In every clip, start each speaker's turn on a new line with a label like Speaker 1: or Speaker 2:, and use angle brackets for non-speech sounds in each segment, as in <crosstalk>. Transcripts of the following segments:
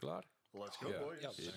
Speaker 1: Klaar?
Speaker 2: Let's go, boys.
Speaker 3: Ja, dus-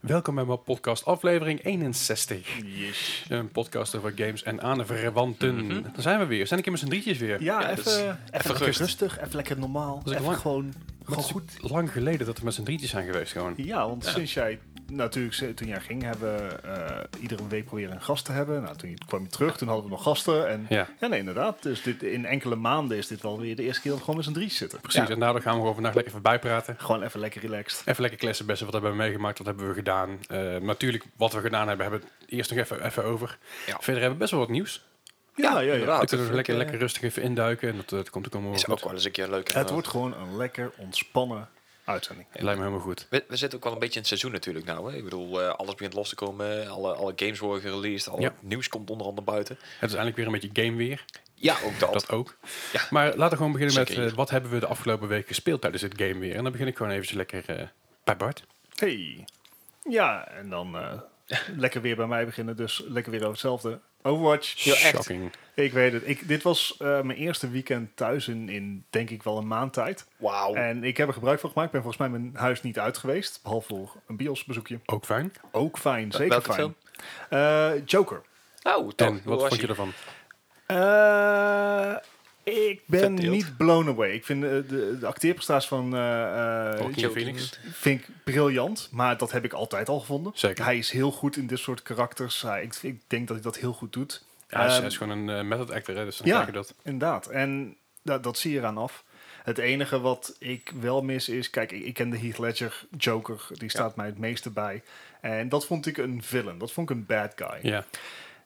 Speaker 1: Welkom bij mijn podcast aflevering 61.
Speaker 2: Yes.
Speaker 1: Een podcast over games en aanverwanten. Daar zijn we weer. Zijn ik in met z'n drietjes weer.
Speaker 2: Mhm. Ja, even,
Speaker 3: dus
Speaker 2: even, lekker
Speaker 3: rust.
Speaker 2: rustig, even lekker normaal.
Speaker 1: is
Speaker 2: even
Speaker 1: lang.
Speaker 2: gewoon,
Speaker 1: Maar
Speaker 2: gewoon
Speaker 1: het is
Speaker 2: goed.
Speaker 1: Lang geleden dat we met z'n drietjes zijn geweest gewoon.
Speaker 2: Ja, want sinds jij natuurlijk, ze- toen jij ging, hebben we eh, iedere week proberen een gast te hebben. Nou, toen je- kwam je terug, toen hadden we nog gasten. En ja,
Speaker 1: Ja,
Speaker 2: nee, inderdaad. Dus dit, in enkele maanden is dit wel weer de eerste keer dat we gewoon met z'n drie zitten.
Speaker 1: precies. En nou, daar gaan we gewoon vandaag lekker even bijpraten.
Speaker 2: Gewoon even lekker relaxed.
Speaker 1: Even lekker kletsen, beste. Wat hebben we meegemaakt? Wat hebben we gedaan? Eh, natuurlijk, wat we gedaan hebben, hebben we het eerst nog even, even over.
Speaker 3: Ja.
Speaker 1: Verder hebben we best wel wat nieuws.
Speaker 2: Ja, ja, ja.
Speaker 3: inderdaad.
Speaker 1: Dan kunnen we
Speaker 3: even
Speaker 1: lekker,
Speaker 3: lekker-
Speaker 1: lekker rustig even induiken. En dat, eh, dat komt ook allemaal wel
Speaker 3: Is
Speaker 1: goed.
Speaker 3: ook wel eens een keer leuk.
Speaker 2: Het wordt gewoon een lekker ontspannen uitzending.
Speaker 1: Lijkt me helemaal goed.
Speaker 3: We, we zitten ook wel een beetje in het seizoen natuurlijk nou. Hè? Ik bedoel, eh, alles begint los te komen. Alle, alle games worden gereleased. Al
Speaker 1: Ja.
Speaker 3: het nieuws komt onder andere buiten.
Speaker 1: Het is eigenlijk weer een beetje game weer.
Speaker 3: Ja, ook dat.
Speaker 1: Dat ook.
Speaker 3: Ja.
Speaker 1: Maar laten we gewoon beginnen met
Speaker 3: Zeker.
Speaker 1: eh, wat hebben we de afgelopen week gespeeld tijdens het game weer. En dan begin ik gewoon eventjes lekker eh, bij Bart.
Speaker 2: Hey. Ja, en dan <laughs> eh, lekker weer bij mij beginnen. Dus lekker weer over hetzelfde. Overwatch. Ja, echt.
Speaker 1: Shocking.
Speaker 2: Ik weet het. Ik, dit was eh, mijn eerste weekend thuis in, in, denk ik, wel een maand tijd.
Speaker 1: Oh.
Speaker 3: Wauw.
Speaker 2: En ik heb er gebruik van gemaakt. Ik ben volgens mij mijn huis niet uit geweest. Behalve voor een biosbezoekje.
Speaker 1: Ook fijn.
Speaker 2: Ook fijn, zeker
Speaker 3: welke
Speaker 2: fijn.
Speaker 3: film?
Speaker 2: Eh, Joker.
Speaker 3: Nou, toch.
Speaker 1: En
Speaker 3: Hoe
Speaker 1: wat
Speaker 3: was
Speaker 1: vond je
Speaker 3: ie?
Speaker 1: ervan?
Speaker 2: Eh, ik ben
Speaker 3: Verdeeld.
Speaker 2: niet blown away. Ik vind eh, de, de acteerprestatie van eh, eh,
Speaker 1: Joaquin
Speaker 3: Joaquin.
Speaker 1: Phoenix.
Speaker 2: vind ik briljant, maar dat heb ik altijd al gevonden.
Speaker 1: Zeker.
Speaker 2: Hij is heel goed in dit soort karakters. Hij, ik, ik denk dat hij dat heel goed doet.
Speaker 1: Ja, hij, is,
Speaker 2: Ehm,
Speaker 1: hij is gewoon een eh, method actor, hè, dus dan
Speaker 2: Ja.
Speaker 1: krijg je dat.
Speaker 2: Inderdaad. En da- dat zie je eraan af. Het enige wat ik wel mis is... Kijk, ik, ik ken de Heath Ledger Joker. Die staat mij het meeste bij. En dat vond ik een villain. Dat vond ik een bad guy.
Speaker 1: Ja.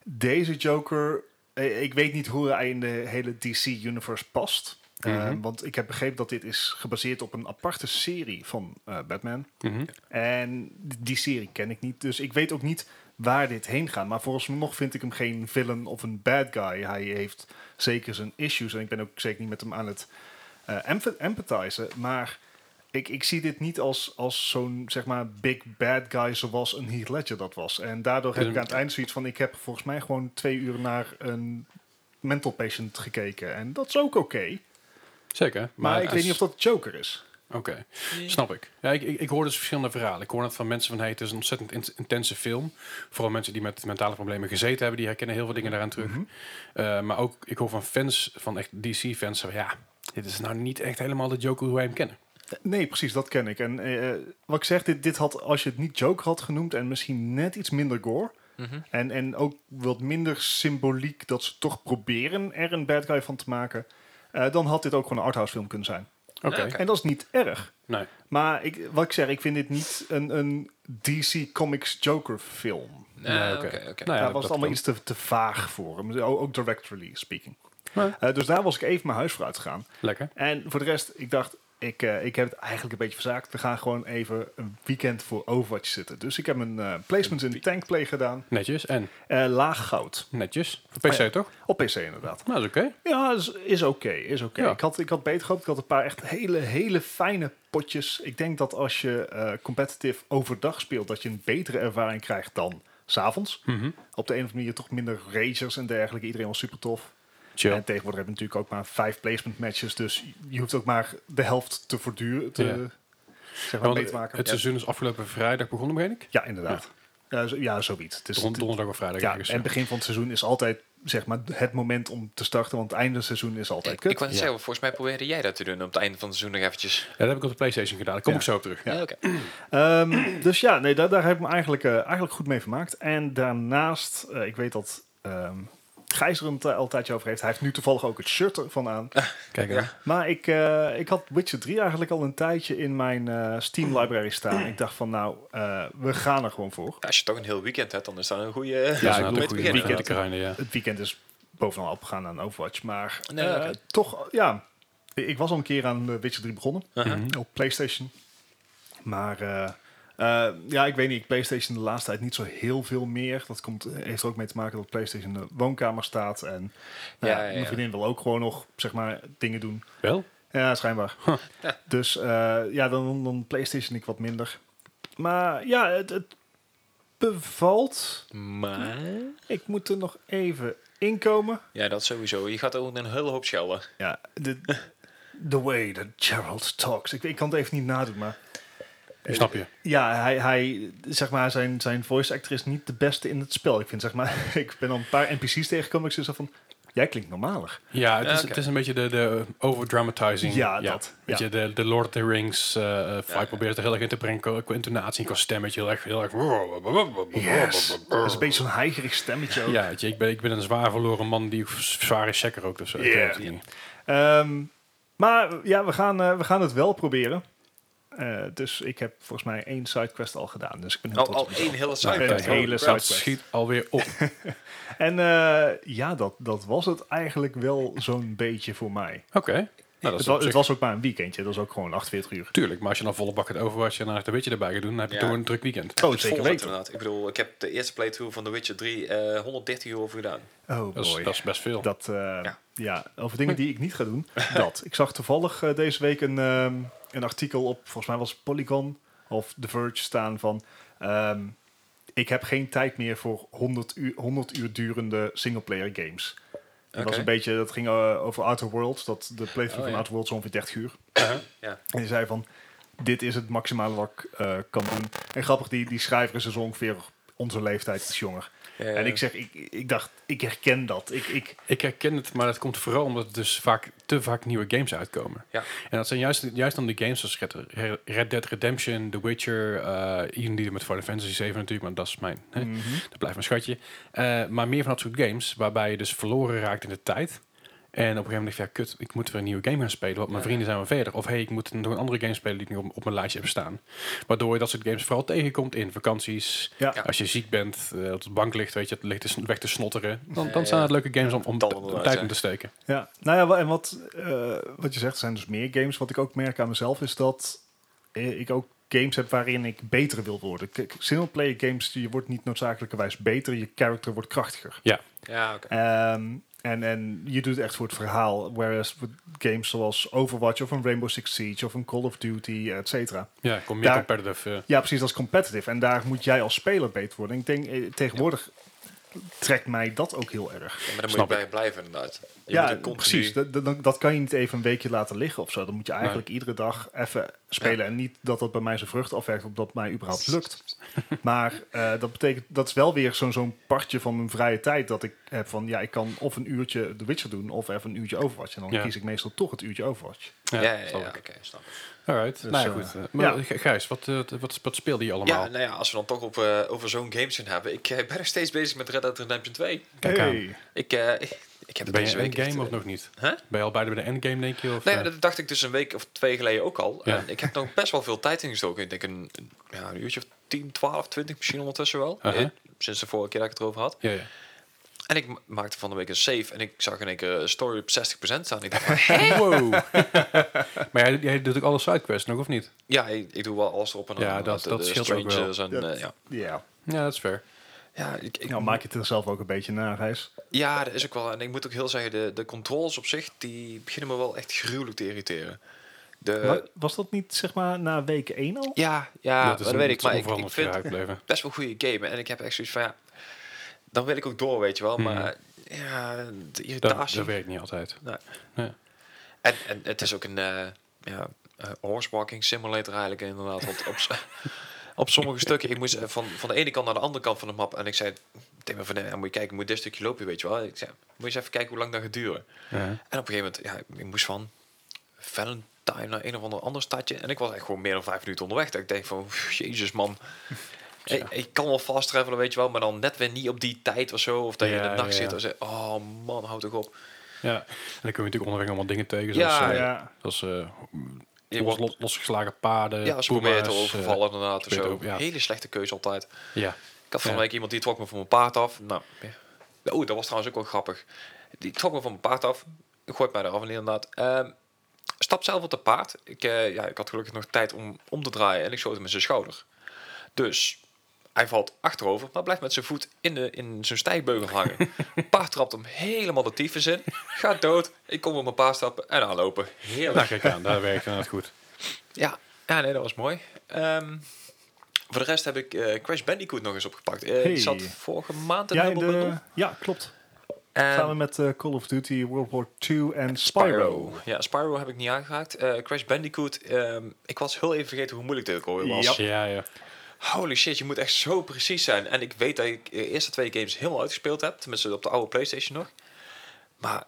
Speaker 2: Deze Joker... eh, Ik weet niet hoe hij in de hele DC-universe past. Eh,
Speaker 1: Mhm.
Speaker 2: want ik heb begrepen dat dit is gebaseerd op een aparte serie van eh, Batman.
Speaker 1: Mhm.
Speaker 2: En d- die serie ken ik niet. Dus ik weet ook niet waar dit heen gaat. Maar vooralsnog vind ik hem geen villain of een bad guy. Hij heeft zeker zijn issues. En ik ben ook zeker niet met hem aan het eh, emph- empathizen. Maar ik, ik zie dit niet als, als zo'n zeg maar, big bad guy zoals een Heath Ledger dat was. En daardoor heb
Speaker 1: Dus
Speaker 2: ik aan het eind zoiets van... ik heb volgens mij gewoon twee uur naar een mental patient gekeken. En dat is ook oké.
Speaker 1: Zeker. Maar,
Speaker 2: Maar, ik
Speaker 1: het
Speaker 2: weet
Speaker 1: is-
Speaker 2: niet of dat Joker is.
Speaker 1: Oké, snap ik. Ja, ik, ik. ik hoor dus verschillende verhalen. Ik hoor net van mensen van, hey, het is een ontzettend in- intense film. Vooral mensen die met mentale problemen gezeten hebben, die herkennen heel veel dingen daaraan
Speaker 2: Mhm.
Speaker 1: terug. Eh, maar ook, ik hoor van fans, van echt DC-fans, van ja, dit is nou niet echt helemaal de Joker hoe wij hem kennen.
Speaker 2: Nee, precies, dat ken ik. En eh, wat ik zeg, dit, dit had, als je het niet Joker had genoemd en misschien net iets minder gore.
Speaker 3: Mhm.
Speaker 2: En, en ook wat minder symboliek dat ze toch proberen er een bad guy van te maken. eh, dan had dit ook gewoon een arthouse film kunnen zijn.
Speaker 1: Oké,
Speaker 3: Ja, oké.
Speaker 2: En dat is niet erg.
Speaker 1: nee.
Speaker 2: Maar ik, wat ik zeg, ik vind dit niet een, een DC Comics Joker film.
Speaker 3: Nee,
Speaker 1: Nee, oké.
Speaker 3: Eh, oké, oké.
Speaker 1: Nou ja, dat-
Speaker 2: daar was
Speaker 1: dat
Speaker 2: het allemaal
Speaker 1: kan.
Speaker 2: iets te, te vaag voor. hem. Ook ook directly speaking.
Speaker 1: Ja.
Speaker 2: Eh, dus daar was ik even mijn huis voor uitgegaan.
Speaker 1: Lekker.
Speaker 2: En voor de rest, ik dacht, ik, eh, ik heb het eigenlijk een beetje verzaakt. We gaan gewoon even een weekend voor Overwatch zitten. Dus ik heb mijn eh, placements in de tankplay gedaan.
Speaker 1: Netjes en
Speaker 2: Eh, laag goud.
Speaker 1: netjes. Voor PC
Speaker 2: Nou Ja.
Speaker 1: toch?
Speaker 2: Op PC inderdaad.
Speaker 1: Nou, dat is oké.
Speaker 2: Ja, is, is oké. is oké.
Speaker 1: Ja.
Speaker 2: Ik, had, ik had beter gehoopt. Ik had een paar echt hele, hele fijne potjes. Ik denk dat als je eh competitive overdag speelt, dat je een betere ervaring krijgt dan s'avonds.
Speaker 1: Mhm.
Speaker 2: Op de een of andere manier toch minder ragers en dergelijke. Iedereen was super tof.
Speaker 1: Chill.
Speaker 2: En tegenwoordig hebben we natuurlijk ook maar vijf placement matches. Dus je hoeft ook maar de helft te verduren. Te,
Speaker 1: Ja.
Speaker 2: Zeg
Speaker 1: Ja,
Speaker 2: maar
Speaker 1: want
Speaker 2: mee te maken.
Speaker 1: het
Speaker 2: ja.
Speaker 1: seizoen is afgelopen vrijdag begonnen, begreep ik?
Speaker 2: Ja, inderdaad. Ja, zo- ja zoiets. Het is,
Speaker 1: Rond donderdag of vrijdag.
Speaker 2: ja, en
Speaker 1: ergens,
Speaker 2: het begin van het seizoen is altijd zeg maar, het moment om te starten. Want het einde van het seizoen is altijd
Speaker 3: Ik,
Speaker 2: kut.
Speaker 3: Eh, ik wou net zeggen, volgens mij probeerde jij dat te doen op het einde van het seizoen nog eventjes.
Speaker 1: Ja, dat heb ik op de PlayStation gedaan. Daar kom
Speaker 2: Ja.
Speaker 1: ik zo op terug.
Speaker 3: Ja, oké.
Speaker 2: Ehm, <clears throat> dus ja, nee, daar, daar heb ik me eigenlijk, eh, eigenlijk goed mee vermaakt. En daarnaast, eh, ik weet dat ehm Gijs er een ti- al een tijdje over heeft. Hij heeft nu toevallig ook het shirt ervan aan.
Speaker 1: Kijk
Speaker 3: Ja.
Speaker 1: aan.
Speaker 2: Maar ik, eh, ik had Witcher 3 eigenlijk al een tijdje in mijn eh, Steam library staan. Ik dacht van nou, eh, we gaan er gewoon voor.
Speaker 3: Als je toch een heel weekend hebt, dan is dat een eh, goede...
Speaker 1: Ja,
Speaker 2: ik
Speaker 1: ik
Speaker 2: bedoel,
Speaker 1: een
Speaker 2: met
Speaker 1: goede
Speaker 2: weekend.
Speaker 1: weekend te grinden, ja.
Speaker 2: Het weekend is bovenal opgegaan aan Overwatch. Maar
Speaker 3: Nee,
Speaker 2: eh,
Speaker 3: oké.
Speaker 2: toch, ja. Ik was al een keer aan eh, Witcher 3 begonnen. Op PlayStation. Maar eh, eh, ja, ik weet niet. PlayStation de laatste tijd niet zo heel veel meer. Dat komt, eh, heeft er ook mee te maken dat PlayStation in de woonkamer staat. En nou
Speaker 3: Ja,
Speaker 2: ja,
Speaker 3: ja, ja.
Speaker 2: mijn vriendin wil ook gewoon nog, zeg maar, dingen doen.
Speaker 1: Wel?
Speaker 2: Ja, schijnbaar. Dus eh, ja, dan, dan PlayStation ik wat minder. Maar ja, het, het bevalt.
Speaker 3: Maar...
Speaker 2: Ik moet er nog even inkomen.
Speaker 3: Ja, dat sowieso. Je gaat ook een hele hoop schelden.
Speaker 2: Ja, de, the way that Gerald talks. Ik, ik kan het even niet nadoen, maar...
Speaker 1: Ik snap je.
Speaker 2: Ja, hij, hij zeg maar, zijn, zijn voice actor is niet de beste in het spel. Ik vind, zeg maar, <laughs> ik ben al een paar NPC's tegengekomen. Ik zei zo van, jij klinkt normaler.
Speaker 1: Ja, het is,
Speaker 3: Ja, oké.
Speaker 1: het is een beetje de, de overdramatizing.
Speaker 2: Ja, dat,
Speaker 1: Weet
Speaker 2: ja.
Speaker 1: je, de, de Lord of the Rings eh eh, vibe
Speaker 3: Ja, ja.
Speaker 1: probeert er heel erg in te brengen. Qua qua intonatie, qua stemmetje, heel erg... Heel erg
Speaker 2: Yes. Dat is een beetje zo'n heigerig stemmetje ook.
Speaker 1: Ja, weet je, ik ben, ik ben een zwaar verloren man die zware checker ook. Dus,
Speaker 2: Ja. Ehm, maar ja, we gaan, eh, we gaan het wel proberen. Eh, dus ik heb volgens mij één sidequest al gedaan. Dus ik ben heel
Speaker 3: Al,
Speaker 2: trots op
Speaker 3: al
Speaker 2: mezelf.
Speaker 3: één hele
Speaker 1: Nou,
Speaker 3: site.
Speaker 2: Een hele
Speaker 1: dat
Speaker 2: sidequest.
Speaker 1: schiet alweer
Speaker 2: <laughs>
Speaker 1: op.
Speaker 2: En eh, ja, dat, dat was het eigenlijk wel zo'n beetje voor mij.
Speaker 1: Oké. Nou, dat is op
Speaker 2: Het, wa- het
Speaker 1: zich-
Speaker 2: was ook maar een weekendje. Dat was ook gewoon 48 uur.
Speaker 1: Tuurlijk, maar als je dan volle bak het overwatch en een beetje erbij gaat doen, dan heb je
Speaker 3: Ja.
Speaker 1: toch een druk weekend.
Speaker 2: Oh,
Speaker 3: Het
Speaker 2: zeker
Speaker 3: volgt het
Speaker 2: weten.
Speaker 3: inderdaad. Ik bedoel, ik heb de eerste playthrough van The Witcher 3 eh 130 uur over gedaan.
Speaker 2: Oh,
Speaker 1: Dat is,
Speaker 2: mooi.
Speaker 1: dat is best veel.
Speaker 2: Dat, eh, ja.
Speaker 3: Ja.
Speaker 2: over dingen die ik niet ga
Speaker 3: <laughs>
Speaker 2: doen. Dat. Ik zag toevallig eh, deze week een, ehm, een artikel op, volgens mij was het Polygon of The Verge staan van... ehm, ik heb geen tijd meer voor 100 uur, 100 uur durende singleplayer games. Dat was
Speaker 3: Oké.
Speaker 2: een beetje, dat ging eh, over Outer Worlds. Dat de playthrough
Speaker 3: Oh,
Speaker 2: van
Speaker 3: ja.
Speaker 2: Outer Worlds ongeveer 30 uur.
Speaker 3: Ja.
Speaker 2: En die zei van, dit is het maximale wat ik eh, kan doen. En grappig, die, die schrijver is dus ongeveer onze leeftijd, iets jonger.
Speaker 3: Eh,
Speaker 2: En ik zeg, ik, ik dacht, ik herken dat. Ik, ik,
Speaker 1: Ik herken het, maar dat komt vooral omdat er dus vaak te vaak nieuwe games uitkomen.
Speaker 3: Ja.
Speaker 1: En dat zijn juist, juist dan de games zoals Red, Red Dead Redemption, The Witcher, eh even die met Final Fantasy 7 natuurlijk, maar dat is mijn, hè,
Speaker 3: Mhm.
Speaker 1: dat blijft mijn schatje. Eh, maar meer van dat soort games, waarbij je dus verloren raakt in de tijd. En op een gegeven moment denk je, ja, kut, ik moet weer een nieuwe game gaan spelen, want mijn
Speaker 3: Ja.
Speaker 1: vrienden zijn wel verder. Of hey, ik moet nog een andere game spelen die ik nog op, op mijn lijstje heb staan. Waardoor je dat soort games vooral tegenkomt in vakanties,
Speaker 2: Ja.
Speaker 3: Ja.
Speaker 1: als je ziek bent, eh, op de bank ligt, weet je, het ligt te- weg te snotteren. Dan,
Speaker 3: Ja,
Speaker 1: dan zijn
Speaker 3: ja.
Speaker 1: het leuke games om, om,
Speaker 3: Dan
Speaker 1: om
Speaker 3: onderuit,
Speaker 1: tijd
Speaker 3: ja.
Speaker 1: in te steken.
Speaker 2: Ja, nou ja, wa- en wat, eh, wat je zegt, er zijn dus meer games. Wat ik ook merk aan mezelf is dat eh, ik ook games heb waarin ik beter wil worden. Kijk, Singleplayer games, je wordt niet noodzakelijkerwijs beter, je character wordt krachtiger.
Speaker 3: Ja, oké.
Speaker 2: Ehm, en, en je doet het echt voor het verhaal. Whereas with games zoals Overwatch of een Rainbow Six Siege of een Call of Duty, et cetera.
Speaker 1: Ja, kom meer
Speaker 2: Daar-
Speaker 1: competitive. eh.
Speaker 2: Ja, precies, dat is competitive. En daar moet jij als speler beter worden. Ik denk, eh, tegenwoordig trekt mij dat ook heel erg.
Speaker 3: Ja, maar dan moet
Speaker 1: Snap
Speaker 3: je bij blijven inderdaad. Je moet
Speaker 2: ja,
Speaker 3: er continu-
Speaker 2: precies. Dat, dat, dat kan je niet even een weekje laten liggen of zo. Dan moet je eigenlijk iedere dag even spelen. En niet dat dat bij mij zijn vrucht afwerkt of dat mij
Speaker 3: <laughs>
Speaker 2: überhaupt lukt. maar eh, dat betekent, dat is wel weer zo'n zo'n partje van mijn vrije tijd. Dat ik heb van, ja, ik kan of een uurtje The Witcher doen of even een uurtje Overwatch. En dan
Speaker 1: Ja.
Speaker 2: kies ik meestal toch het uurtje Overwatch.
Speaker 3: Ja, ja, ja,
Speaker 1: snap
Speaker 3: ja,
Speaker 1: ik.
Speaker 3: oké, snap ik.
Speaker 1: Alright,
Speaker 2: Dus,
Speaker 1: nou ja,
Speaker 2: eh,
Speaker 1: goed. eh, maar
Speaker 2: ja.
Speaker 1: G- Gijs, wat, eh, wat, wat speelde je allemaal?
Speaker 3: Ja, nou ja, als we dan toch op, eh, over zo'n game zijn hebben. Ik eh, ben nog steeds bezig met Red Dead Redemption 2.
Speaker 1: Kijk aan.
Speaker 2: Hey.
Speaker 3: Ik, eh, ik- ik heb het
Speaker 1: Ben
Speaker 3: deze
Speaker 1: je
Speaker 3: week
Speaker 1: endgame
Speaker 3: echt,
Speaker 1: of
Speaker 3: eh,
Speaker 1: nog niet?
Speaker 3: Huh?
Speaker 1: Ben je al bij de endgame, denk je? Of,
Speaker 3: Nee,
Speaker 1: eh,
Speaker 3: dat dacht ik dus een week of twee geleden ook al.
Speaker 1: Ja.
Speaker 3: En ik
Speaker 1: <laughs>
Speaker 3: heb nog best wel veel tijd ingestoken. Ik denk een, een- ja, een uurtje of 10, 12, 20 misschien ondertussen wel.
Speaker 1: Aha.
Speaker 3: Eh, Sinds de vorige keer dat ik het erover had.
Speaker 1: ja,
Speaker 3: <laughs>
Speaker 1: ja.
Speaker 3: En ik ma- maakte van de week een save. En ik zag in één keer een story op 60% staan. Ik dacht, maar,
Speaker 1: Wow. <laughs> maar jij, jij doet ook alle sidequests nog, of niet?
Speaker 3: ja, ik, ik doe wel alles erop en
Speaker 1: Ja,
Speaker 3: aan.
Speaker 1: dat-
Speaker 3: Want, eh,
Speaker 1: dat
Speaker 3: de
Speaker 1: scheelt ook wel.
Speaker 3: strangers En,
Speaker 2: Dat-
Speaker 3: eh, ja.
Speaker 2: Ja,
Speaker 1: Ja, dat is fair.
Speaker 3: Ja, ik, ik,
Speaker 2: nou maak je het er zelf ook een beetje naar, Gijs.
Speaker 3: ja, dat is ook wel. En ik moet ook heel zeggen, de, de controls op zich, die beginnen me wel echt gruwelijk te irriteren. De,
Speaker 2: Wa- was dat niet, zeg maar, na week 1 al?
Speaker 3: Ja, ja,
Speaker 1: dat
Speaker 3: dat,
Speaker 1: is
Speaker 3: weet ik. Maar ik, ik
Speaker 1: onveranderd
Speaker 3: vind
Speaker 1: geraakt
Speaker 3: <laughs>
Speaker 1: blijven.
Speaker 3: best wel goede game. En ik heb echt zoiets van, ja, dan wil ik ook door, weet je wel.
Speaker 1: Mhm.
Speaker 3: Maar ja, de
Speaker 1: Dat,
Speaker 3: irritatie.
Speaker 1: dat werkt niet altijd.
Speaker 3: en, en het is ook een eh ja, eh, horsewalking simulator eigenlijk inderdaad. Want op, s- <laughs> op sommige stukken, ik moest eh, van, van de ene kant naar de andere kant van de map. En ik zei tegen me van, nee, moet je kijken, ik moet dit stukje lopen, weet je wel. Ik zei, moet je eens even kijken hoe lang dat gaat duren.
Speaker 1: Ja.
Speaker 3: En op een gegeven moment, ja, ik moest van Valentine naar een of ander ander stadje. En ik was echt gewoon meer dan vijf minuten onderweg. Dat ik denk van, pff, jezus
Speaker 1: <laughs>
Speaker 3: man. Ik, ik kan wel fast travelen, weet je wel. Maar dan net weer niet op die tijd of zo. Of dat je in
Speaker 1: Ja,
Speaker 3: de nacht
Speaker 1: ja,
Speaker 3: zit.
Speaker 1: ja.
Speaker 3: En zeg, oh man, houd toch op.
Speaker 1: ja. En dan kun je natuurlijk onderweg allemaal dingen tegen.
Speaker 3: Ja,
Speaker 1: Zoals, eh,
Speaker 2: ja.
Speaker 1: zoals eh,
Speaker 3: Je
Speaker 1: los,
Speaker 3: wordt,
Speaker 1: los- losgeslagen paden,
Speaker 3: ja, ze proberen te
Speaker 1: puma's, eh,
Speaker 3: overvallen inderdaad. Of
Speaker 1: probeert
Speaker 3: zo.
Speaker 1: ook, ja.
Speaker 3: Hele slechte keuze altijd.
Speaker 1: ja.
Speaker 3: Ik had van
Speaker 1: Ja.
Speaker 3: de week iemand die trok me van mijn paard af. Nou, ja. Oeh, dat was trouwens ook wel grappig. Die trok me van mijn paard af. Gooit mij eraf en inderdaad. Ehm stap zelf op de paard. Ik, eh, ja, ik had gelukkig nog tijd om om te draaien en ik schoot hem in zijn schouder. Dus hij valt achterover, maar blijft met zijn voet in, de, in zijn stijgbeugel hangen.
Speaker 1: <laughs>
Speaker 3: paard trapt hem helemaal de tyfus in. Gaat dood. Ik kom op mijn paard stappen en aanlopen. Heerlijk.
Speaker 1: Nou, kijk aan, daar werkt inderdaad goed.
Speaker 3: Ja, ja nee, dat was mooi. Ehm, Voor de rest heb ik eh, Crash Bandicoot nog eens opgepakt. Eh,
Speaker 2: Hey.
Speaker 3: Ik zat vorige maand in
Speaker 2: Ja,
Speaker 3: de
Speaker 2: in
Speaker 3: Humble
Speaker 2: de-
Speaker 3: Bundle.
Speaker 2: ja, klopt.
Speaker 3: En
Speaker 2: Samen met eh, Call of Duty, World War II en Spyro.
Speaker 3: Spyro. Ja, Spyro heb ik niet aangeraakt. Eh, Crash Bandicoot, ehm, ik was heel even vergeten hoe moeilijk dit ook alweer was.
Speaker 2: Ja.
Speaker 1: Ja, ja.
Speaker 3: Holy shit, je moet echt zo precies zijn. En ik weet dat ik de eerste twee games helemaal uitgespeeld heb. Tenminste, op de oude PlayStation nog. Maar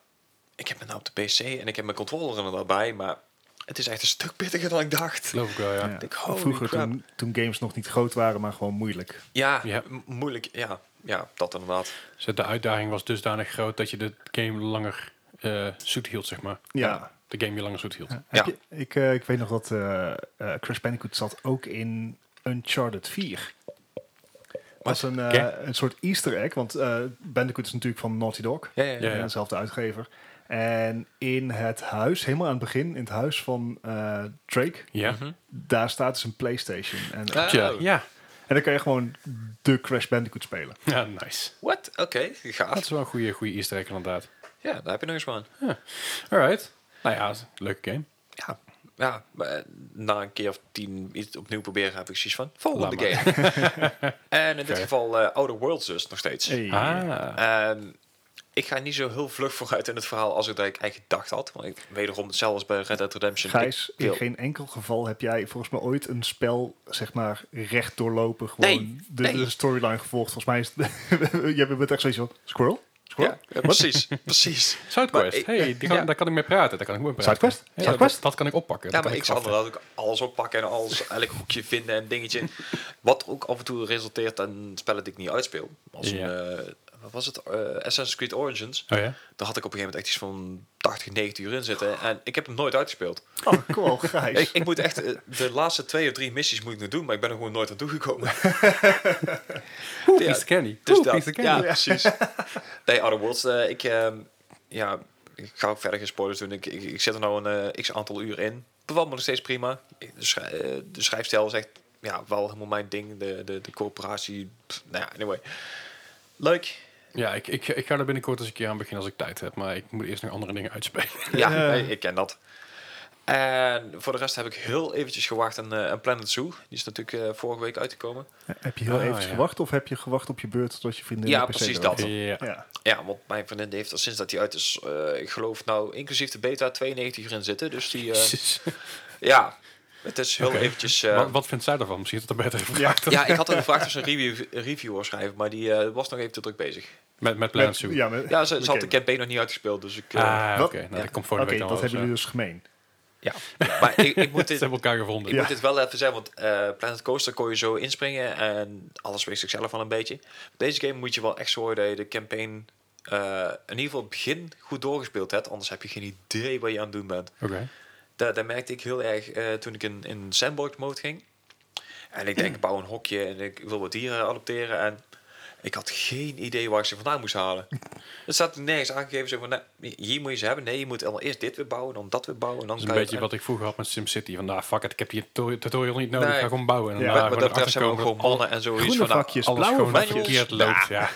Speaker 3: ik heb me nou op de PC en ik heb mijn controller er wel bij. Maar het is echt een stuk pittiger dan ik dacht.
Speaker 1: Geloof ik wel, ja.
Speaker 2: Ja.
Speaker 3: Ik, holy
Speaker 2: Vroeger
Speaker 3: crap.
Speaker 2: toen, toen games nog niet groot waren, maar gewoon moeilijk.
Speaker 3: Ja,
Speaker 1: Ja.
Speaker 3: m- moeilijk. Ja, ja, dat inderdaad.
Speaker 1: Dus de uitdaging was dusdanig groot dat je de game langer eh, zoet hield, zeg maar.
Speaker 2: Ja.
Speaker 1: De game je langer zoet hield.
Speaker 2: Heb
Speaker 3: Ja.
Speaker 2: je- ik, eh, ik weet nog dat eh, eh, Crash Bandicoot zat ook in Uncharted 4. Als een, eh,
Speaker 1: Ja.
Speaker 2: een soort easter egg, want eh, Bandicoot is natuurlijk van Naughty Dog.
Speaker 3: Ja, ja, ja.
Speaker 1: Ja.
Speaker 2: eh, dezelfde uitgever. En in het huis, helemaal aan het begin, in het huis van eh, Drake,
Speaker 1: Ja.
Speaker 3: Mhm.
Speaker 2: daar staat dus een Playstation. En,
Speaker 3: Ah.
Speaker 1: Tja,
Speaker 3: Oh.
Speaker 1: ja.
Speaker 2: en dan kan je gewoon de Crash Bandicoot spelen.
Speaker 1: Ja, nice.
Speaker 3: What? Oké,
Speaker 1: Dat
Speaker 3: gaaf.
Speaker 1: is wel een goede, goede easter egg inderdaad.
Speaker 3: Ja, daar heb je nog eens van.
Speaker 1: Alright. Nou ja, is een leuke game.
Speaker 3: Ja, ja maar, eh, na een keer of tien iets opnieuw proberen heb ik zoiets van... Volgende
Speaker 1: Laat
Speaker 3: game. en in dit
Speaker 1: Oké.
Speaker 3: geval eh Outer Worlds dus nog steeds.
Speaker 2: Hey.
Speaker 1: Ah.
Speaker 3: Ehm, ik ga niet zo heel vlug vooruit in het verhaal als ik dat ik eigenlijk gedacht had. Want ik, wederom hetzelfde als bij Red Dead Redemption.
Speaker 2: Gijs,
Speaker 3: Ik
Speaker 2: in
Speaker 3: wil-
Speaker 2: geen enkel geval heb jij volgens mij ooit een spel, zeg maar, recht doorlopen. Gewoon
Speaker 3: Nee,
Speaker 2: de,
Speaker 3: nee.
Speaker 2: de storyline gevolgd. Volgens mij is het, <laughs> je bent echt zoiets van, squirrel? Squirrel?
Speaker 3: ja, ja, precies, precies.
Speaker 1: Southquest.
Speaker 3: Maar ik-
Speaker 1: hey, die kan-
Speaker 3: ja.
Speaker 1: daar kan ik mee praten. Daar kan ik mee praten.
Speaker 2: Southquest?
Speaker 1: Ja,
Speaker 2: Southquest?
Speaker 1: Dat, dat kan ik oppakken.
Speaker 3: Ja,
Speaker 1: Dat
Speaker 3: maar
Speaker 1: kan
Speaker 3: ik zal
Speaker 1: afleggen.
Speaker 3: inderdaad ook alles oppakken en alles, elk hoekje vinden en
Speaker 1: <laughs>
Speaker 3: dingetje. Wat ook af en toe resulteert in spellen die ik niet uitspeel. Als
Speaker 1: Ja.
Speaker 3: een, eh, wat was het? Eh, Assassin's Creed Origins.
Speaker 1: Oh ja?
Speaker 3: Daar had ik op een gegeven moment echt iets van 80, 90 uur in zitten. En ik heb hem nooit uitgespeeld.
Speaker 2: Oh, kom
Speaker 3: <laughs>
Speaker 2: op, Gijs.
Speaker 3: Ik, ik moet echt eh, de laatste twee of drie missies moet ik nog doen, maar ik ben er gewoon nooit aan
Speaker 1: <laughs>
Speaker 3: toegekomen.
Speaker 1: Oeh,
Speaker 3: Ja,
Speaker 1: piece of candy.
Speaker 3: Dus
Speaker 1: Oeh,
Speaker 3: dat,
Speaker 1: piece of
Speaker 3: ja,
Speaker 1: candy.
Speaker 3: precies. Nee, Outer Worlds, eh, ik, ehm, ja, ik ga ook verder geen spoilers doen. Ik, ik, ik zit er nou een eh, x aantal uur in. Bevalt me nog steeds prima. Ik- De, schrij- eh, de schrijfstijl is echt ja, wel helemaal mijn ding. De, de, de corporatie, pff, nou ja, anyway. Leuk.
Speaker 1: Ja, ik, ik, ik ga er binnenkort eens een keer aan beginnen als ik tijd heb. Maar ik moet eerst nog andere dingen uitspelen.
Speaker 3: Ja,
Speaker 2: Ja.
Speaker 3: nee, ik ken dat. En voor de rest heb ik heel eventjes gewacht aan, eh, aan Planet Zoo. Die is natuurlijk eh, vorige week uitgekomen.
Speaker 2: Heb je heel
Speaker 1: Ah,
Speaker 2: even
Speaker 1: ja.
Speaker 2: gewacht of heb je gewacht op je beurt tot je vriendin
Speaker 3: Ja,
Speaker 2: de PC
Speaker 3: precies
Speaker 2: erop
Speaker 3: dat.
Speaker 1: <laughs>
Speaker 2: heeft?
Speaker 1: Ja.
Speaker 2: Ja.
Speaker 3: Ja, want mijn vriendin heeft er sinds dat die uit is, eh, ik geloof nou, inclusief de beta, 92 uur in zitten. Dus die, eh,
Speaker 1: Jezus.
Speaker 3: ja, het is heel eventjes... eh,
Speaker 1: wat, wat vindt zij ervan? Misschien is het een betere vraag.
Speaker 3: ja, ik had er gevraagd of ze een review, een review wou schrijven, maar die eh, was nog even te druk bezig.
Speaker 1: Met, met Planet
Speaker 2: Met-
Speaker 1: Zoo.
Speaker 2: ja, met-
Speaker 3: Ja, ze, ze had de
Speaker 2: Oké,
Speaker 3: campaign nog niet uitgespeeld, dus ik... eh,
Speaker 1: Ah, oké.
Speaker 2: Wat?
Speaker 1: Nou,
Speaker 3: Ja.
Speaker 1: dat komt volgende
Speaker 2: Oké,
Speaker 1: week dan
Speaker 2: dat hebben
Speaker 1: wel
Speaker 2: jullie
Speaker 1: eens,
Speaker 2: dus gemeen.
Speaker 3: ja. Maar ik, ik moet
Speaker 1: <laughs> eh, Ze
Speaker 3: dit...
Speaker 1: hebben elkaar
Speaker 3: Ik
Speaker 1: gevonden.
Speaker 2: Ja.
Speaker 3: moet dit wel even zeggen, want eh, Planet Coaster kon je zo inspringen en alles wees zichzelf al een beetje. Deze game moet je wel echt zorgen dat je de campaign eh, in ieder geval het begin goed doorgespeeld hebt, anders heb je geen idee wat je aan het doen bent.
Speaker 1: Oké.
Speaker 3: Dat, dat merkte ik heel erg eh, toen ik in, in sandbox mode ging. En ik denk, ik bouw een hokje en ik wil wat dieren adopteren. En ik had geen idee waar ik ze vandaan moest halen.
Speaker 1: <laughs>
Speaker 3: Het staat nergens aangegeven. Zo van, nou, hier moet je ze hebben. Nee, je moet allemaal eerst dit weer bouwen, dan dat weer bouwen. En dan
Speaker 1: Dat is
Speaker 3: kan
Speaker 1: een
Speaker 3: je
Speaker 1: beetje
Speaker 3: het-
Speaker 1: wat ik vroeger had met SimCity. Van, nou, fuck it, ik heb die tuto- tutorial niet nodig.
Speaker 3: Nee.
Speaker 1: Ik ga gewoon bouwen. En
Speaker 2: Ja,
Speaker 1: dan
Speaker 2: wat-
Speaker 1: ja,
Speaker 3: en- Wat dat betreft zijn we ook gewoon mannen en zoiets
Speaker 2: Groene
Speaker 3: van... nou,
Speaker 2: vakjes,
Speaker 1: alles
Speaker 2: blauwe
Speaker 1: gewoon
Speaker 3: vakjes.
Speaker 1: verkeerd loopt. Ja.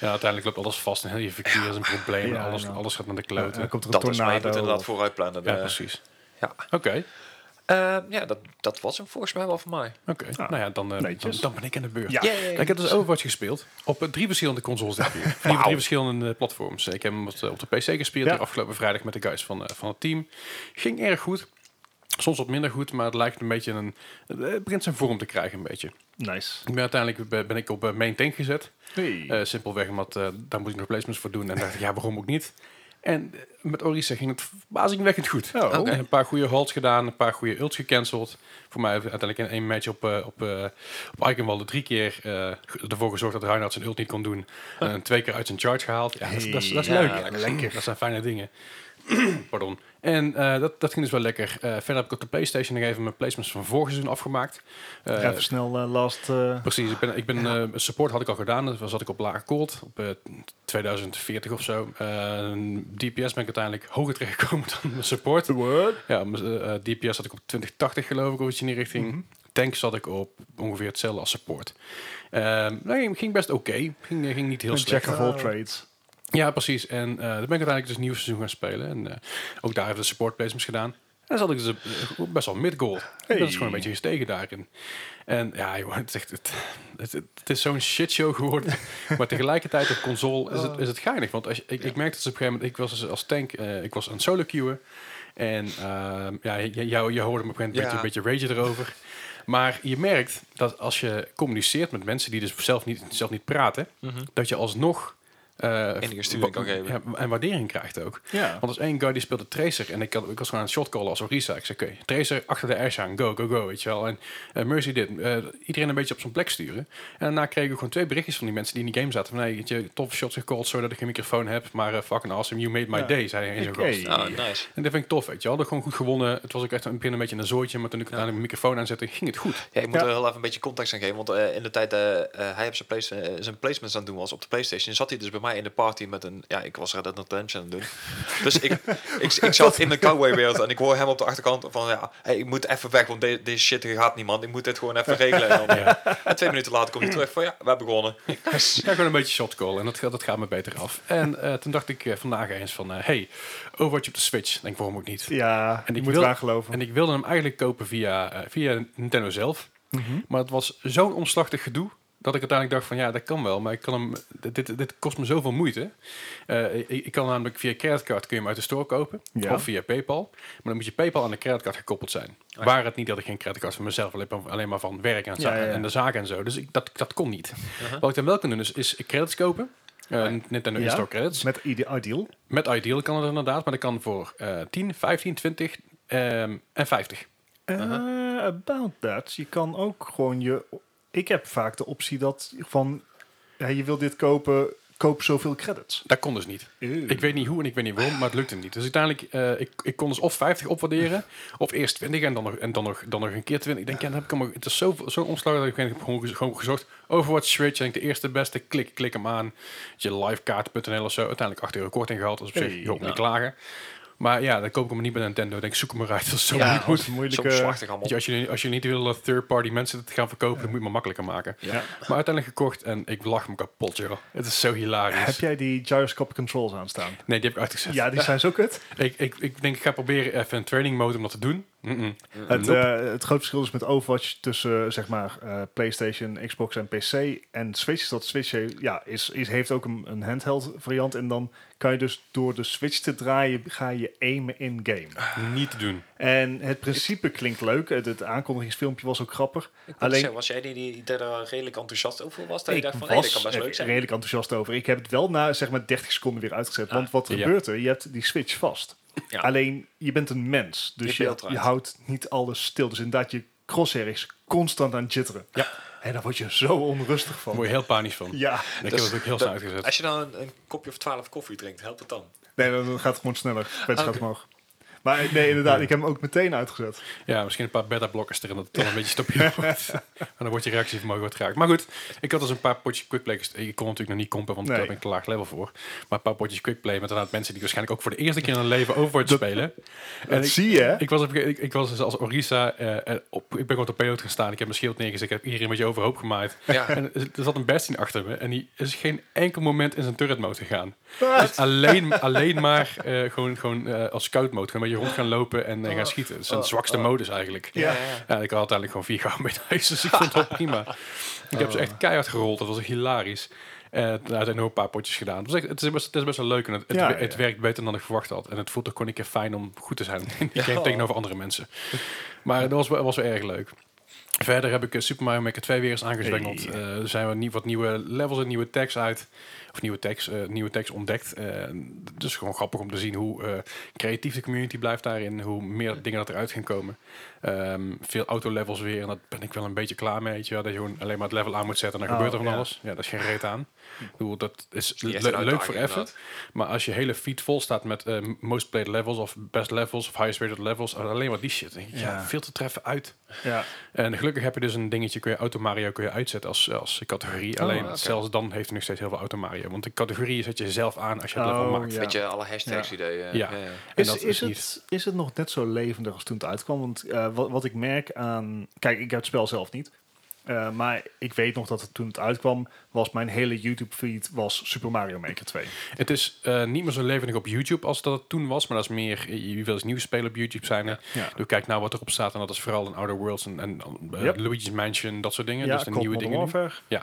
Speaker 1: ja, uiteindelijk loopt alles vast en heel je verkeer is een probleem.
Speaker 2: Ja,
Speaker 1: en alles,
Speaker 2: ja.
Speaker 1: alles gaat naar de
Speaker 2: Ja, Eh, dan
Speaker 1: kloten.
Speaker 2: komt er een
Speaker 3: dat is maar je
Speaker 2: tornado.
Speaker 3: moet inderdaad vooruit plannen.
Speaker 1: Ja,
Speaker 3: Eh,
Speaker 1: precies.
Speaker 3: ja.
Speaker 1: Oké,
Speaker 3: Eh, ja, dat, dat was hem volgens mij wel voor mij.
Speaker 1: oké. Nou ja, dan, eh, dan,
Speaker 2: Ah, Netjes.
Speaker 1: dan ben ik aan de beurt.
Speaker 2: Ja.
Speaker 3: Yay.
Speaker 1: Ik heb dus Overwatch gespeeld op eh, drie verschillende consoles dit
Speaker 2: <laughs>
Speaker 1: keer. Drie, drie verschillende eh, platforms. Ik heb hem op de, op de PC gespeeld
Speaker 2: Ja.
Speaker 1: hier afgelopen vrijdag met de guys van, eh, van het team. Ging erg goed. Soms wat minder goed, maar het lijkt een beetje een... eh, Het begint zijn vorm te krijgen een beetje.
Speaker 2: Nice.
Speaker 1: Ik ben uiteindelijk ben- ben ik op eh, main tank gezet.
Speaker 2: Hey.
Speaker 1: Eh, simpelweg omdat eh, daar moet ik nog placements voor doen. En dacht ik, ja, waarom ook niet? En eh, met Orisa ging het verbazingwekkend goed.
Speaker 2: Oh.
Speaker 1: En
Speaker 2: Oké.
Speaker 1: Een paar goede holds gedaan, een paar goede ults gecanceld. Voor mij heeft uiteindelijk in één match op, eh op, eh op Eichenwalde drie keer eh, ervoor gezorgd dat Reinhardt zijn ult niet kon doen. En twee keer uit zijn charge gehaald. Ja, dat, is- dat is- dat is
Speaker 2: Hey.
Speaker 1: leuk.
Speaker 2: Ja,
Speaker 1: eigenlijk.
Speaker 2: lekker.
Speaker 1: Dat zijn fijne dingen. <clears throat> Pardon. En eh, dat, dat ging dus wel lekker. Eh, verder heb ik op de PlayStation nog even mijn placements van vorig seizoen afgemaakt. Eh,
Speaker 2: Even snel eh, last... eh,
Speaker 1: Precies, ik ben, ik ben eh, support had ik al gedaan, dus zat ik op lage cold, op eh, 2040 of zo. Eh, DPS ben ik uiteindelijk hoger terechtgekomen <laughs> dan mijn support.
Speaker 2: what?
Speaker 1: Ja, mijn, eh, eh, DPS had ik op 2080 geloof ik, of iets in die richting.
Speaker 2: Mhm.
Speaker 1: Tank zat ik op ongeveer hetzelfde als support. Eh, nee, ging best oké, ging, eh, ging niet heel
Speaker 2: Een
Speaker 1: slecht.
Speaker 2: jack of all trades.
Speaker 1: Ja, precies. En eh dan ben ik uiteindelijk dus een nieuw seizoen gaan spelen. En eh, ook daar hebben we de support placements gedaan. En En zat ik dus op- best wel mid-goal.
Speaker 2: Hey.
Speaker 1: Dat is gewoon een beetje gestegen daarin. En ja, joh, het is, echt, het, het, het is zo'n shitshow geworden. maar tegelijkertijd op console is het, is het geinig. Want als je, ik, ik merkte dat ze op een gegeven moment... Ik was dus als tank, eh, ik was aan het solo queuen. En ehm, ja, je, jou, je hoorde me op een gegeven moment
Speaker 3: Ja.
Speaker 1: een beetje, een beetje ragen erover. Maar je merkt dat als je communiceert met mensen die dus zelf niet, zelf niet praten... dat je alsnog... eh,
Speaker 3: Enige sturing kan
Speaker 1: wa-
Speaker 3: geven.
Speaker 1: ja, en waardering krijgt ook.
Speaker 2: Ja.
Speaker 1: Want als één guy die speelde Tracer en ik, had, ik was gewoon aan het shotcallen als Orisa. Ik zei, oké, Tracer achter de Ash aan, go, go, go, weet je wel. En eh, Mercy dit, eh, iedereen een beetje op zijn plek sturen. En daarna kreeg ik gewoon twee berichtjes van die mensen die in die game zaten. Van, hey, weet je, toffe shots gecalled, zodat ik een microfoon heb. Maar eh, fucking awesome, you made my
Speaker 2: Ja.
Speaker 1: day, zei een zo'n
Speaker 2: Oké.
Speaker 1: gast.
Speaker 3: Nou, nice.
Speaker 1: En dat vind ik tof, weet je wel. Dat gewoon goed gewonnen. Het was ook echt aan het begin een beetje een zooitje, maar toen ik uiteindelijk mijn microfoon aanzette, ging het goed.
Speaker 3: Ja, ik moet
Speaker 2: Ja.
Speaker 3: er heel even een beetje context aan geven. Want eh, in de tijd dat hij op zijn, place- eh, zijn placements aan het doen was op de PlayStation, zat hij dus bij mij in de party met een. Ja, ik was Red Dead Redemption aan het doen. dus ik, ik, ik zat in de cowboywereld en ik hoor hem op de achterkant van ja, hey, ik moet even weg, want de- deze shit gaat niemand. Ik moet dit gewoon even regelen. En, dan, en twee minuten later kom je terug van ja, we hebben begonnen.
Speaker 1: Ja, gewoon een beetje shotcall en dat, gaat- dat gaat me beter af. En eh, toen dacht ik eh, vandaag eens van, eh, hey, Overwatch op de Switch. Denk, waarom ook niet?
Speaker 2: Ja,
Speaker 1: En
Speaker 2: en
Speaker 1: ik
Speaker 2: ik moet
Speaker 1: wil-
Speaker 2: eraan geloven.
Speaker 1: En ik wilde hem eigenlijk kopen via, eh, via Nintendo zelf.
Speaker 2: Mhm.
Speaker 1: Maar het was zo'n omslachtig gedoe. Dat ik uiteindelijk dacht van ja, dat kan wel. Maar ik kan hem, dit, dit, dit kost me zoveel moeite. Eh, ik, ik kan namelijk via creditcard kun je hem uit de store kopen.
Speaker 2: Ja.
Speaker 1: Of via Paypal. Maar dan moet je Paypal aan de creditcard gekoppeld zijn. Waar het niet dat ik geen creditcard van mezelf, alleen maar- alleen maar van werk en, za-
Speaker 2: Ja, ja, ja.
Speaker 1: en de zaken en zo. Dus ik, dat, dat kon niet. Wat ik dan wel kan doen is, is credits kopen. Eh, Nintendo
Speaker 2: Ja.
Speaker 1: in-store credits.
Speaker 2: Met ide- ideal.
Speaker 1: Met Ideal kan het inderdaad, maar dat kan voor eh 10, 15, 20 ehm, en 50. Uh-huh.
Speaker 2: Eh, about that. Je kan ook gewoon je... Ik heb vaak de optie dat van... ja, je wil dit kopen, koop zoveel credits.
Speaker 1: Dat kon dus niet. Ik weet niet hoe en ik weet niet waarom, maar het lukte hem niet. Dus uiteindelijk, eh ik, ik kon dus of 50 opwaarderen, of eerst 20 en dan nog, en dan nog, dan nog een keer 20. Ik denk, ja, dan heb ik hem, ook- het is zo, zo'n omslag dat ik op een gegeven moment gewoon, gewoon gezocht. Overwatch Switch, denk ik, de eerste beste, klik, klik hem aan. Weet Je livekaart.nl of zo, uiteindelijk 8 euro korting gehaald. Dus op zich,
Speaker 2: Hey,
Speaker 1: ik hoop niet klagen. Maar ja, dan koop ik hem niet bij Nintendo. Ik denk, zoek hem maar uit. Dat is zo <laughs>
Speaker 2: Ja,
Speaker 1: moeilijk.
Speaker 2: dat is een
Speaker 3: Zo'n
Speaker 2: moeilijke...
Speaker 3: slachtig
Speaker 1: Weet
Speaker 3: allemaal.
Speaker 1: je, als, je, als je niet wil dat third-party mensen het gaan verkopen, dan moet je het maar makkelijker maken.
Speaker 2: Ja.
Speaker 1: Maar uiteindelijk gekocht en ik lach hem kapot, joh. Het is zo hilarisch.
Speaker 2: Heb jij die gyroscopic controls aanstaan?
Speaker 1: Nee, die heb ik uitgezet.
Speaker 2: Ja, die zijn zo
Speaker 1: <laughs>
Speaker 2: kut.
Speaker 1: Ik, ik, ik denk, ik ga proberen even een training mode om dat te doen. Mm-mm.
Speaker 2: Het,
Speaker 1: Nope.
Speaker 2: eh, het grote verschil is met Overwatch tussen eh, zeg maar eh, PlayStation, Xbox en PC en Switch is dat Switch heeft, ja, is, is, heeft ook een, een handheld variant en dan kan je dus door de Switch te draaien ga je aimen in game.
Speaker 1: Niet te doen.
Speaker 2: En het principe klinkt leuk. Het, het aankondigingsfilmpje was ook grappig.
Speaker 3: Alleen,
Speaker 2: Alleen-
Speaker 3: was jij die, die daar redelijk enthousiast over was? Dat je dacht van, hey,
Speaker 2: was
Speaker 3: dat kan best
Speaker 2: er
Speaker 3: leuk zijn.
Speaker 2: redelijk enthousiast over. Ik heb het wel na zeg maar 30 seconden weer uitgezet. want wat er
Speaker 1: ja.
Speaker 2: gebeurt er? Je hebt die switch vast.
Speaker 3: Ah, Ja.
Speaker 2: Alleen je bent een mens. Dus
Speaker 3: Je
Speaker 2: je,
Speaker 3: beeld
Speaker 2: je,
Speaker 3: eruit.
Speaker 2: houdt niet alles stil. Dus inderdaad, je crosshair is constant aan het jitteren.
Speaker 1: Ja.
Speaker 2: En daar word je zo onrustig
Speaker 1: Daar
Speaker 2: van.
Speaker 1: word je heel panisch van.
Speaker 2: Ja,
Speaker 1: Ik
Speaker 3: Dus
Speaker 1: heb het ook heel
Speaker 3: dat-
Speaker 1: snel uitgezet.
Speaker 3: Als je dan een, een kopje of twaalf koffie drinkt, helpt het dan?
Speaker 2: nee, dan dan gaat het gewoon sneller. Pets
Speaker 3: Ah, Oké.
Speaker 2: gaat omhoog. Maar nee, inderdaad, ik heb hem ook meteen uitgezet.
Speaker 1: Ja, misschien een paar beta-blokkers erin, dat het dan een beetje stabiel
Speaker 3: <laughs>
Speaker 1: wordt. En dan wordt je reactievermogen wat geraakt. Maar goed, ik had dus een paar potjes quickplay. gest- Ik kon natuurlijk nog niet kompen, want
Speaker 2: Nee.
Speaker 1: daar ben ik te laag level voor. Maar een paar potjes quickplay met inderdaad mensen die waarschijnlijk ook voor de eerste keer in
Speaker 3: <laughs>
Speaker 1: hun leven Overwatch spelen. En
Speaker 2: Dat
Speaker 1: ik-
Speaker 2: zie je, hè?
Speaker 1: Ik was, op, een gegeven- ik, ik was dus als Orisa, eh, eh, op, ik ben gewoon op payload gaan staan. Ik heb mijn schild neergezet, ik heb iedereen een beetje overhoop gemaaid. <laughs>
Speaker 3: Ja.
Speaker 1: En er zat een bestie achter me en die is geen enkel moment in zijn turret mode gegaan. Dus alleen, alleen maar eh, gewoon, gewoon eh, als scout mode, gewoon een beetje rond gaan lopen en eh, gaan schieten. Dat is zijn zwakste modus eigenlijk.
Speaker 2: Oh. Ja.
Speaker 1: Ja, ik had uiteindelijk gewoon vier gouden medailles, dus ik vond
Speaker 2: <laughs>
Speaker 1: dat prima. Ik heb ze echt keihard gerold, dat was echt hilarisch. Eh uiteindelijk nog een paar potjes gedaan. Het, was echt- het, is best, het is best wel leuk en het, het,
Speaker 2: Ja,
Speaker 1: wer- het
Speaker 2: ja.
Speaker 1: werkt beter dan ik verwacht had. En het voelt ook gewoon een keer fijn om goed te zijn <laughs> in die game
Speaker 3: Ja.
Speaker 1: tegenover andere mensen. Maar dat was, wel- was wel erg leuk. Verder heb ik eh, Super Mario Maker 2 weer eens aangezwengeld.
Speaker 2: Hey.
Speaker 1: Eh, Er zijn we wat nieuwe levels en nieuwe tags uit. Of nieuwe tags, eh, nieuwe tags ontdekt. Eh, dus gewoon grappig om te zien hoe eh, creatief de community blijft daarin. Hoe meer dingen dat eruit gaan komen. Ehm, veel auto-levels weer. En dat ben ik wel een beetje klaar mee. Weet je wel. Dat je gewoon alleen maar het level aan moet zetten en dan
Speaker 2: Oh,
Speaker 1: gebeurt er van
Speaker 2: ja.
Speaker 1: alles. Ja, dat is geen reet aan. Ik bedoel, dat is
Speaker 3: Hm. niet echt
Speaker 1: le-
Speaker 3: een
Speaker 1: leuk
Speaker 3: uitdaging,
Speaker 1: voor even.
Speaker 3: inderdaad.
Speaker 1: Maar als je hele feed vol staat met eh, most played levels of best levels of highest rated levels. eh, Alleen maar die shit. Dan denk ik, ja,
Speaker 2: Ja.
Speaker 1: veel te treffen uit.
Speaker 2: Ja.
Speaker 1: En gelukkig heb je dus een dingetje, kun je Auto Mario kun je uitzetten als, eh, als categorie. Alleen
Speaker 3: Oh, oké.
Speaker 1: zelfs dan heeft hij nog steeds heel veel Auto Mario. Want de categorie zet je zelf aan als je het
Speaker 2: Oh,
Speaker 1: level maakt.
Speaker 2: Ja.
Speaker 3: Weet je, alle hashtags eh, ideeën.
Speaker 1: Ja. En
Speaker 2: Is,
Speaker 1: dat
Speaker 2: is, het, is het nog net zo levendig als toen het uitkwam? Want eh, wat, wat ik merk aan... Kijk, ik heb het spel zelf niet. Eh, maar ik weet nog dat het, toen het uitkwam, was mijn hele YouTube-feed was Super Mario Maker 2.
Speaker 1: Het is eh, niet meer zo levendig op YouTube als dat het toen was. Maar dat is meer, je je wil eens nieuw spelen op YouTube zijn. er.
Speaker 2: Ja.
Speaker 1: Dus kijk nou wat erop staat. En dat is vooral in Outer Worlds en, en eh,
Speaker 2: Yep.
Speaker 1: Luigi's Mansion, dat soort dingen.
Speaker 2: ja,
Speaker 1: dus de
Speaker 2: Cold
Speaker 1: nieuwe
Speaker 2: Modern
Speaker 1: dingen. nu.
Speaker 2: Warfare.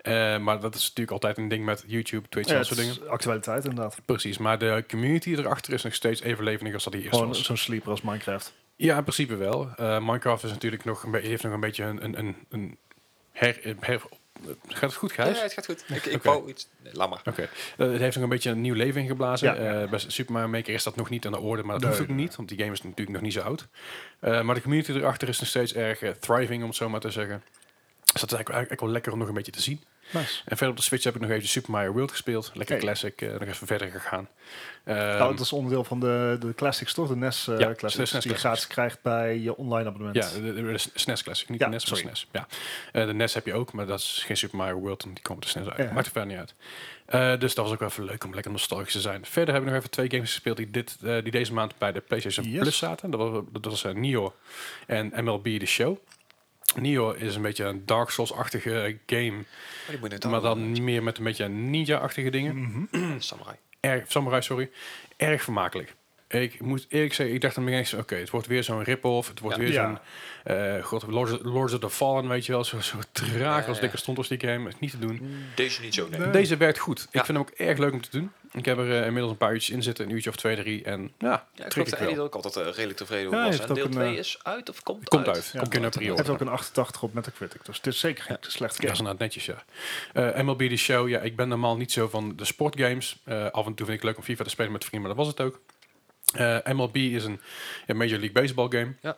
Speaker 1: Eh, maar dat is natuurlijk altijd een ding met YouTube, Twitch
Speaker 2: Ja,
Speaker 1: en dat
Speaker 2: het
Speaker 1: soort dingen.
Speaker 2: is actualiteit inderdaad.
Speaker 1: Precies, maar de community erachter is nog steeds even levendig als dat die eerst
Speaker 2: Gewoon
Speaker 1: was.
Speaker 2: zo'n sleeper als Minecraft.
Speaker 1: Ja, in principe wel. Eh, Minecraft is natuurlijk nog een be- heeft nog een beetje een, een, een, een her, her- Gaat het goed,
Speaker 3: Ja,
Speaker 1: Gijs?
Speaker 3: het gaat goed. Ik, ik
Speaker 1: Oké.
Speaker 3: wou iets... Nee, laat maar.
Speaker 1: Oké, Eh, het heeft nog een beetje een nieuw leven ingeblazen.
Speaker 2: Ja,
Speaker 1: Eh bij Super Mario Maker is dat nog niet aan de orde, maar dat
Speaker 2: Nee,
Speaker 1: hoeft ook
Speaker 2: nee,
Speaker 1: niet, want die game is natuurlijk nog niet zo oud. Eh, maar de community erachter is nog steeds erg eh, thriving, om het zo maar te zeggen. Dus dat is eigenlijk, eigenlijk wel lekker om nog een beetje te zien.
Speaker 2: Nice.
Speaker 1: En verder op de Switch heb ik nog even Super Mario World gespeeld. Lekker
Speaker 2: Hey.
Speaker 1: classic, eh, nog even verder gegaan. Ehm,
Speaker 2: nou, dat is onderdeel van de, de Classics, toch? De NES eh
Speaker 1: Ja,
Speaker 2: Classics.
Speaker 1: de SNES
Speaker 2: die je
Speaker 1: classics.
Speaker 2: gratis krijgt bij je online abonnement.
Speaker 1: ja, de, de- de SNES E Classic, niet
Speaker 2: Ja,
Speaker 1: de NES, maar
Speaker 2: sorry.
Speaker 1: SNES. Ja. Eh, de NES heb je ook, maar dat is geen Super Mario World, want die komt op de SNES uit.
Speaker 2: Ja.
Speaker 1: Maakt er verder niet uit. Eh, dus dat was ook wel even leuk om lekker nostalgisch te zijn. Verder hebben we nog even twee games gespeeld die, dit, eh, die deze maand bij de PlayStation
Speaker 2: Yes.
Speaker 1: Plus zaten. Dat was, dat was eh, Nioh en MLB The Show. Nioh is een beetje een Dark Souls-achtige game,
Speaker 3: Oh, die moet je
Speaker 1: maar dan niet meer met een beetje ninja-achtige dingen.
Speaker 3: Hm, Samurai.
Speaker 1: erg, Samurai, sorry, erg vermakelijk. Ik moet eerlijk zeggen, ik dacht aan mijn oké, het wordt weer zo'n rip-off, het wordt
Speaker 3: Ja.
Speaker 1: weer
Speaker 2: Ja.
Speaker 1: zo'n eh, god, Lords, Lords of the Fallen, weet je wel, zo, zo traag
Speaker 3: Ja,
Speaker 1: als
Speaker 3: ja.
Speaker 1: dikke stond als die game, is niet te doen.
Speaker 3: Deze niet zo, nee.
Speaker 1: Deze werkt goed. Ik
Speaker 3: Ja.
Speaker 1: vind hem ook erg leuk om te doen. Ik heb er eh, inmiddels een paar uurtjes in zitten, een uurtje of twee, drie, en ja,
Speaker 3: Ja, ik
Speaker 1: trek
Speaker 3: geloof
Speaker 1: ik
Speaker 3: dat
Speaker 1: wel.
Speaker 3: Eddie er ook altijd eh, redelijk tevreden
Speaker 2: Ja,
Speaker 3: over was.
Speaker 2: heeft
Speaker 3: En
Speaker 2: ook
Speaker 3: deel
Speaker 2: een,
Speaker 3: 2
Speaker 2: eh,
Speaker 3: is uit of komt,
Speaker 1: Komt uit,
Speaker 3: uit?
Speaker 1: komt in april.
Speaker 2: Het heeft ook een 88 op Metacritic, dus het is zeker geen slecht
Speaker 1: Dat is
Speaker 2: game.
Speaker 1: inderdaad netjes, ja. Eh, MLB The Show, ja, ik ben normaal niet zo van de sportgames. Eh, af en toe vind ik het leuk om FIFA te spelen met vrienden, maar dat was het ook. Eh, MLB is een, een Major League Baseball game.
Speaker 3: Ja.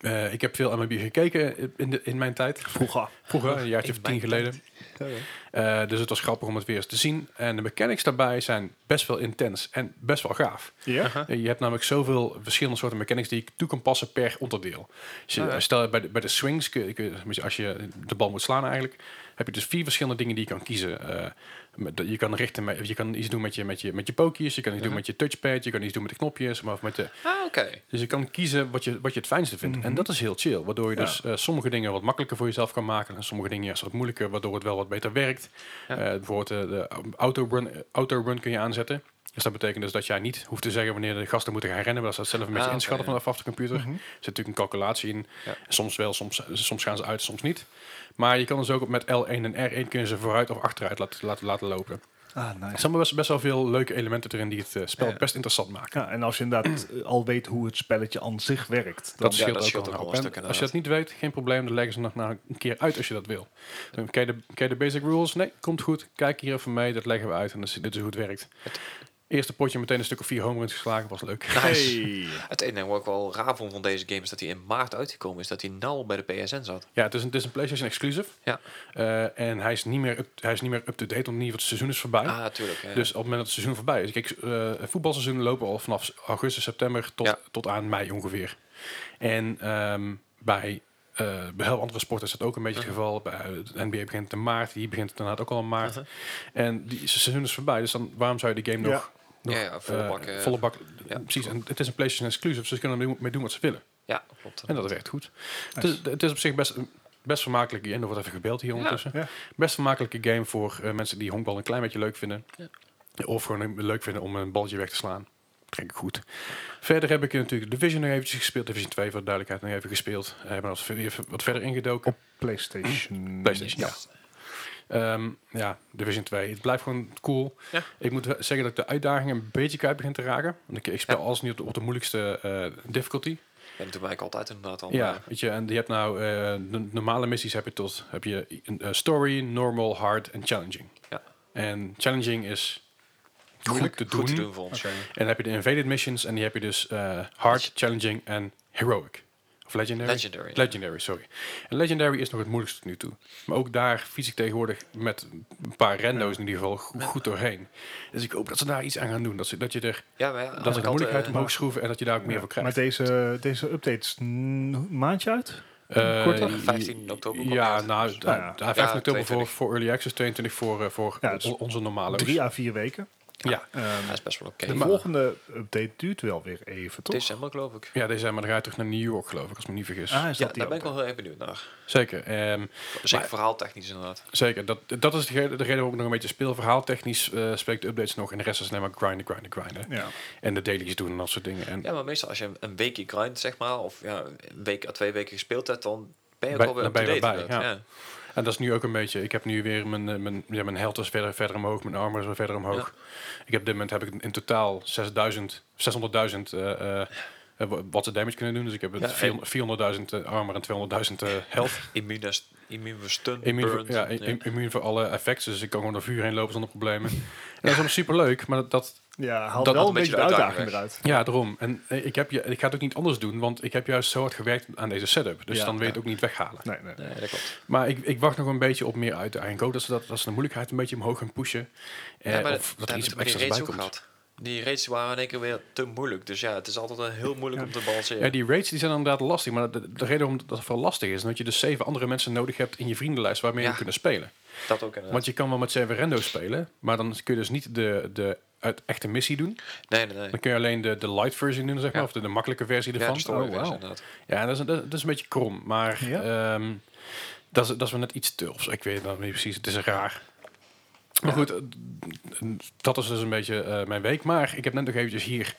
Speaker 1: Eh, ik heb veel MLB gekeken in, de, in mijn tijd.
Speaker 2: Vroeger.
Speaker 1: Vroeger, een jaartje of
Speaker 3: In
Speaker 1: tien
Speaker 3: mijn
Speaker 1: geleden. Eh, dus het was grappig om het weer eens te zien. En de mechanics daarbij zijn best wel intens en best wel gaaf.
Speaker 2: Ja?
Speaker 1: Eh, Je hebt namelijk zoveel verschillende soorten mechanics die je toe kan passen per onderdeel. Dus je-
Speaker 3: Ah, ja.
Speaker 1: Stel bij de, bij de swings, kun je- kun je- tenminste, als je de bal moet slaan eigenlijk, heb je dus vier verschillende dingen die je kan kiezen. Eh, met- je, kan richten met, je kan iets doen met je, met je, met je pokies, je kan iets doen met je touchpad, je kan iets doen met de knopjes. Maar of met de,
Speaker 3: Ah, oké.
Speaker 1: dus je kan kiezen wat je, wat je het fijnste vindt.
Speaker 3: Mhm.
Speaker 1: En dat is heel chill. Waardoor je
Speaker 2: Ja.
Speaker 1: dus eh, sommige dingen wat makkelijker voor jezelf kan maken. En sommige dingen juist wat moeilijker. Waardoor het wel wat beter werkt.
Speaker 3: Ja.
Speaker 1: Eh, bijvoorbeeld eh, de auto-run, auto-run kun je aanzetten. Dus dat betekent dus dat jij niet hoeft te zeggen wanneer de gasten moeten gaan rennen. Maar dat staat zelf een beetje
Speaker 3: Ah, oké,
Speaker 1: inschatten
Speaker 3: ja.
Speaker 1: vanaf af de computer. Er zit natuurlijk een calculatie in.
Speaker 3: Ja.
Speaker 1: Soms wel, soms, soms gaan ze uit, soms niet. Maar je kan dus ook met L1 en R1 kun je ze vooruit of achteruit laten, laten, laten lopen.
Speaker 2: Ah,
Speaker 1: Er
Speaker 2: nice.
Speaker 1: zijn best, best wel veel leuke elementen erin die het eh, spel
Speaker 3: Ja.
Speaker 1: best interessant maken.
Speaker 2: Ja, en als je inderdaad
Speaker 1: <clears throat>
Speaker 2: eh, al weet hoe het spelletje aan zich werkt, dan
Speaker 1: Dat
Speaker 3: Ja,
Speaker 1: scheelt,
Speaker 3: dat
Speaker 1: ook,
Speaker 3: scheelt
Speaker 1: wel
Speaker 3: ook
Speaker 1: een
Speaker 3: wel
Speaker 1: hoop,
Speaker 3: een
Speaker 1: hè.
Speaker 3: stuk,
Speaker 1: Als je dat niet weet, geen probleem. Dan leggen ze nog na een keer uit als je dat wil. Dan ken je de, ken je de basic rules? Nee, komt goed. Kijk hier even mee. Dat leggen we uit. En dat is- dit is hoe het werkt. Eerste potje meteen een stuk of vier home runs geslagen. Was leuk.
Speaker 2: Hey.
Speaker 3: Het enige wat ik wel raar vond van deze game is dat hij in maart uitgekomen is. Dat hij nou al bij de PSN zat.
Speaker 1: <laughs> Ja, het is een, het is een PlayStation exclusive.
Speaker 3: Ja.
Speaker 1: Eh, en hij is niet meer up- hij is niet meer up-to-date. Want in ieder geval het seizoen is voorbij.
Speaker 3: Ah, natuurlijk. ja.
Speaker 1: Dus op het moment dat het seizoen voorbij is. Kijk, eh voetbalseizoenen lopen al vanaf augustus, september tot,
Speaker 3: Ja.
Speaker 1: tot aan mei ongeveer. En ehm, bij, eh, bij heel andere sporten is dat ook een beetje het geval. Bij, eh, de NBA begint in maart, hier begint het inderdaad ook al in maart. En die se- seizoen is voorbij, dus dan waarom zou je die game
Speaker 2: Ja.
Speaker 1: nog... nog,
Speaker 3: Ja, ja, volle
Speaker 1: eh,
Speaker 3: bak, eh,
Speaker 1: volle bak
Speaker 3: ja,
Speaker 1: precies. En het is een PlayStation exclusive, dus ze kunnen ermee mee doen wat ze willen.
Speaker 3: ja, klopt.
Speaker 1: En dat werkt goed. Het, is, het is op zich best, best vermakelijk. En er wordt even gebeld hier ondertussen.
Speaker 2: Ja.
Speaker 1: Best vermakelijke game voor eh, mensen die honkbal een klein beetje leuk vinden.
Speaker 3: Ja.
Speaker 1: Of gewoon een- leuk vinden om een baltje weg te slaan. Trek ik goed. Verder heb ik natuurlijk Division nog eventjes gespeeld. Division 2 voor de duidelijkheid nog even gespeeld. Eh, We hebben ons weer even wat verder ingedoken.
Speaker 2: PlayStation.
Speaker 1: PlayStation, ja. Ehm, ja, Division 2. Het blijft gewoon cool.
Speaker 3: Ja.
Speaker 1: Ik moet wel zeggen dat ik de uitdaging een beetje kwijt begin te raken. Want ik, ik speel alles nu op de, op de moeilijkste eh, difficulty.
Speaker 3: En dat doe ik altijd inderdaad al.
Speaker 1: Ja, weet je, en je hebt nou eh, de normale missies heb je tot heb je een eh, story, normal, hard en challenging.
Speaker 3: Ja.
Speaker 1: En challenging is
Speaker 3: Moeilijk
Speaker 1: goed te doen.
Speaker 3: goed te doen voor ons.
Speaker 1: En dan heb je de invaded missions en die heb je dus eh, hard, challenging en heroic. Of legendary.
Speaker 3: Legendary, ja.
Speaker 1: Legendary, sorry. En legendary is nog het moeilijkste tot nu toe. Maar ook daar fiets ik tegenwoordig met een paar rando's in ieder geval go- goed doorheen. Dus ik hoop dat ze daar iets aan gaan doen. Dat, ze, dat je er
Speaker 3: Ja, maar ja,
Speaker 1: dat ze de moeilijkheid
Speaker 3: eh,
Speaker 1: omhoog schroeven en dat je daar ook meer
Speaker 2: Ja,
Speaker 1: voor krijgt.
Speaker 2: Maar deze, deze update is een maandje uit?
Speaker 1: Eh,
Speaker 2: Korter?
Speaker 3: 15 oktober komt
Speaker 1: Ja,
Speaker 3: hij uit.
Speaker 1: nou,
Speaker 2: Nou ja.
Speaker 1: ja, 15 oktober voor,
Speaker 3: 22.
Speaker 1: voor Early Access, 22 voor, eh, voor
Speaker 2: Ja, dus
Speaker 1: on- onze normale.
Speaker 2: Drie à vier weken.
Speaker 1: Ja,
Speaker 2: Ehm,
Speaker 3: dat is best wel oké.
Speaker 2: de
Speaker 1: maar-
Speaker 2: volgende update duurt wel weer even, toch?
Speaker 3: December, geloof ik.
Speaker 1: ja deze, maar dan ga je terug naar New York, geloof ik, als ik me niet vergis.
Speaker 2: Ah, is
Speaker 3: Ja,
Speaker 2: dat die
Speaker 3: daar ben ik
Speaker 2: ook?
Speaker 3: wel heel erg benieuwd naar.
Speaker 1: Zeker. ehm,
Speaker 3: Zeker verhaaltechnisch inderdaad.
Speaker 1: Zeker, dat, dat is de ge- de reden waarom ik nog een beetje speel. Verhaaltechnisch eh spreekt de updates nog en de rest is alleen maar grinden, grinden, grinden.
Speaker 2: Ja.
Speaker 1: En de dailies doen en dat soort dingen. En
Speaker 3: Ja, maar meestal als je een weekje grindt, zeg maar, of ja, een week à twee weken gespeeld hebt, dan ben je ook
Speaker 1: Bij-
Speaker 3: alweer
Speaker 1: dan ben je
Speaker 3: up-to-date
Speaker 1: weer bij,
Speaker 3: inderdaad. Ja.
Speaker 1: En dat is nu ook een beetje. Ik heb nu weer mijn, eh, mijn, ja, mijn health is verder, verder omhoog, mijn armor is weer verder omhoog. Ik heb op dit moment heb ik in totaal 6000, 600.000 eh, eh, eh, wa- wat ze damage kunnen doen. Dus ik heb het
Speaker 3: Ja, en-
Speaker 1: 400 400.000 eh, armor en 200.000 eh,
Speaker 3: <laughs>
Speaker 1: health.
Speaker 3: Immuun is- immuun voor stun,
Speaker 1: Immuun voor,
Speaker 3: burn,
Speaker 1: ja,
Speaker 3: ja.
Speaker 1: im- immuun voor alle effects. Dus ik kan gewoon door vuur heen lopen zonder problemen.
Speaker 3: <laughs>
Speaker 1: En dat is allemaal super leuk, maar dat, dat
Speaker 2: Ja, haal
Speaker 1: Dat-
Speaker 2: wel
Speaker 3: dat
Speaker 2: een beetje de uitdaging eruit.
Speaker 1: ja, daarom. En eh, ik, heb je, ik ga het ook niet anders doen, want ik heb juist zo hard gewerkt aan deze setup. Dus
Speaker 2: Ja,
Speaker 1: dan wil je
Speaker 2: ja.
Speaker 1: het ook niet weghalen.
Speaker 2: Nee, nee.
Speaker 3: Nee, dat klopt.
Speaker 1: Maar ik, ik wacht nog een beetje op meer uitdaging. Ik hoop dat ze, dat, dat ze de moeilijkheid een beetje omhoog gaan pushen. Eh,
Speaker 3: ja, maar
Speaker 1: of
Speaker 3: dat
Speaker 1: dat er
Speaker 3: hebben
Speaker 1: iets
Speaker 3: we met die
Speaker 1: extra's bij
Speaker 3: raids ook
Speaker 1: komt.
Speaker 3: gehad. Die raids waren in één keer weer te moeilijk. Dus ja, het is altijd wel heel moeilijk om te balanceren.
Speaker 1: Ja, die raids die zijn inderdaad lastig. Maar de, de reden waarom dat het wel lastig is, is dat je dus zeven andere mensen nodig hebt in je vriendenlijst waarmee
Speaker 3: Ja.
Speaker 1: je kunnen spelen.
Speaker 3: dat ook inderdaad.
Speaker 1: Want je kan wel met zeven rendo spelen, maar dan kun je dus niet de, de uit echte missie doen.
Speaker 3: Nee, nee, nee.
Speaker 1: Dan kun je alleen de, de light version doen, zeg maar,
Speaker 3: Ja.
Speaker 1: of de, de makkelijke versie
Speaker 3: Ja,
Speaker 1: ervan.
Speaker 3: de story
Speaker 1: Oh,
Speaker 3: was
Speaker 1: wauw.
Speaker 3: inderdaad.
Speaker 1: Ja, dat is, dat, dat is een beetje krom, maar
Speaker 2: Ja.
Speaker 1: ehm, dat, is, dat is wel net iets te. Of, zo. ik weet het nog niet precies, het is raar. Maar goed, eh, dat is dus een beetje eh, mijn week. Maar ik heb net nog eventjes hier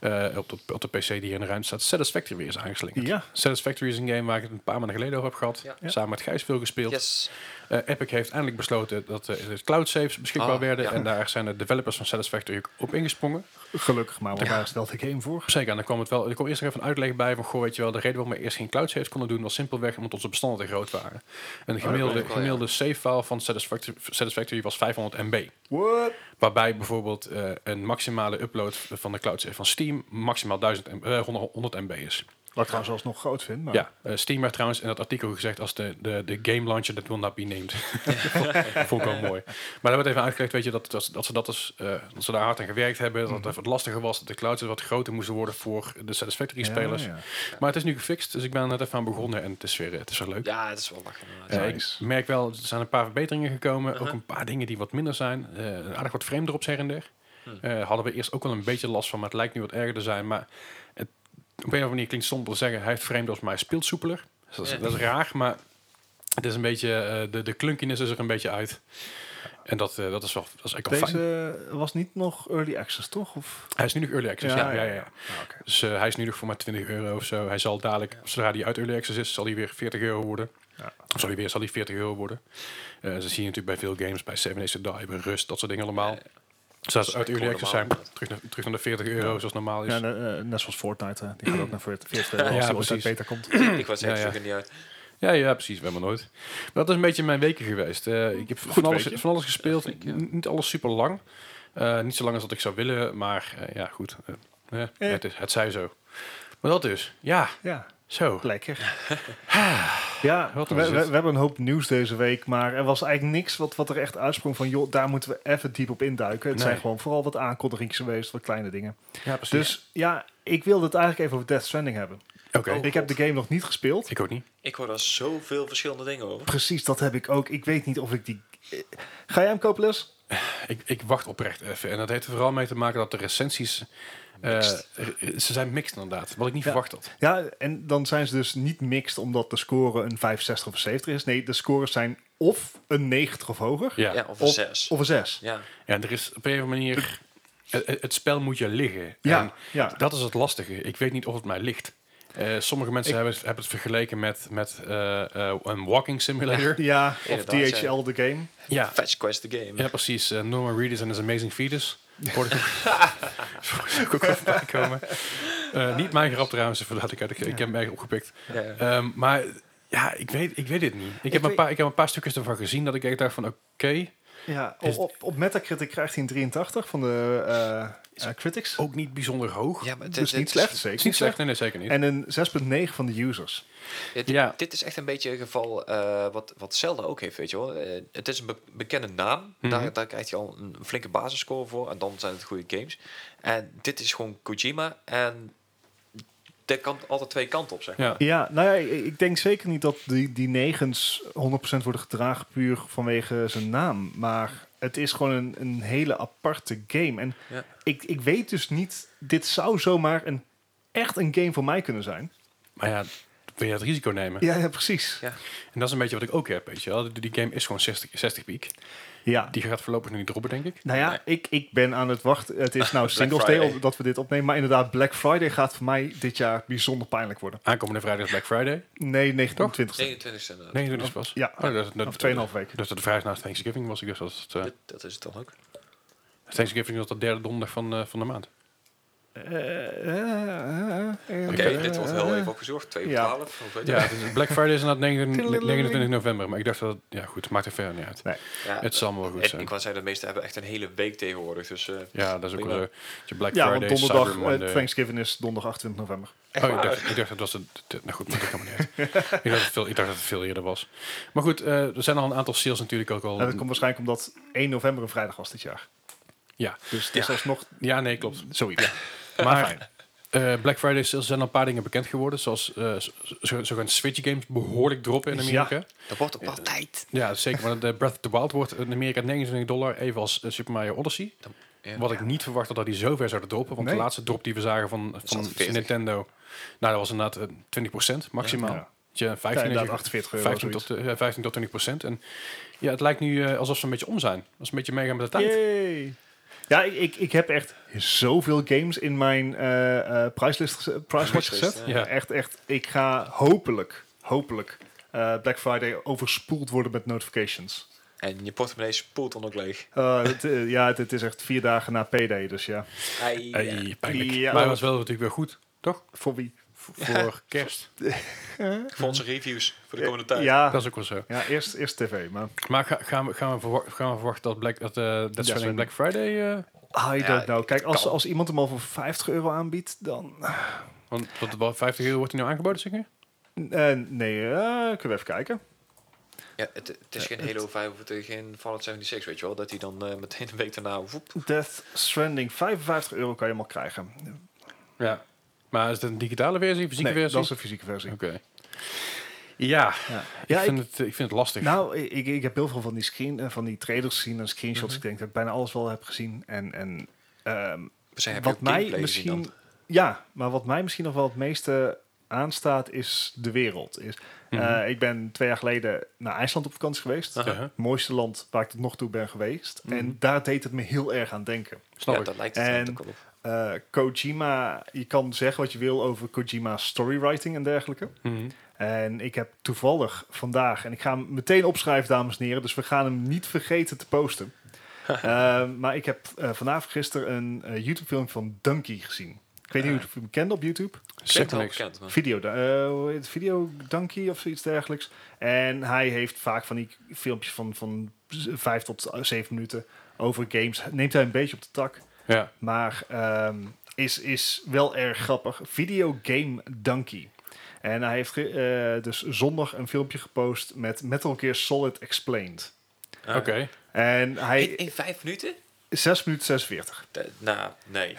Speaker 1: eh, op, de, op de PC die hier in de ruimte staat, Satisfactory weer is aangeslingerd.
Speaker 2: Ja.
Speaker 1: Satisfactory is een game waar ik het een paar maanden geleden over heb gehad.
Speaker 3: Ja.
Speaker 2: Ja.
Speaker 1: Samen met Gijs veel gespeeld.
Speaker 3: Yes.
Speaker 1: Eh, Epic heeft eindelijk besloten dat eh, de cloud saves beschikbaar
Speaker 3: Ah,
Speaker 1: werden.
Speaker 3: ja.
Speaker 1: En daar zijn de developers van Satisfactory ook op ingesprongen.
Speaker 2: Gelukkig maar, want daar stelt ik één voor.
Speaker 1: Zeker, en dan kwam het wel. Er kwam eerst nog even een uitleg bij van goh, weet je wel, de reden waarom we eerst geen cloud saves konden doen, was simpelweg omdat onze bestanden te groot waren. Een
Speaker 3: Oh, weet
Speaker 1: gemiddelde,
Speaker 3: ik wel, ja.
Speaker 1: gemiddelde save file van Satisfactory, Satisfactory was 500 MB.
Speaker 2: What?
Speaker 1: Waarbij bijvoorbeeld eh, een maximale upload van de cloud save van Steam maximaal 1000 M- eh, 100, 100 MB is.
Speaker 2: Wat ik trouwens alsnog groot vind, maar...
Speaker 1: Ja, eh, Steam werd trouwens in dat artikel gezegd als de, de, de game launcher that will not be
Speaker 3: <laughs>
Speaker 1: named. Vond ik wel mooi. Maar daar werd even uitgelegd, weet je, dat, dat, dat ze dat dus, eh, dat ze daar hard aan gewerkt hebben, dat
Speaker 2: Mhm.
Speaker 1: het wat lastiger was, dat de clouds wat groter moesten worden voor de Satisfactory
Speaker 2: Ja,
Speaker 1: spelers.
Speaker 2: ja.
Speaker 1: Maar het is nu gefixt, dus ik ben er net even aan begonnen en het is weer, het is weer leuk.
Speaker 3: Ja, Uh-huh. het is wel lachen inderdaad.
Speaker 1: Eh,
Speaker 2: Nice.
Speaker 1: ik merk wel, er zijn een paar verbeteringen gekomen. Ook een paar dingen die wat minder zijn. Eh, aardig wat frame drops her en der.
Speaker 3: Hmm.
Speaker 1: Eh, hadden we eerst ook wel een beetje last van, maar het lijkt nu wat erger te zijn. Maar het, op een of andere manier klinkt stom te zeggen, hij heeft frame drops, maar hij speelt soepeler. Dus dat, is,
Speaker 3: Ja.
Speaker 1: dat is raar, maar het is een beetje, eh, de, de clunkiness is er een beetje uit. En dat, eh, dat is wel dat is echt wel fijn.
Speaker 2: Deze was niet nog early access, toch? Of...
Speaker 1: Hij is nu nog early access, ja. ja, ja,
Speaker 2: Ah, oké.
Speaker 1: Dus eh, hij is nu nog voor maar 20 euro of zo. Hij zal dadelijk, zodra hij uit early access is, zal hij weer 40 euro worden.
Speaker 2: Ja.
Speaker 1: Of zal hij weer zal hij 40 euro worden. Eh ze zien natuurlijk bij veel games, bij Seven Days to Die, bij Rust, dat soort dingen allemaal.
Speaker 3: Ja,
Speaker 1: Dus als ze
Speaker 3: is
Speaker 1: uit
Speaker 3: echt
Speaker 1: early access
Speaker 3: gewoon
Speaker 1: zijn,
Speaker 3: normaal.
Speaker 1: terug naar, terug naar de 40 euro, zoals normaal is.
Speaker 2: Ja, ne- eh, net zoals Fortnite, hè. die gaat ook naar 40
Speaker 1: <clears throat>
Speaker 2: euro als die ooit uit
Speaker 1: precies.
Speaker 2: beta komt.
Speaker 3: <clears throat> Ik was
Speaker 1: Ja,
Speaker 3: echt
Speaker 1: ja.
Speaker 3: niet uit.
Speaker 1: Ja, ja, precies. We hebben nooit. Maar dat is een beetje mijn weken geweest. Eh, ik heb van alles,
Speaker 2: weekje.
Speaker 1: van alles gespeeld.
Speaker 3: Ja, flink, ja.
Speaker 1: N- Niet alles super lang. Eh, niet zo lang als dat ik zou willen. Maar eh, ja, goed. Eh, eh,
Speaker 2: Eh.
Speaker 1: Het, is, het zij zo. Maar dat dus. Ja,
Speaker 2: Ja,
Speaker 1: zo.
Speaker 2: lekker. <laughs> Ja,
Speaker 1: Wat
Speaker 2: we,
Speaker 1: was
Speaker 2: we, we
Speaker 1: het?
Speaker 2: hebben een hoop nieuws deze week, maar er was eigenlijk niks wat, wat er echt uitsprong van, joh, daar moeten we even diep op induiken. Het
Speaker 1: Nee.
Speaker 2: zijn gewoon vooral wat aankondigingen geweest, wat kleine dingen.
Speaker 1: Ja, precies.
Speaker 2: Dus ja, ik wilde het eigenlijk even over Death Stranding hebben.
Speaker 1: Oké.
Speaker 3: Oh.
Speaker 2: ik heb de game nog niet gespeeld.
Speaker 1: Ik ook niet.
Speaker 3: Ik hoor daar zoveel verschillende dingen over.
Speaker 2: Precies, dat heb ik ook. Ik weet niet of ik die... eh, Ga jij hem kopen, Les?
Speaker 1: Ik, ik wacht oprecht even. En dat heeft er vooral mee te maken dat de recensies... eh,
Speaker 3: Mixed.
Speaker 1: r- ze zijn mixed inderdaad. Wat ik niet
Speaker 2: Ja.
Speaker 1: verwacht had.
Speaker 2: Ja, en dan zijn ze dus niet mixed omdat de score een 65 of 70 is. Nee, de scores zijn of een 90 of hoger,
Speaker 1: Ja.
Speaker 3: Ja,
Speaker 1: ja.
Speaker 3: of een
Speaker 2: Op-
Speaker 3: zes.
Speaker 2: of een 6.
Speaker 3: Ja.
Speaker 1: en er is op een of andere manier... Het, het- het spel moet je liggen.
Speaker 2: Ja,
Speaker 1: En
Speaker 2: ja.
Speaker 1: Dat is het lastige. Ik weet niet of het mij ligt. Eh, sommige mensen hebben, het- hebben het vergeleken met, met eh, eh, een walking simulator. Ja,
Speaker 2: ja of
Speaker 3: Inderdaad, ja.
Speaker 2: DHL de game.
Speaker 1: ja.
Speaker 3: Fetch Quest the Game.
Speaker 1: precies. Eh, Norman Reedus en His Amazing Fetus. Hoorde <laughs> ik ook- ook even bijkomen. Eh, niet mijn grap trouwens, voordat ik, uit- ik, ik heb hem erg opgepikt.
Speaker 3: Ja, ja.
Speaker 1: Ehm, maar ja, ik weet, ik weet het niet. Ik, heb
Speaker 2: weet-
Speaker 1: een paar, ik heb een paar stukjes ervan gezien dat ik echt dacht van oké.
Speaker 2: Ja,
Speaker 1: Is-
Speaker 2: op, op Metacritic krijgt hij een 83 van de eh, eh, critics.
Speaker 1: ook niet bijzonder hoog.
Speaker 3: Ja, maar dit,
Speaker 2: dus
Speaker 3: dit
Speaker 2: niet
Speaker 3: is-
Speaker 2: slecht,
Speaker 1: Oh, Het
Speaker 2: zeker
Speaker 1: is niet slecht, nee, nee zeker niet.
Speaker 2: En een 6,9 van de users.
Speaker 3: Ja, dit,
Speaker 1: Ja.
Speaker 3: dit is echt een beetje een geval eh, wat, wat Zelda ook heeft, weet je wel. Eh, het is een be- bekende naam.
Speaker 1: Mhm.
Speaker 3: daar, daar krijg je al een flinke basisscore voor. En dan zijn het goede games. En dit is gewoon Kojima. En dat kan altijd twee kanten op, zeg maar.
Speaker 1: ja.
Speaker 2: Ja, nou ja, ik, ik denk zeker niet dat die, die negens 100% worden gedragen puur vanwege zijn naam. Maar het is gewoon een, een hele aparte game. En
Speaker 3: Ja.
Speaker 2: ik, ik weet dus niet, dit zou zomaar een, echt een game voor mij kunnen zijn.
Speaker 1: Maar ja, wil je het risico nemen?
Speaker 2: Ja, ja precies.
Speaker 3: Ja.
Speaker 1: En dat is een beetje wat ik ook heb, weet je wel. Die- Die game is gewoon 60, 60 piek.
Speaker 2: Ja.
Speaker 1: Die gaat voorlopig nog niet droppen, denk ik.
Speaker 2: Nou ja,
Speaker 3: Nee.
Speaker 2: ik, ik ben aan het wachten. Het
Speaker 3: <laughs>
Speaker 2: is nou Singles Day
Speaker 3: Friday.
Speaker 2: op- dat we dit opnemen. Maar inderdaad, Black Friday gaat voor mij dit jaar bijzonder pijnlijk worden.
Speaker 1: Aankomende vrijdag is Black Friday.
Speaker 2: Nee, 29
Speaker 3: 29 inderdaad.
Speaker 1: Nee, dat is pas.
Speaker 2: Ja.
Speaker 1: Oh, dat, dat,
Speaker 2: Of 2,5 weken.
Speaker 1: Dus dat de vrijdag naast Thanksgiving was. Ik dus dat het, eh,
Speaker 3: Dat, dat is het dan ook.
Speaker 1: Thanksgiving was de derde donderdag van, eh, van de maand.
Speaker 2: Eh,
Speaker 3: Oké, dit wordt heel even opgezocht. 2 op
Speaker 2: Ja.
Speaker 3: 12. of weet je
Speaker 1: Ja,
Speaker 3: wat.
Speaker 1: het is- Black Friday is inderdaad 29, 29 november. Maar ik dacht dat... Ja, goed. Maakt er verder niet uit.
Speaker 2: Nee.
Speaker 3: Ja,
Speaker 1: Het zal wel goed
Speaker 3: en, ik
Speaker 1: zijn.
Speaker 3: wou zeggen, de meesten hebben echt een hele week tegenwoordig. Dus eh,
Speaker 1: Ja, dat is ook wel zo.
Speaker 3: Prima.
Speaker 1: Je Black
Speaker 2: Ja, want
Speaker 1: Friday,
Speaker 2: donderdag,
Speaker 1: Cyber
Speaker 2: eh,
Speaker 1: Monday.
Speaker 2: Thanksgiving is donderdag 28 november.
Speaker 1: oh, ik dacht, ik dacht dat was het. het- Nou goed, maar dat kan maar niet uit.
Speaker 2: <laughs>
Speaker 1: ik, dacht dat het veel, ik dacht dat het veel eerder was. Maar goed, eh, er zijn al een aantal sales natuurlijk ook al.
Speaker 2: En dat komt waarschijnlijk omdat 1 november een vrijdag was dit jaar.
Speaker 1: Ja.
Speaker 2: Dus het is
Speaker 3: Ja.
Speaker 2: alsnog
Speaker 1: ja, nee, klopt.
Speaker 2: zoiets. <laughs>
Speaker 1: Maar eh, Black Friday sales zijn al een paar dingen bekend geworden. Zoals eh, zo- zo- zo gaan Switch games behoorlijk droppen in
Speaker 2: Ja.
Speaker 1: Amerika.
Speaker 3: dat wordt ook wel tijd.
Speaker 1: Ja, zeker. Want de Breath of the Wild wordt in Amerika 29 dollar, even als eh, Super Mario Odyssey.
Speaker 3: Ja.
Speaker 1: Wat ik niet verwachtte dat die zo ver zouden droppen. Want
Speaker 2: Nee.
Speaker 1: de laatste drop die we zagen van, van
Speaker 3: zat 40.
Speaker 1: Nintendo, nou dat was inderdaad eh, 20% maximaal.
Speaker 2: Ja.
Speaker 1: Ja,
Speaker 2: Ja,
Speaker 1: 15,
Speaker 2: inderdaad, 48 euro.
Speaker 1: 15
Speaker 2: zoiets.
Speaker 1: tot, eh, 15 tot 20 En ja, het lijkt nu eh, alsof ze een beetje om zijn. Als ze een beetje meegaan met de tijd.
Speaker 2: Yay. Ja, ik, ik, ik heb echt zoveel games in mijn eh eh prijslist geze- prijslist
Speaker 3: Wishlist,
Speaker 2: gezet.
Speaker 1: ja. Ja.
Speaker 2: Echt, echt. Ik ga hopelijk, hopelijk eh, Black Friday overspoeld worden met notifications.
Speaker 3: En je portemonnee spoelt dan ook leeg.
Speaker 2: Eh, het, eh, ja, het, het is echt vier dagen na PD, dus ja.
Speaker 3: Ai, eh,
Speaker 1: Hey,
Speaker 3: ja.
Speaker 1: pijnlijk.
Speaker 2: Ja.
Speaker 1: Maar het was wel natuurlijk weer goed, toch?
Speaker 2: Voor wie?
Speaker 1: Voor kerst.
Speaker 3: Voor onze reviews voor de komende tijd.
Speaker 2: Eh, Ja,
Speaker 1: Dat is ook wel zo.
Speaker 2: ja eerst, eerst tv, maar
Speaker 1: Maar ga- gaan, we, gaan, we verwa- gaan we verwachten dat, Black, dat eh Dead Stranding
Speaker 2: Stranding.
Speaker 1: Black Friday... eh,
Speaker 2: I
Speaker 3: Ja,
Speaker 2: don't know. Kijk, als,
Speaker 3: kan.
Speaker 2: als iemand hem al voor 50 euro aanbiedt, dan...
Speaker 1: want wat, wat, 50 euro wordt hij nou aangeboden, zeg je?
Speaker 2: Eh, nee, eh, kunnen we even kijken.
Speaker 3: Ja, het, het
Speaker 2: Eh,
Speaker 3: is geen Halo 5 of het, is geen Fallout 76, weet je wel. Dat hij dan eh, meteen een week daarna... Woep,
Speaker 2: Death Stranding, 55 euro kan je hem al krijgen.
Speaker 1: Ja. Maar is het een digitale versie, fysieke
Speaker 2: Nee,
Speaker 1: versie?
Speaker 2: dat is de fysieke versie.
Speaker 1: Oké. Ja,
Speaker 2: Ja,
Speaker 1: ik,
Speaker 2: ja
Speaker 1: vind
Speaker 2: ik,
Speaker 1: het, ik vind het lastig.
Speaker 2: nou, ik, ik heb heel veel van die, screen, eh, van die trailers gezien en screenshots.
Speaker 1: Mhm.
Speaker 2: Ik denk dat ik bijna alles wel heb gezien. En, en ehm,
Speaker 3: we zijn, heb je
Speaker 2: wat
Speaker 3: ook
Speaker 2: mij
Speaker 3: gameplay gezien
Speaker 2: misschien...
Speaker 3: dan?
Speaker 2: Ja, maar wat mij misschien nog wel het meeste aanstaat is de wereld. Is, eh,
Speaker 1: Mhm.
Speaker 2: ik ben twee jaar geleden naar IJsland op vakantie geweest.
Speaker 3: Ah.
Speaker 1: Ja,
Speaker 2: mooiste land waar ik tot nog toe ben geweest.
Speaker 1: Mhm.
Speaker 2: En daar deed het me heel erg aan denken.
Speaker 1: snap
Speaker 3: ja,
Speaker 1: ik.
Speaker 3: dat lijkt het
Speaker 2: En-
Speaker 3: ook wel op.
Speaker 2: Eh, Kojima, je kan zeggen wat je wil over Kojima's storywriting en dergelijke.
Speaker 1: Mhm.
Speaker 2: En ik heb toevallig vandaag, en ik ga hem meteen opschrijven, dames en heren, dus we gaan hem niet vergeten te posten. Eh, maar ik heb eh, vanavond gisteren een eh, YouTube-film van Donkey gezien. Ik weet niet hoe je hem kende op YouTube.
Speaker 1: Zegt
Speaker 3: Klinkt
Speaker 1: me
Speaker 3: wel
Speaker 1: niks.
Speaker 3: bekend, maar...
Speaker 2: Video, eh, hoe heet het? video Donkey of zoiets dergelijks. En hij heeft vaak van die filmpjes van, van z- vijf tot eh, zeven minuten over games. Neemt hij een beetje op de tak,
Speaker 1: Ja,
Speaker 2: maar ehm, is, is wel erg grappig. Videogame Donkey. En hij heeft ge- eh, dus zondag een filmpje gepost met Metal Gear Solid Explained.
Speaker 1: oké.
Speaker 2: En
Speaker 3: Ah. In,
Speaker 2: hij...
Speaker 3: in vijf minuten?
Speaker 2: 6 minuten 46.
Speaker 3: Dat- nou,
Speaker 2: <laughs>
Speaker 3: nee.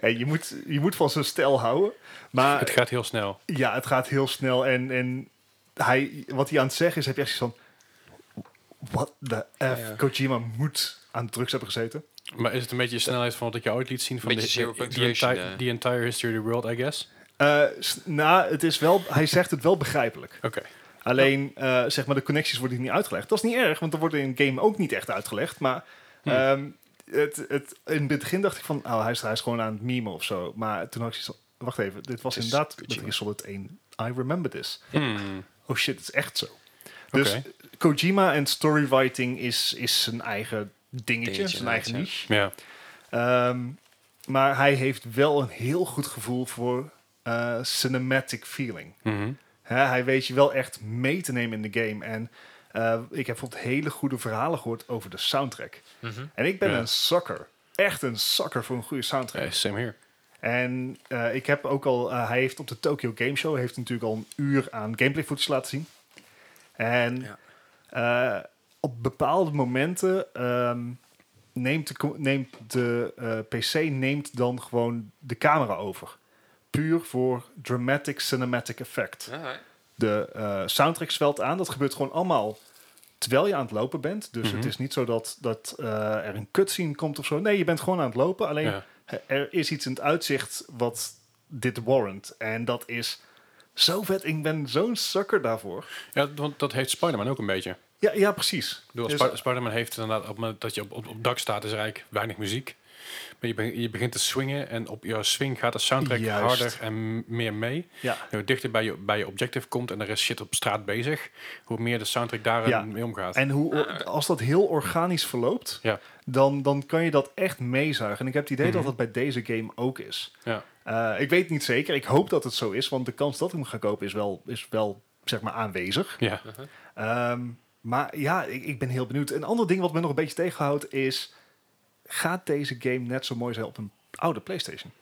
Speaker 2: En je moet, je moet van zijn stijl houden. Maar
Speaker 1: Het gaat heel snel.
Speaker 2: Ja, het gaat heel snel. En, en hij, wat hij aan het zeggen is, heb je echt zoiets van... What the F?
Speaker 3: ja.
Speaker 2: Kojima moet aan de drugs hebben gezeten.
Speaker 1: Maar is het een beetje de snelheid van wat ik jou ooit liet zien? Van
Speaker 3: Beetje zero
Speaker 1: de, de, the,
Speaker 3: punctuation,
Speaker 1: entire,
Speaker 3: eh.
Speaker 1: the entire history of the world, I guess?
Speaker 2: Eh, s- nou, het is wel, hij zegt het wel begrijpelijk.
Speaker 1: Oké.
Speaker 2: Alleen, eh, zeg maar, de connecties worden niet uitgelegd. Dat is niet erg, want dat wordt in een game ook niet echt uitgelegd. Maar
Speaker 1: Hmm.
Speaker 2: ehm, het, het, in het begin dacht ik van, oh, hij is, hij is gewoon aan het memen of zo. Maar toen had ik zoiets van, wacht even, dit was
Speaker 3: Het is
Speaker 2: inderdaad
Speaker 3: Kojima.
Speaker 2: Metal Gear Solid 1. I remember this.
Speaker 1: Hmm.
Speaker 2: Oh shit, het is echt zo. Dus
Speaker 1: Oké.
Speaker 2: Kojima en storywriting is, is zijn eigen dingetje,
Speaker 3: Dingetje,
Speaker 2: zijn eigen
Speaker 3: ja.
Speaker 2: niche.
Speaker 1: Ja.
Speaker 2: Ehm, maar hij heeft wel een heel goed gevoel voor eh, cinematic feeling.
Speaker 1: Mhm.
Speaker 2: Hè, hij weet je wel echt mee te nemen in de game. En eh, ik heb bijvoorbeeld hele goede verhalen gehoord over de soundtrack.
Speaker 3: Mhm.
Speaker 2: En ik ben
Speaker 1: Ja.
Speaker 2: een sucker. Echt een sucker voor een goede soundtrack.
Speaker 1: Hey, same here.
Speaker 2: En eh, ik heb ook al, eh, hij heeft op de Tokyo Game Show heeft natuurlijk al een uur aan gameplay footage laten zien. En
Speaker 3: Ja.
Speaker 2: eh, op bepaalde momenten ehm, neemt de, co- neemt de eh, PC neemt dan gewoon de camera over. Puur voor dramatic cinematic effect.
Speaker 3: Ja, hè.
Speaker 2: De eh soundtrack zwelt aan. Dat gebeurt gewoon allemaal terwijl je aan het lopen bent. Dus
Speaker 1: Mhm.
Speaker 2: het is niet zo dat, dat eh, er een cutscene komt of zo. Nee, je bent gewoon aan het lopen. Alleen
Speaker 1: Ja.
Speaker 2: eh, er is iets in het uitzicht wat dit warrant. En dat is zo vet. Ik ben zo'n sucker daarvoor.
Speaker 1: Ja, want dat heeft Spider-Man ook een beetje.
Speaker 2: Ja, ja precies.
Speaker 1: Ik bedoel,
Speaker 2: Dus-
Speaker 1: Spi- Spider-Man heeft inderdaad, op het moment dat je op, op, op dak staat, is er eigenlijk weinig muziek. Maar je, be- je begint te swingen en op jouw swing gaat de soundtrack
Speaker 2: Juist.
Speaker 1: harder en m- meer mee.
Speaker 2: ja.
Speaker 1: Hoe dichter bij je, bij je objective komt en er is shit op straat bezig, hoe meer de soundtrack daar
Speaker 2: Ja.
Speaker 1: mee omgaat.
Speaker 2: En hoe, als dat heel organisch verloopt,
Speaker 1: Ah. Ja.
Speaker 2: dan, dan kan je dat echt meezuigen. En ik heb het idee
Speaker 1: Mhm.
Speaker 2: dat dat bij deze game ook is.
Speaker 1: Ja.
Speaker 2: Eh, ik weet niet zeker. Ik hoop dat het zo is, want de kans dat ik hem ga kopen is wel, is wel zeg maar, aanwezig.
Speaker 1: Ja.
Speaker 2: Ehm, maar ja, ik, ik ben heel benieuwd. Een ander ding wat me nog een beetje tegenhoudt is... Gaat deze game net zo mooi zijn op een oude PlayStation?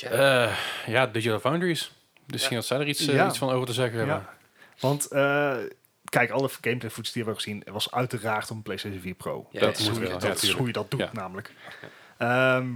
Speaker 1: Eh, ja, Digital Foundries. Dus Misschien
Speaker 3: Ja.
Speaker 1: had zij er iets, eh,
Speaker 2: Ja.
Speaker 1: iets van over te zeggen hebben.
Speaker 2: Ja. Want eh, kijk, alle gameplay footage die we hebben gezien... was uiteraard op een PlayStation 4 Pro.
Speaker 3: Ja,
Speaker 2: dat
Speaker 3: ja,
Speaker 2: is, hoe
Speaker 1: moet
Speaker 2: je,
Speaker 1: wel,
Speaker 2: dat
Speaker 1: ja,
Speaker 2: is
Speaker 1: tuurlijk.
Speaker 2: hoe je dat doet
Speaker 1: Ja.
Speaker 2: namelijk. Ehm,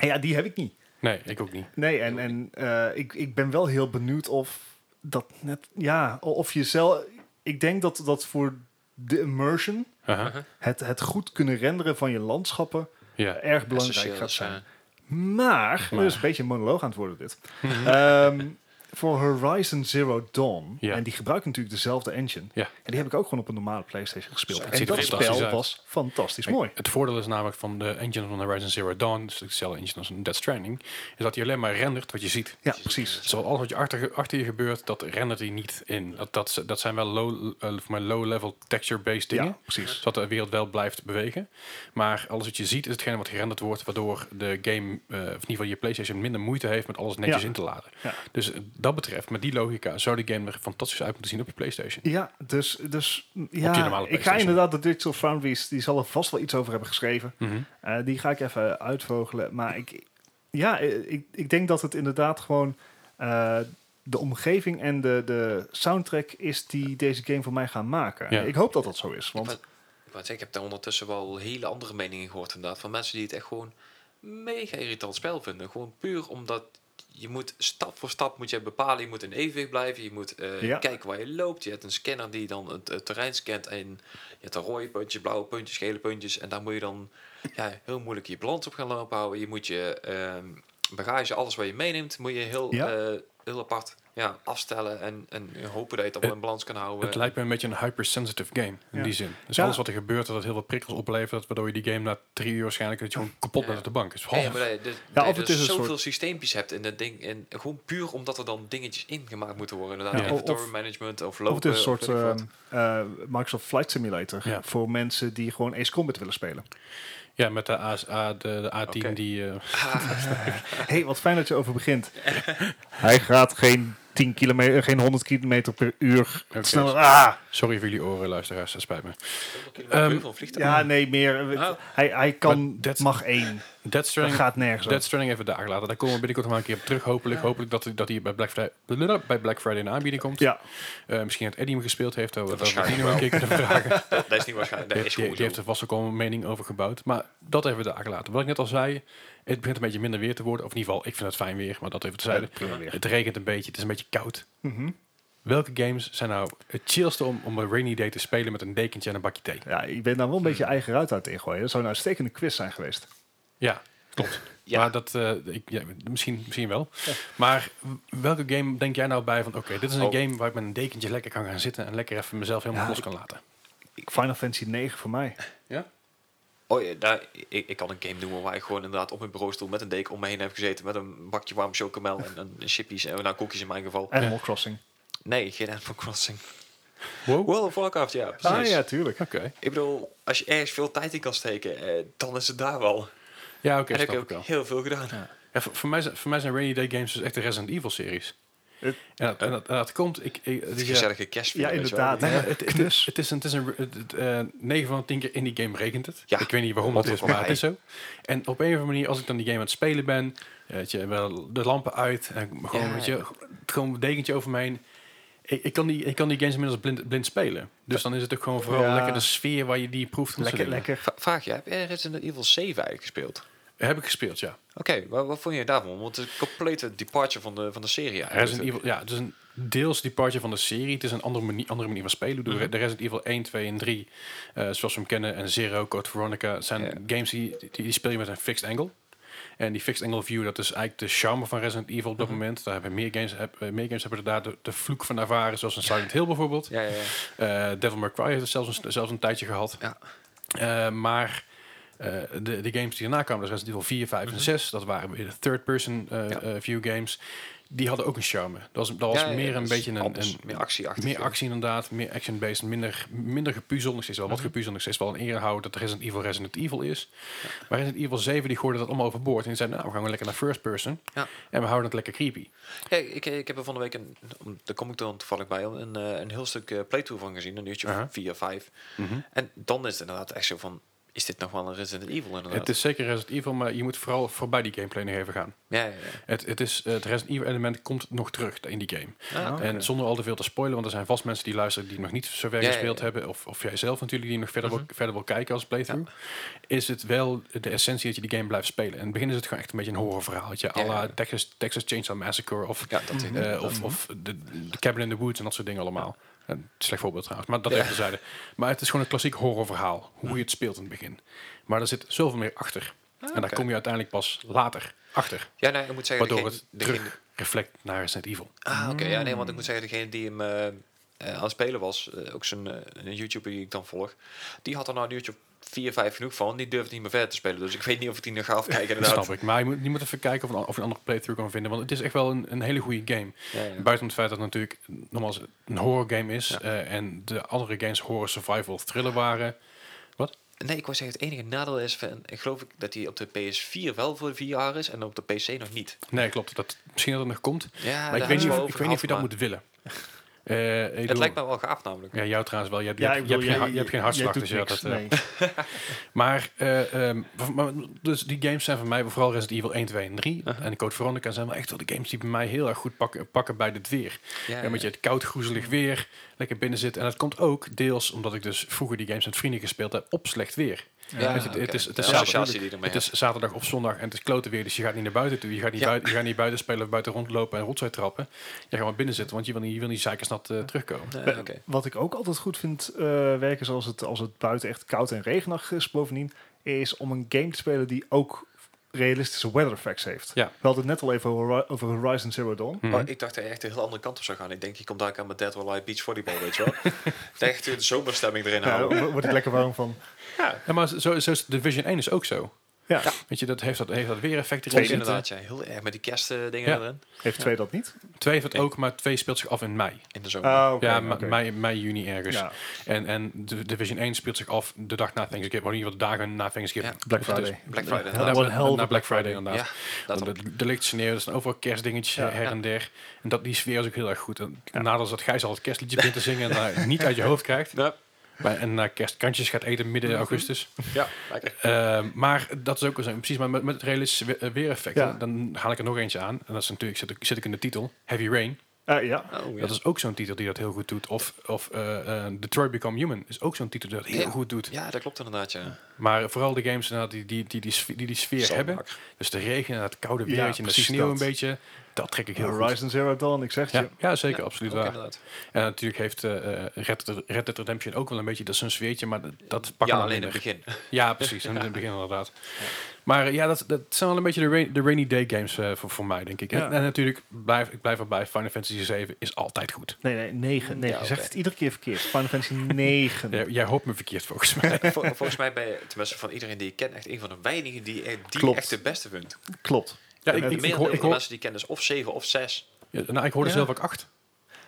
Speaker 2: en ja, die heb ik niet.
Speaker 1: Nee, ik ook niet.
Speaker 2: Nee, en, en eh, ik, ik ben wel heel benieuwd of dat net... Ja, of je zelf... Ik denk dat, dat voor de immersion...
Speaker 1: Aha.
Speaker 2: Het, het goed kunnen renderen van je landschappen...
Speaker 1: Ja.
Speaker 2: erg belangrijk
Speaker 3: Essentieel
Speaker 2: gaat
Speaker 3: is,
Speaker 2: zijn.
Speaker 3: eh,
Speaker 2: Maar, dat is dus een beetje een monoloog aan het
Speaker 1: <laughs>
Speaker 2: worden dit. Ehm, Voor Horizon Zero Dawn,
Speaker 1: Ja.
Speaker 2: en die gebruiken natuurlijk dezelfde engine.
Speaker 1: Ja.
Speaker 2: En die heb ik ook gewoon op een normale PlayStation gespeeld.
Speaker 3: Zo, het
Speaker 2: en
Speaker 1: ziet er
Speaker 2: dat
Speaker 1: fantastisch
Speaker 2: spel
Speaker 1: uit.
Speaker 2: was fantastisch
Speaker 1: Kijk,
Speaker 2: mooi.
Speaker 1: Het voordeel is namelijk van de engine van Horizon Zero Dawn, dus hetzelfde engine als een Dead Stranding, is dat hij alleen maar rendert wat je ziet.
Speaker 2: Ja, precies.
Speaker 1: Zo alles wat je achter, achter je gebeurt, dat rendert hij niet in. Dat, dat, dat zijn wel low, eh, voor mij low-level texture-based dingen.
Speaker 2: Ja, precies.
Speaker 1: Zodat de wereld wel blijft bewegen. Maar alles wat je ziet is hetgene wat gerenderd wordt, waardoor de game, eh, of in ieder geval je PlayStation, minder moeite heeft met alles netjes
Speaker 2: Ja.
Speaker 1: in te laden.
Speaker 2: Ja.
Speaker 1: Dus eh, dat betreft, met die logica, zou de game er fantastisch uit moeten zien op je PlayStation.
Speaker 2: Ja, dus, dus
Speaker 1: Op die
Speaker 2: ja,
Speaker 1: normale
Speaker 2: ik ga
Speaker 1: PlayStation.
Speaker 2: inderdaad de Digital Foundries, die zal er vast wel iets over hebben geschreven.
Speaker 1: Mhm.
Speaker 2: Eh, die ga ik even uitvogelen. Maar ik, ja, eh, ik, ik denk dat het inderdaad gewoon eh, de omgeving en de, de soundtrack is die deze game voor mij gaan maken.
Speaker 1: Ja.
Speaker 2: Ik hoop dat dat zo is. Want
Speaker 3: wou- Ik wou zeggen, ik heb daar ondertussen wel hele andere meningen gehoord inderdaad. Van mensen die het echt gewoon mega irritant spel vinden. Gewoon puur omdat je moet stap voor stap moet je bepalen. Je moet in evenwicht blijven. Je moet eh,
Speaker 2: Ja.
Speaker 3: kijken waar je loopt. Je hebt een scanner die dan het, het terrein scant. En je hebt dan rode puntjes, blauwe puntjes, gele puntjes. En daar moet je dan ja, heel moeilijk je balans op gaan lopen houden. Je moet je ehm, bagage, alles wat je meeneemt, moet je heel,
Speaker 2: Ja.
Speaker 3: eh, heel apart ja, afstellen. En, en hopen dat je
Speaker 2: Eh,
Speaker 3: het allemaal in balans kan houden.
Speaker 1: Het lijkt me een beetje een hypersensitive game, in
Speaker 2: Ja.
Speaker 1: die zin. Dus
Speaker 2: Ja.
Speaker 1: alles wat er gebeurt, dat het heel veel prikkels oplevert, dat waardoor je die game na drie uur waarschijnlijk dat je gewoon kapot
Speaker 3: Ja.
Speaker 1: bent op de bank. Dus,
Speaker 3: Ja,
Speaker 1: oh,
Speaker 3: ja, maar dat je dus,
Speaker 2: Ja,
Speaker 3: dat je
Speaker 2: of het
Speaker 3: dus
Speaker 2: is een
Speaker 3: zoveel
Speaker 2: soort-
Speaker 3: systeempjes hebt in dat ding. En gewoon puur omdat er dan dingetjes ingemaakt moeten worden. Inderdaad,
Speaker 2: Ja,
Speaker 3: ja,
Speaker 2: of-
Speaker 3: inventory management of
Speaker 2: Of
Speaker 3: lopen.
Speaker 2: het is een soort
Speaker 3: weet ik wat.
Speaker 2: ehm, eh, Microsoft Flight Simulator
Speaker 1: Ja.
Speaker 2: voor mensen die gewoon Ace Combat willen spelen.
Speaker 1: ja, met de, ASA, de, de A10
Speaker 3: Oké.
Speaker 1: die... eh,
Speaker 2: hey, wat fijn dat je over begint. <laughs> Hij gaat geen 10 kilometer, geen 100 kilometer per uur
Speaker 1: Oké.
Speaker 2: sneller. Ah,
Speaker 1: sorry voor jullie oren, luisteraars, dat spijt me.
Speaker 3: 100 kilometer per uur
Speaker 1: Ehm,
Speaker 3: van vliegtuig.
Speaker 2: ja, nee, meer.
Speaker 3: Ah.
Speaker 2: Hij, hij kan,
Speaker 1: Maar dat-
Speaker 2: mag één.
Speaker 1: Dead
Speaker 2: Dat
Speaker 1: Stranding,
Speaker 2: gaat nergens
Speaker 1: Dead
Speaker 2: over.
Speaker 1: Stranding even daar laten. Daar komen we binnenkort nog maar een keer op terug, hopelijk. Hopelijk dat, dat hij bij Black, Friday, bij Black Friday in de aanbieding komt.
Speaker 2: Ja,
Speaker 1: Eh, misschien dat Eddie hem gespeeld heeft, dat we dat we die
Speaker 3: waarschijnlijk
Speaker 1: nog een keer kunnen vragen.
Speaker 3: Dat, dat is niet waarschijnlijk. Dat
Speaker 1: Die,
Speaker 3: is
Speaker 1: die-
Speaker 3: gewoon
Speaker 1: die heeft
Speaker 3: zo.
Speaker 1: er vast ook al een mening over gebouwd. Maar dat even daar gelaten. Wat ik net al zei, het begint een beetje minder weer te worden. Of in ieder geval, ik vind het fijn weer, maar dat even tezijde.
Speaker 2: prima weer.
Speaker 1: Het regent een beetje, het is een beetje koud.
Speaker 2: Mhm.
Speaker 1: Welke games zijn nou het chillste om, om een rainy day te spelen met een dekentje en een bakje thee?
Speaker 2: ja, ik ben daar wel een beetje eigen ruit aan het ingooien. Dat zou een uitstekende quiz zijn geweest.
Speaker 1: Ja, klopt.
Speaker 3: Ja.
Speaker 1: Maar dat, eh, ik, ja, misschien, misschien wel. Maar welke game denk jij nou bij van, oké, dit is een
Speaker 3: Oh.
Speaker 1: game waar ik met een dekentje lekker kan gaan zitten en lekker even mezelf helemaal
Speaker 2: Ja,
Speaker 1: los
Speaker 2: ik-
Speaker 1: kan laten?
Speaker 2: Final Fantasy 9 voor mij.
Speaker 1: Ja?
Speaker 3: Oh, ja, daar, ik, ik kan een game noemen waar ik gewoon inderdaad op mijn bureaustoel met een deken om me heen heb gezeten. Met een bakje warm chocomel en, en chippies. En nou, koekjes in mijn geval.
Speaker 2: Animal Crossing.
Speaker 3: Nee, geen Animal Crossing.
Speaker 1: Wow.
Speaker 3: World of Warcraft, ja. Precies.
Speaker 2: Ah ja, tuurlijk.
Speaker 1: Oké.
Speaker 3: Ik bedoel, als je ergens veel tijd in kan steken, eh, dan is het daar wel.
Speaker 1: Ja, oké,
Speaker 3: en heb
Speaker 1: snap
Speaker 3: ik
Speaker 1: ik
Speaker 3: ook
Speaker 1: wel.
Speaker 3: heel veel gedaan.
Speaker 1: Ja, voor, voor mij zijn, voor mij zijn Rainy Day Games dus echt de Resident Evil series.
Speaker 2: Het-
Speaker 1: en, dat, en dat, en dat komt... Ik, ik, het
Speaker 3: Het is
Speaker 1: is-
Speaker 3: een gezellige kerstfeer.
Speaker 2: Ja,
Speaker 3: weet je wel.
Speaker 2: inderdaad.
Speaker 1: Nee, maar het, het, is-
Speaker 2: Knus.
Speaker 1: het is een... Het is een het, het, eh, 9 van de 10 keer in die game regent het.
Speaker 3: Ja.
Speaker 1: Ik weet niet waarom
Speaker 3: Wat
Speaker 1: dat is,
Speaker 3: voor
Speaker 1: maar het
Speaker 3: mij.
Speaker 1: is zo. En op een of andere manier, als ik dan die game aan het spelen ben... eh, Weet je, wel de lampen uit en gewoon,
Speaker 3: Ja.
Speaker 1: weet je, gewoon een dekentje over me heen. Ik, ik, kan die, ik kan die games inmiddels blind, blind spelen. Dus dan is het ook gewoon vooral
Speaker 2: Ja.
Speaker 1: lekker de sfeer waar je die proeft. en dat
Speaker 2: Lekker,
Speaker 1: soort dingen.
Speaker 2: lekker.
Speaker 3: Va- Vraag je, heb je Resident Evil 7 eigenlijk gespeeld?
Speaker 1: Heb ik gespeeld, ja.
Speaker 3: Oké, wa- wat, vond je daarvan? Want het is een complete departure van de, van de serie eigenlijk.
Speaker 1: Resident Evil, ja, het is een deels departure van de serie. Het is een andere manier, andere manier van spelen. Ik bedoel,
Speaker 3: Mhm.
Speaker 1: De Resident Evil 1, 2 en 3, eh, zoals we hem kennen, en Zero, Code Veronica, het zijn
Speaker 3: Ja.
Speaker 1: games die, die, die speel je met een fixed angle. En die fixed angle view, dat is eigenlijk de charme van Resident Evil op
Speaker 3: Mhm.
Speaker 1: dat moment. Daar hebben meer games, heb, eh, meer games hebben er daar de, de vloek van ervaren, zoals een
Speaker 3: <laughs>
Speaker 1: Silent Hill bijvoorbeeld.
Speaker 3: Ja, ja, ja.
Speaker 1: Eh, Devil May Cry heeft het zelfs een, zelfs een tijdje gehad.
Speaker 3: Ja.
Speaker 1: Eh, maar eh, de, de games die daarna kwamen, dus Resident Evil 4, 5 en 6, dat waren weer de third-person eh,
Speaker 3: Mhm. Ja.
Speaker 1: eh, view games. Die hadden ook een charme. Dat was, dat was
Speaker 3: Ja, ja,
Speaker 1: meer
Speaker 3: ja,
Speaker 1: een
Speaker 3: dat is
Speaker 1: beetje een,
Speaker 3: anders,
Speaker 1: een-
Speaker 3: meer actieachtig.
Speaker 1: meer actie inderdaad, meer action-based, minder, minder gepuzzel. Nog steeds wel
Speaker 3: Mhm.
Speaker 1: wat gepuzzel, nog steeds wel een eer houden dat Resident Evil Resident Evil is. Maar Resident Evil 7 die gooide dat allemaal overboord. En die zeiden, nou, we gaan weer lekker naar first person.
Speaker 3: Ja.
Speaker 1: En we houden het lekker creepy.
Speaker 3: Ja, ik, ik heb er van de week, een, om- daar kom ik dan toevallig bij, een, eh, een heel stuk eh, playthrough van gezien, een uurtje
Speaker 1: Aha.
Speaker 3: van vier, vijf.
Speaker 1: Mm-hmm.
Speaker 3: En dan is het inderdaad echt zo van, is dit nog wel een Resident Evil inderdaad?
Speaker 1: Het is zeker Resident Evil, maar je moet vooral voorbij die gameplay nog even gaan.
Speaker 3: Ja, ja, ja.
Speaker 1: Het, het, is, het Resident Evil element komt nog terug in die game.
Speaker 3: Ah,
Speaker 2: oké.
Speaker 1: En zonder al te veel te spoilen, want er zijn vast mensen die luisteren die nog niet zo ver
Speaker 3: Ja, ja,
Speaker 1: gespeeld
Speaker 3: ja. Mhm.
Speaker 1: hebben. Of, of jij zelf natuurlijk, die nog verder, wil, verder wil kijken als playthrough. Is het wel de essentie dat je die game blijft spelen. In het begin is het gewoon echt een beetje een horrorverhaaltje.
Speaker 3: Ja,
Speaker 1: à la
Speaker 3: ja.
Speaker 1: Texas, Texas Chainsaw Massacre of,
Speaker 3: Ja, dat Mhm.
Speaker 1: eh, of, of de, de Cabin in the Woods en dat soort dingen allemaal. Een slecht voorbeeld trouwens, maar dat
Speaker 3: Ja.
Speaker 1: even terzijde. Maar het is gewoon een klassiek horrorverhaal, hoe je het speelt in het begin. Maar er zit zoveel meer achter. en daar
Speaker 3: Ah, oké.
Speaker 1: kom je uiteindelijk pas later achter.
Speaker 3: Ja, nee, ik moet zeggen,
Speaker 1: Waardoor
Speaker 3: degene-
Speaker 1: het
Speaker 3: degene-
Speaker 1: terug reflect naar Resident Evil.
Speaker 3: Ah, oké. Ja, nee, want ik moet
Speaker 1: Hmm.
Speaker 3: zeggen, degene die hem eh, eh, aan het spelen was, eh, ook zo'n eh, een YouTuber die ik dan volg, die had er nou een uurtje of vier, vijf genoeg van. Die durfde niet meer verder te spelen. Dus ik weet niet of ik die nog ga afkijken
Speaker 1: <laughs> Dat
Speaker 3: inderdaad.
Speaker 1: snap ik. Maar je moet, je moet even kijken of, een, of je een andere playthrough kan vinden. Want het is echt wel een, een hele goede game.
Speaker 3: Ja, ja.
Speaker 1: Buiten het feit dat het natuurlijk nogmaals een horror game is. eh, en de andere games horror survival thriller waren. Wat?
Speaker 3: Nee, ik wou zeggen, het enige nadeel is, van, ik geloof ik, dat hij op de PS4 wel voor vier jaar is en op de PC nog niet.
Speaker 1: Nee, klopt. Dat, misschien dat het nog komt.
Speaker 3: Ja,
Speaker 1: maar ik
Speaker 3: daar
Speaker 1: weet,
Speaker 3: is
Speaker 1: niet
Speaker 3: wel
Speaker 1: of, ik
Speaker 3: over
Speaker 1: weet niet of je dat
Speaker 3: gehad,
Speaker 1: moet
Speaker 3: <laughs>
Speaker 1: willen. Eh, ik
Speaker 3: Het
Speaker 1: bedoel-
Speaker 3: lijkt me wel gaaf namelijk.
Speaker 1: Ja, jou trouwens wel. Je hebt, je
Speaker 2: Ja,
Speaker 1: hebt-
Speaker 2: ik
Speaker 1: je
Speaker 2: bedoel,
Speaker 1: hebt geen,
Speaker 2: jij-
Speaker 1: ha- je hebt geen
Speaker 2: jij
Speaker 1: hartslag.
Speaker 2: doet
Speaker 1: Dus ja,
Speaker 2: niks,
Speaker 1: dat, eh,
Speaker 2: nee.
Speaker 1: <laughs> Maar, eh, ehm, v- maar- dus die games zijn voor mij vooral Resident Evil 1, 2 en 3. En Code Veronica zijn wel echt wel de games die bij mij heel erg goed pakken, pakken bij dit weer.
Speaker 3: Ja,
Speaker 1: Ja,
Speaker 3: ja,
Speaker 1: met je het koud, groezelig weer, lekker binnen zit. En dat komt ook deels omdat ik dus vroeger die games met vrienden gespeeld heb op slecht weer.
Speaker 3: Ja,
Speaker 1: het, het- het
Speaker 3: Ah, oké.
Speaker 1: is, het,
Speaker 3: De
Speaker 1: is
Speaker 3: associatie
Speaker 1: zaterdag,
Speaker 3: die ermee
Speaker 1: het is zaterdag of zondag en het is klote weer, dus je gaat niet naar buiten toe. Je gaat niet, buiten, je gaat niet buiten spelen of buiten rondlopen en rotzooi trappen. Je gaat maar binnen zitten, want je wil niet, je wil niet zeikersnat eh, terugkomen.
Speaker 3: Nee,
Speaker 2: Wa-
Speaker 3: oké.
Speaker 2: Wat ik ook altijd goed vind eh, werken, zoals het, als het buiten echt koud en regenachtig is bovendien, is om een game te spelen die ook realistische weather effects heeft.
Speaker 1: Ja.
Speaker 2: We hadden het net al even over over Horizon Zero Dawn.
Speaker 1: Mhm.
Speaker 3: Maar Oh, ik dacht dat je echt de hele andere kant op zou gaan. Ik denk, je komt daar aan met Dead or Alive Beach Volleyball,
Speaker 1: <laughs>
Speaker 3: weet je wel. dat je echt de zomerstemming erin
Speaker 1: Nou.
Speaker 2: Ja,
Speaker 3: houden.
Speaker 2: daar word ik lekker warm van.
Speaker 1: Ja, maar zo, zo is Division 1 is ook zo.
Speaker 2: Ja.
Speaker 1: Weet je, dat heeft dat, heeft dat weer effect erin
Speaker 3: Twee
Speaker 1: zitten.
Speaker 3: inderdaad, ja. Heel erg met die eh, kerstdingen
Speaker 1: Ja.
Speaker 3: erin.
Speaker 2: Heeft twee dat niet?
Speaker 1: Twee heeft het ook, maar twee speelt zich af in mei.
Speaker 3: In de zomer.
Speaker 2: Ah, oké,
Speaker 1: ja, ma-
Speaker 2: oké.
Speaker 1: mei, mei, juni ergens.
Speaker 2: Ja.
Speaker 1: En, en de- Division 1 speelt zich af de dag na Thanksgiving. Maar in ieder geval de dagen na Thanksgiving.
Speaker 3: Ja.
Speaker 2: Black
Speaker 1: Dus het is-
Speaker 2: Friday.
Speaker 3: Black Friday.
Speaker 1: Ja,
Speaker 2: Dat wordt een hel
Speaker 1: na,
Speaker 2: van
Speaker 1: na Black
Speaker 2: Black
Speaker 1: Friday
Speaker 2: Friday.
Speaker 1: inderdaad.
Speaker 3: dat
Speaker 1: Want
Speaker 3: ook.
Speaker 1: er, er ligt sneeuw, er zijn overal kerstdingetjes eh,
Speaker 2: Ja.
Speaker 1: her en der. En dat, die sfeer is ook heel erg goed. En Nadeel is dat Gijs al het kerstliedje begint te zingen en daar niet uit je hoofd krijgt.
Speaker 3: Ja,
Speaker 1: Maar, en naar kerstkantjes gaat eten midden augustus. <laughs>
Speaker 3: ja lekker.
Speaker 1: Eh, maar dat is ook wel zo. Precies, maar met, met het realistische we- eh, weereffect.
Speaker 2: Ja.
Speaker 1: Dan haal ik er nog eentje aan. En dat is natuurlijk, zit, ik- zit ik in de titel, Heavy Rain.
Speaker 2: Eh, ja.
Speaker 3: Oh, ja.
Speaker 1: Dat is ook zo'n titel die dat heel goed doet. Of, of eh, eh, Detroit Become Human is ook zo'n titel die dat heel
Speaker 3: Ja.
Speaker 1: goed doet.
Speaker 3: ja, dat klopt inderdaad, ja.
Speaker 1: Maar vooral de games inderdaad die die, die, die, sfeer, die die sfeer
Speaker 3: Zo
Speaker 1: hebben.
Speaker 3: makkelijk.
Speaker 1: Dus de regen en het koude
Speaker 2: Ja,
Speaker 1: weertje en de
Speaker 2: precies
Speaker 1: sneeuw
Speaker 2: dat.
Speaker 1: een beetje. Dat trek ik heel goed.
Speaker 2: Horizon Zero Dawn, ik zeg het
Speaker 1: Ja,
Speaker 2: je.
Speaker 1: ja, zeker, absoluut
Speaker 3: Ook
Speaker 1: waar.
Speaker 3: inderdaad.
Speaker 1: En natuurlijk heeft eh, eh, Red, Dead- Red Dead Redemption ook wel een beetje dat zo'n sfeertje, maar dat, dat pak
Speaker 3: Ja,
Speaker 1: ik
Speaker 3: alleen in het begin.
Speaker 1: Ja, precies. In
Speaker 3: <laughs>
Speaker 1: het begin inderdaad. Maar eh, ja, dat, dat zijn wel een beetje de, rain- de rainy day games eh, voor, voor mij, denk ik.
Speaker 2: Ja.
Speaker 1: En, en natuurlijk, blijf, ik blijf erbij, Final Fantasy 7 is altijd goed.
Speaker 2: Nee, nee, negen. negen.
Speaker 3: Ja,
Speaker 2: Je zegt
Speaker 3: oké.
Speaker 2: het iedere keer verkeerd. Final
Speaker 1: <laughs>
Speaker 2: Fantasy 9.
Speaker 1: Jij, jij hoopt me verkeerd, volgens mij.
Speaker 3: <laughs> Vol- volgens mij ben je, tenminste van iedereen die ik ken, echt een van de weinigen die, echt- die
Speaker 2: Klopt.
Speaker 3: echt de beste vindt.
Speaker 2: Klopt.
Speaker 1: ja,
Speaker 3: Ik,
Speaker 1: ik,
Speaker 3: de
Speaker 1: ik, ik
Speaker 3: merendeel
Speaker 1: hoor,
Speaker 3: van
Speaker 1: ik,
Speaker 3: de
Speaker 1: hoor,
Speaker 3: mensen die ik ken is of 7 of 6.
Speaker 1: ja, nou, ik hoorde
Speaker 2: Ja.
Speaker 1: zelf ook 8.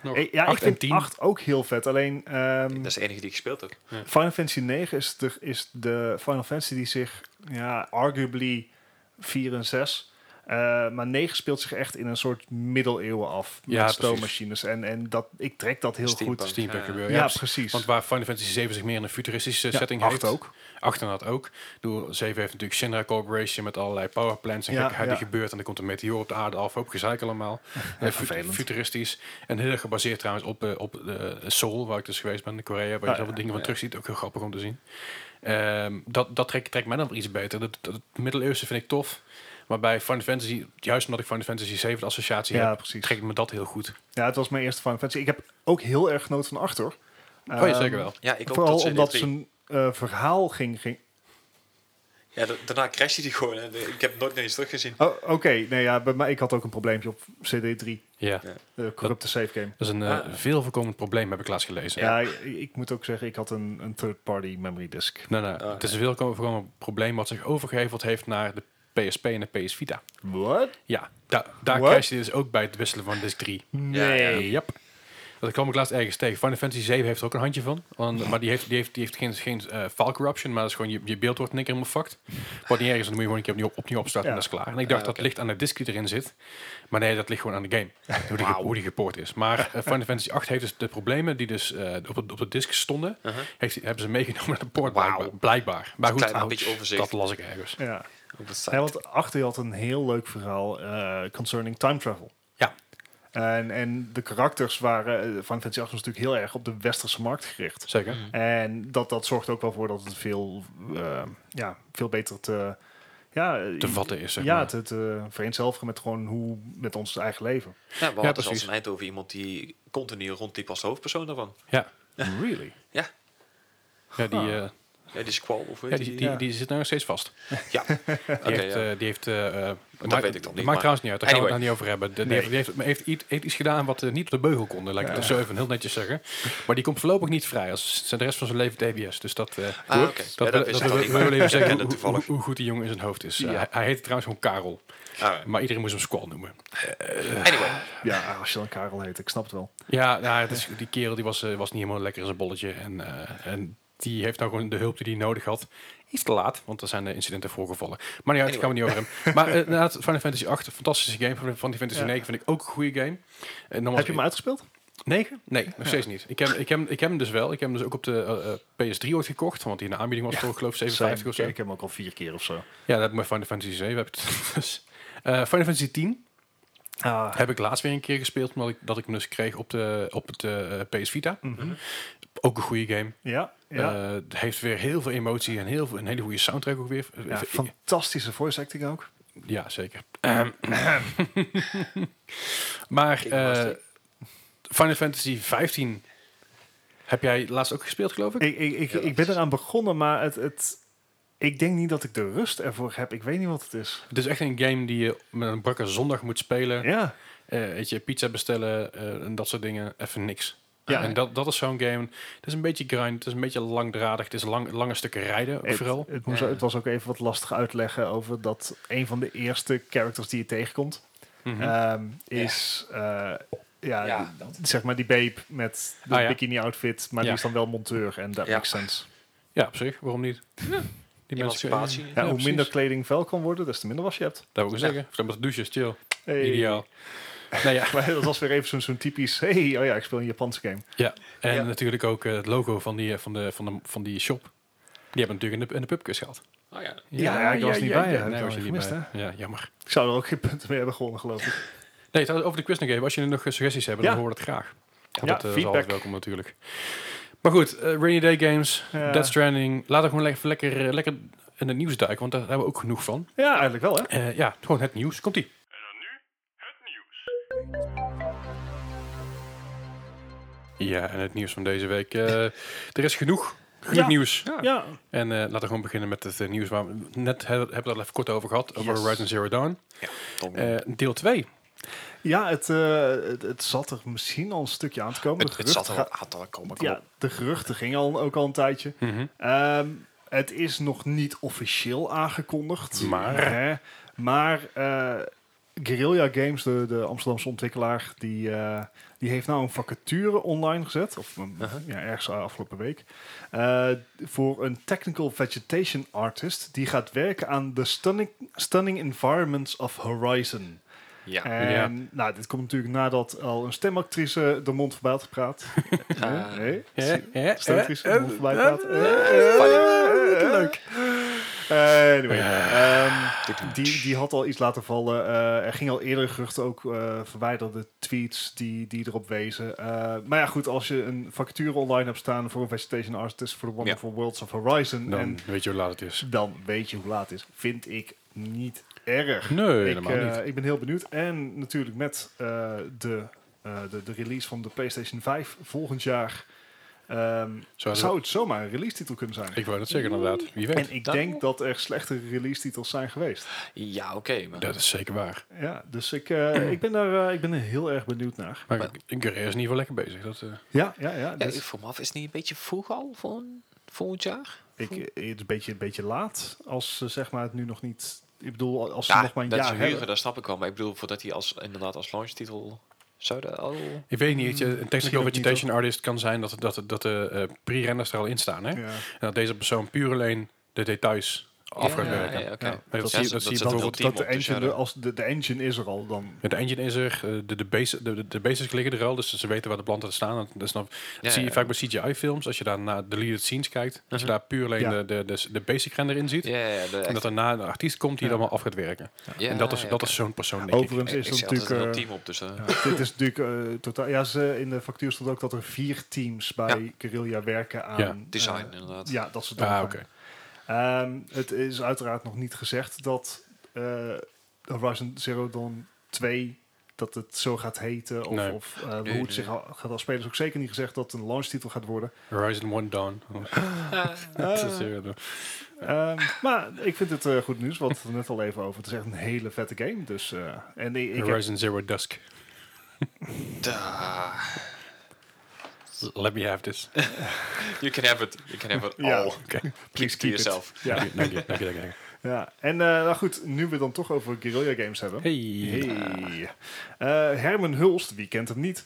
Speaker 1: Nog
Speaker 2: Eh, Ja, ik
Speaker 1: acht en
Speaker 2: vind
Speaker 1: 10.
Speaker 2: 8 ook heel vet. Alleen ehm,
Speaker 3: Dat is de enige die ik gespeeld heb.
Speaker 2: Final Fantasy 9 is de, is de Final Fantasy die zich, ja, arguably 4 en 6. eh, maar 9 speelt zich echt in een soort middeleeuwen af. Met
Speaker 1: Ja, precies.
Speaker 2: stoommachines. En, en dat, ik trek dat heel
Speaker 3: Steampunk.
Speaker 2: goed.
Speaker 1: Steampunk
Speaker 3: Ja.
Speaker 1: gebeuren.
Speaker 2: Ja,
Speaker 1: Ja,
Speaker 2: precies.
Speaker 1: Want waar Final Fantasy 7 zich meer in een futuristische
Speaker 2: Ja,
Speaker 1: setting
Speaker 2: acht
Speaker 1: heeft.
Speaker 2: ook.
Speaker 1: 8 inderdaad ook. Doe, 7 heeft natuurlijk Shinra Corporation met allerlei powerplants en
Speaker 2: Ja,
Speaker 1: gekkigheid
Speaker 2: ja.
Speaker 1: die gebeurt. En dan komt een meteor op de aarde af, hoop gezeik allemaal.
Speaker 2: <laughs>
Speaker 1: Eh, fut-
Speaker 2: vervelend.
Speaker 1: futuristisch. En heel erg gebaseerd trouwens op, eh, op eh, Seoul, waar ik dus geweest ben in Korea. Waar je
Speaker 2: Ah,
Speaker 1: zoveel
Speaker 2: ja,
Speaker 1: dingen van
Speaker 3: ja.
Speaker 1: terug ziet, ook heel grappig om te zien. Ehm, dat dat trekt trekt mij dan wel iets beter. Dat, dat, het middeleeuwse vind ik tof. Maar bij Final Fantasy, juist omdat ik Final Fantasy 7 de associatie
Speaker 2: Ja,
Speaker 1: heb,
Speaker 2: precies.
Speaker 1: trek ik me dat heel goed.
Speaker 2: Ja, het was mijn eerste Final Fantasy. Ik heb ook heel erg genoten van Achter. Ehm,
Speaker 1: oh ja, zeker wel.
Speaker 3: Ja, ik ook
Speaker 2: Vooral
Speaker 3: tot CD3.
Speaker 2: omdat zijn eh, verhaal ging... ging
Speaker 3: Ja, da- daarna crashte die gewoon. En, eh, ik heb nooit meer iets teruggezien.
Speaker 2: oh, Oké, nee, ja, bij mij, ik had ook een probleempje op CD3.
Speaker 1: Ja,
Speaker 3: Ja.
Speaker 2: De eh, corrupte save game.
Speaker 1: dat is een eh,
Speaker 3: Ah.
Speaker 1: veel voorkomend probleem, heb ik laatst gelezen.
Speaker 2: Ja, ik, ik moet ook zeggen, ik had een, een third-party memory disk.
Speaker 1: Nee, nee,
Speaker 3: Ah,
Speaker 1: het is een veel voorkomend probleem wat zich overgeheveld heeft naar de PSP en de PS Vita.
Speaker 2: What?
Speaker 1: Ja, da daar
Speaker 2: What?
Speaker 1: crashte dus ook bij het wisselen van disk 3.
Speaker 3: Nee.
Speaker 1: Yep. Dat kwam ik laatst ergens tegen. Final Fantasy 7 heeft er ook een handje van. Want- maar die heeft, die heeft, die heeft geen, geen eh, file corruption, maar dat is gewoon je, je beeld wordt in één keer helemaal fucked. Wat niet erg is, dan moet je gewoon een keer opnieuw, opnieuw opstarten
Speaker 2: Ja.
Speaker 1: en dat is klaar. En ik dacht,
Speaker 3: Ah, oké.
Speaker 1: dat ligt aan de disk die erin zit. Maar nee, dat ligt gewoon aan de game. Hoe die, ge- hoe die gepoord is. Maar eh,
Speaker 3: <laughs>
Speaker 1: Final Fantasy 8 heeft dus de problemen die dus eh, op, de, op de disk stonden,
Speaker 3: Uh-huh.
Speaker 1: heeft, hebben ze meegenomen naar de poort,
Speaker 3: Wauw.
Speaker 1: blijkbaar. blijkbaar. Maar
Speaker 3: Een
Speaker 1: goed,
Speaker 3: klein
Speaker 1: nou,
Speaker 3: beetje overzicht.
Speaker 1: dat las ik ergens.
Speaker 2: Ja.
Speaker 3: Op het
Speaker 2: Ja,
Speaker 3: site.
Speaker 2: want achter je had een heel leuk verhaal eh, concerning time travel.
Speaker 1: Ja.
Speaker 2: En, en de karakters waren eh, Final Fantasy 8 was natuurlijk heel erg op de westerse markt gericht.
Speaker 1: Zeker.
Speaker 3: Mm.
Speaker 2: En dat, dat zorgt ook wel voor dat het veel, eh, ja, veel beter te, ja, eh,
Speaker 1: Te vatten is, zeg
Speaker 2: ja,
Speaker 1: maar.
Speaker 2: te, te vereenzelvigen met gewoon hoe met ons eigen leven.
Speaker 3: Ja, we hadden
Speaker 1: Ja,
Speaker 3: zelfs
Speaker 1: precies.
Speaker 3: in Eindhoven iemand die continu rondliep als de hoofdpersoon daarvan.
Speaker 1: Ja.
Speaker 2: Really?
Speaker 3: Ja,
Speaker 1: Ja, die, eh,
Speaker 3: Ah, ja die squall of hoe
Speaker 1: ja,
Speaker 3: heet
Speaker 1: die,
Speaker 3: die?
Speaker 1: die,
Speaker 2: ja.
Speaker 1: die zit nou nog steeds vast.
Speaker 3: Ja, oké.
Speaker 1: <laughs> Die heeft,
Speaker 3: ja.
Speaker 1: eh, die heeft eh, eh,
Speaker 3: dat
Speaker 1: maakt-
Speaker 3: weet ik dan niet,
Speaker 1: Maakt
Speaker 3: maar-
Speaker 1: trouwens niet uit, daar gaan we het
Speaker 3: Anyway.
Speaker 1: nou niet over hebben. De, die
Speaker 2: Nee.
Speaker 1: heeft, die heeft, heeft, iets- heeft iets gedaan wat eh, niet op de beugel kon, eh, lijkt het zo even heel netjes zeggen. Maar die komt voorlopig niet vrij als zijn de rest van zijn leven TBS. Dus dat, eh
Speaker 3: Ah, oké. Ja,
Speaker 1: dat,
Speaker 3: dat
Speaker 1: dat,
Speaker 3: wist
Speaker 1: dat
Speaker 3: ik
Speaker 1: wil
Speaker 3: niet,
Speaker 1: ik wel
Speaker 3: maar
Speaker 1: even
Speaker 3: ik <laughs>
Speaker 1: zeggen
Speaker 3: herkende
Speaker 1: hoe,
Speaker 3: het toevallig.
Speaker 1: hoe- hoe goed die jongen in zijn hoofd is. Eh, hij, hij heette trouwens gewoon Karel,
Speaker 3: Ah,
Speaker 1: maar iedereen moest hem Squall noemen.
Speaker 3: anyway,
Speaker 2: Ja, als je dan Karel heet, ik snap het wel.
Speaker 1: Ja, nou, het is, die kerel die was, eh, was niet helemaal lekker in zijn bolletje. En, eh, en die heeft nou gewoon de hulp die hij nodig had. Iets te laat, want er zijn eh, incidenten voorgevallen. Maar ja, het gaan we niet over hem. Maar eh, inderdaad, Final Fantasy 8, een fantastische game. Van Final Fantasy
Speaker 2: Ja.
Speaker 1: 9 vind ik ook een goede game. Eh, nogmaals,
Speaker 2: Heb je hem uitgespeeld?
Speaker 1: 9? Nee, nog steeds niet. Ik heb, ik, heb, ik heb hem dus wel. Ik heb hem dus ook op de eh, eh, PS3 ooit gekocht. Want die in de aanbieding was voor, ik geloof, 57 of zo.
Speaker 2: Ik heb hem ook al vier keer of zo.
Speaker 1: Ja, dat heb ik met Final Fantasy 7. Heb ik het. <laughs> dus, eh, Final Fantasy 10
Speaker 2: Ah,
Speaker 1: heb ik laatst weer een keer gespeeld, omdat ik, dat ik hem dus kreeg op, de, op het eh, PS Vita. Ook een goede game.
Speaker 2: ja, ja.
Speaker 1: Eh, Het heeft weer heel veel emotie en heel veel, een hele goede soundtrack ook weer.
Speaker 2: ja,
Speaker 1: Eh,
Speaker 2: fantastische voice acting ook.
Speaker 1: ja, zeker. Ehm. <clears throat> maar
Speaker 3: Kijk,
Speaker 1: eh,
Speaker 3: Master.
Speaker 1: Final Fantasy 15 heb jij laatst ook gespeeld, geloof ik?
Speaker 2: Ik, ik, ik,
Speaker 3: Ja, dat
Speaker 2: ik ben
Speaker 3: is-
Speaker 2: eraan begonnen, maar het, het, ik denk niet dat ik de rust ervoor heb. Ik weet niet wat het is.
Speaker 1: Het is echt een game die je met een brakke zondag moet spelen.
Speaker 2: Ja,
Speaker 1: Eh, weet je, pizza bestellen eh, en dat soort dingen. Even niks. Eh,
Speaker 2: Ja.
Speaker 1: en dat, dat is zo'n game. Het is een beetje grind, het is een beetje langdradig, het is lang, lange stukken rijden
Speaker 2: het,
Speaker 1: vooral.
Speaker 2: Het, moest,
Speaker 3: Ja.
Speaker 2: het was ook even wat lastig uitleggen over dat een van de eerste characters die je tegenkomt
Speaker 1: Mhm.
Speaker 2: ehm, is... eh, ja,
Speaker 3: Ja, dat.
Speaker 2: zeg maar die babe met de
Speaker 1: Ah, ja.
Speaker 2: bikini outfit, maar
Speaker 1: Ja.
Speaker 2: die is dan wel monteur en dat
Speaker 3: Ja.
Speaker 2: makes sense.
Speaker 1: ja, op zich, waarom niet? Die
Speaker 3: emancipatie.
Speaker 2: Ja,
Speaker 1: Ja,
Speaker 2: hoe minder
Speaker 1: precies.
Speaker 2: kleding vuil kan worden, des te minder was je hebt.
Speaker 1: Dat wil ik
Speaker 3: Ja.
Speaker 1: zeggen. Of dan met douches, chill.
Speaker 2: Hey.
Speaker 1: Ideaal. Nou ja,
Speaker 2: <laughs> Maar dat was weer even zo'n zo'n typisch, hey, oh ja, ik speel een Japanse game.
Speaker 1: ja. En
Speaker 3: Ja.
Speaker 1: natuurlijk ook eh, het logo van die, eh, van, de, van, de, van die shop. Die hebben natuurlijk in de, in de pubkus gehad.
Speaker 3: Oh ja.
Speaker 2: Ja, ja, ik was niet bij, hè. Heb ik
Speaker 1: Nee,
Speaker 2: al
Speaker 1: was je niet
Speaker 2: gemist,
Speaker 1: bij. Ja, jammer.
Speaker 2: Ik zou er ook geen punten mee hebben gewonnen, geloof ik.
Speaker 1: Nee, trouwens, over de quiz nog even. Als jullie nog eh, suggesties hebben,
Speaker 2: Ja.
Speaker 1: dan horen we dat graag.
Speaker 2: Ja,
Speaker 1: Want dat eh, is
Speaker 2: feedback.
Speaker 1: altijd welkom natuurlijk. Maar goed, eh, Rainy Day Games,
Speaker 2: Ja.
Speaker 1: Death Stranding. Laten we gewoon even lekker, eh, lekker in het nieuws duiken, want daar hebben we ook genoeg van.
Speaker 2: Ja, eigenlijk wel, hè?
Speaker 1: Eh, ja, gewoon het nieuws. Komt-ie. Ja, en het nieuws van deze week. eh, er is genoeg, genoeg
Speaker 2: Ja.
Speaker 1: nieuws.
Speaker 2: Ja,
Speaker 1: En eh, laten we gewoon beginnen met het eh, nieuws waar we net he- hebben we het al even kort over gehad. Over
Speaker 2: Yes.
Speaker 1: Horizon Zero Dawn.
Speaker 3: Tom.
Speaker 1: Eh, deel 2.
Speaker 2: ja het, eh, het, het zat er misschien al een stukje aan te komen. De
Speaker 3: het, het zat er
Speaker 2: geruchten
Speaker 3: al aan te komen.
Speaker 2: ga-
Speaker 3: Ja.
Speaker 2: ja, de geruchten gingen al, ook al een tijdje. Ehm, het is nog niet officieel aangekondigd.
Speaker 1: Maar?
Speaker 2: Hè? Maar eh, Guerrilla Games, de, de Amsterdamse ontwikkelaar, die, eh, die heeft nou een vacature online gezet. Of mm, ja, ergens afgelopen week. eh, voor een technical vegetation artist. Die gaat werken aan de stunning, stunning environments of Horizon.
Speaker 3: Ja.
Speaker 2: En nou, dit komt natuurlijk nadat al een stemactrice de mond voorbij had gepraat.
Speaker 3: Ah.
Speaker 2: Nee,
Speaker 1: Eh, eh, eh,
Speaker 2: Stemactrice de
Speaker 1: eh,
Speaker 2: mond voorbij praat.
Speaker 1: eh, eh,
Speaker 2: leuk. Eh, anyway, ehm, die, die had al iets laten vallen. Eh, er ging al eerder geruchten ook eh, verwijderde tweets die, die erop wezen. Eh, maar ja, goed, als je een vacature online hebt staan voor een vegetation artist voor de Wonderful Worlds of Horizon,
Speaker 1: Dan
Speaker 2: en
Speaker 1: weet je hoe laat het is.
Speaker 2: dan weet je hoe laat het is. Vind ik niet erg.
Speaker 1: Nee,
Speaker 2: ik,
Speaker 1: helemaal
Speaker 2: eh,
Speaker 1: niet.
Speaker 2: ik ben heel benieuwd. En natuurlijk met eh, de, eh, de, de release van de PlayStation 5 volgend jaar. ehm,
Speaker 1: Zou
Speaker 2: zou het zomaar een release titel kunnen zijn?
Speaker 1: Ik wou dat zeggen inderdaad. Wie weet.
Speaker 2: En ik
Speaker 3: dat-
Speaker 2: denk dat er slechte release titels zijn geweest.
Speaker 3: Ja, oké. maar
Speaker 1: Dat is zeker waar.
Speaker 2: Ja, dus ik, eh, ik, ben, daar, eh, ik ben er heel erg benieuwd naar.
Speaker 1: Maar Guerrero is in ieder geval lekker bezig. Dat, eh,
Speaker 2: Ja, ja, ja.
Speaker 3: ja,
Speaker 2: dus
Speaker 3: ik vroeg me af, is het niet een beetje vroeg al voor een- volgend jaar?
Speaker 2: ik, eh, het is een beetje, een beetje laat als ze zeg maar, het nu nog niet... Ik bedoel, als ze
Speaker 3: Ja,
Speaker 2: nog maar een
Speaker 3: dat
Speaker 2: jaar
Speaker 3: is huren,
Speaker 2: hebben.
Speaker 3: dat snap ik wel. Maar ik bedoel, voordat hij als, inderdaad als launchtitel zouden al...
Speaker 1: ik weet niet, weet je, een technical
Speaker 2: ook niet,
Speaker 1: vegetation artist kan zijn dat, dat, dat de eh, pre-renders er al in staan. Hè? En
Speaker 2: Ja.
Speaker 1: dat deze persoon puur alleen de details af gaat
Speaker 3: Ja,
Speaker 1: werken.
Speaker 3: ja, oké.
Speaker 2: Ja,
Speaker 1: dat zie je- dat zie je
Speaker 3: zet een heel
Speaker 1: bijvoorbeeld
Speaker 3: team
Speaker 2: Dat de
Speaker 3: op, dus ja,
Speaker 2: engine, er- als de, de engine is er al, dan...
Speaker 1: Ja, De engine is er, eh, de, de, basi- de, de- de basics liggen er al, dus ze weten waar de planten staan. Dat, dat, snap- dat
Speaker 3: Ja,
Speaker 1: zie je
Speaker 3: ja. Mhm.
Speaker 1: vaak bij CGI-films, als je daar naar deleted scenes kijkt, als je daar puur alleen
Speaker 2: Ja.
Speaker 1: de, de, de, de basic render in ziet,
Speaker 3: Ja, ja, ja, de-
Speaker 1: en dat daarna een artiest komt die
Speaker 2: Ja.
Speaker 1: dat allemaal af gaat werken.
Speaker 3: ja,
Speaker 1: en dat is,
Speaker 3: ja,
Speaker 1: dat
Speaker 3: oké.
Speaker 1: is zo'n persoon, denk ik.
Speaker 2: Overigens
Speaker 3: Ik-
Speaker 2: is
Speaker 3: ik
Speaker 2: het
Speaker 3: zet altijd een heel
Speaker 2: natuurlijk... eh,
Speaker 3: team op, dus... eh,
Speaker 2: <laughs> dit is natuurlijk eh, totaal... Ja, ze, in de factuur stond ook dat er vier teams bij
Speaker 3: Ja.
Speaker 2: Guerrilla werken aan...
Speaker 1: Ja.
Speaker 3: Design,
Speaker 2: eh,
Speaker 3: inderdaad.
Speaker 2: ja, dat soort dingen.
Speaker 1: Ah, oké.
Speaker 2: Ehm, het is uiteraard nog niet gezegd dat eh, Horizon Zero Dawn 2 dat het zo gaat heten. Of,
Speaker 1: Nee.
Speaker 2: of eh, hoe
Speaker 3: nee.
Speaker 2: het zich al- gaat afspelen. Is ook zeker niet gezegd dat het een launchtitel gaat worden.
Speaker 1: Horizon One
Speaker 2: <laughs>
Speaker 1: Dawn.
Speaker 2: Ah.
Speaker 1: <laughs> Dat is, eh,
Speaker 2: Ehm, maar ik vind het eh, goed nieuws. Wat we het net al even over. Het is echt een hele vette game. Dus, eh, en ik, ik heb-
Speaker 1: Horizon Zero Dusk.
Speaker 3: Da.
Speaker 1: Let me have this.
Speaker 3: You can have it. You can have it all.
Speaker 2: Ja.
Speaker 1: Oké.
Speaker 2: Please
Speaker 3: Please keep
Speaker 2: keep it.
Speaker 3: yourself.
Speaker 2: ja,
Speaker 1: Dank je, dank je, dank je.
Speaker 2: ja. En eh, nou goed, nu we het dan toch over guerrilla games hebben.
Speaker 1: Hey.
Speaker 2: Hey. Eh, Herman Hulst, wie kent hem niet?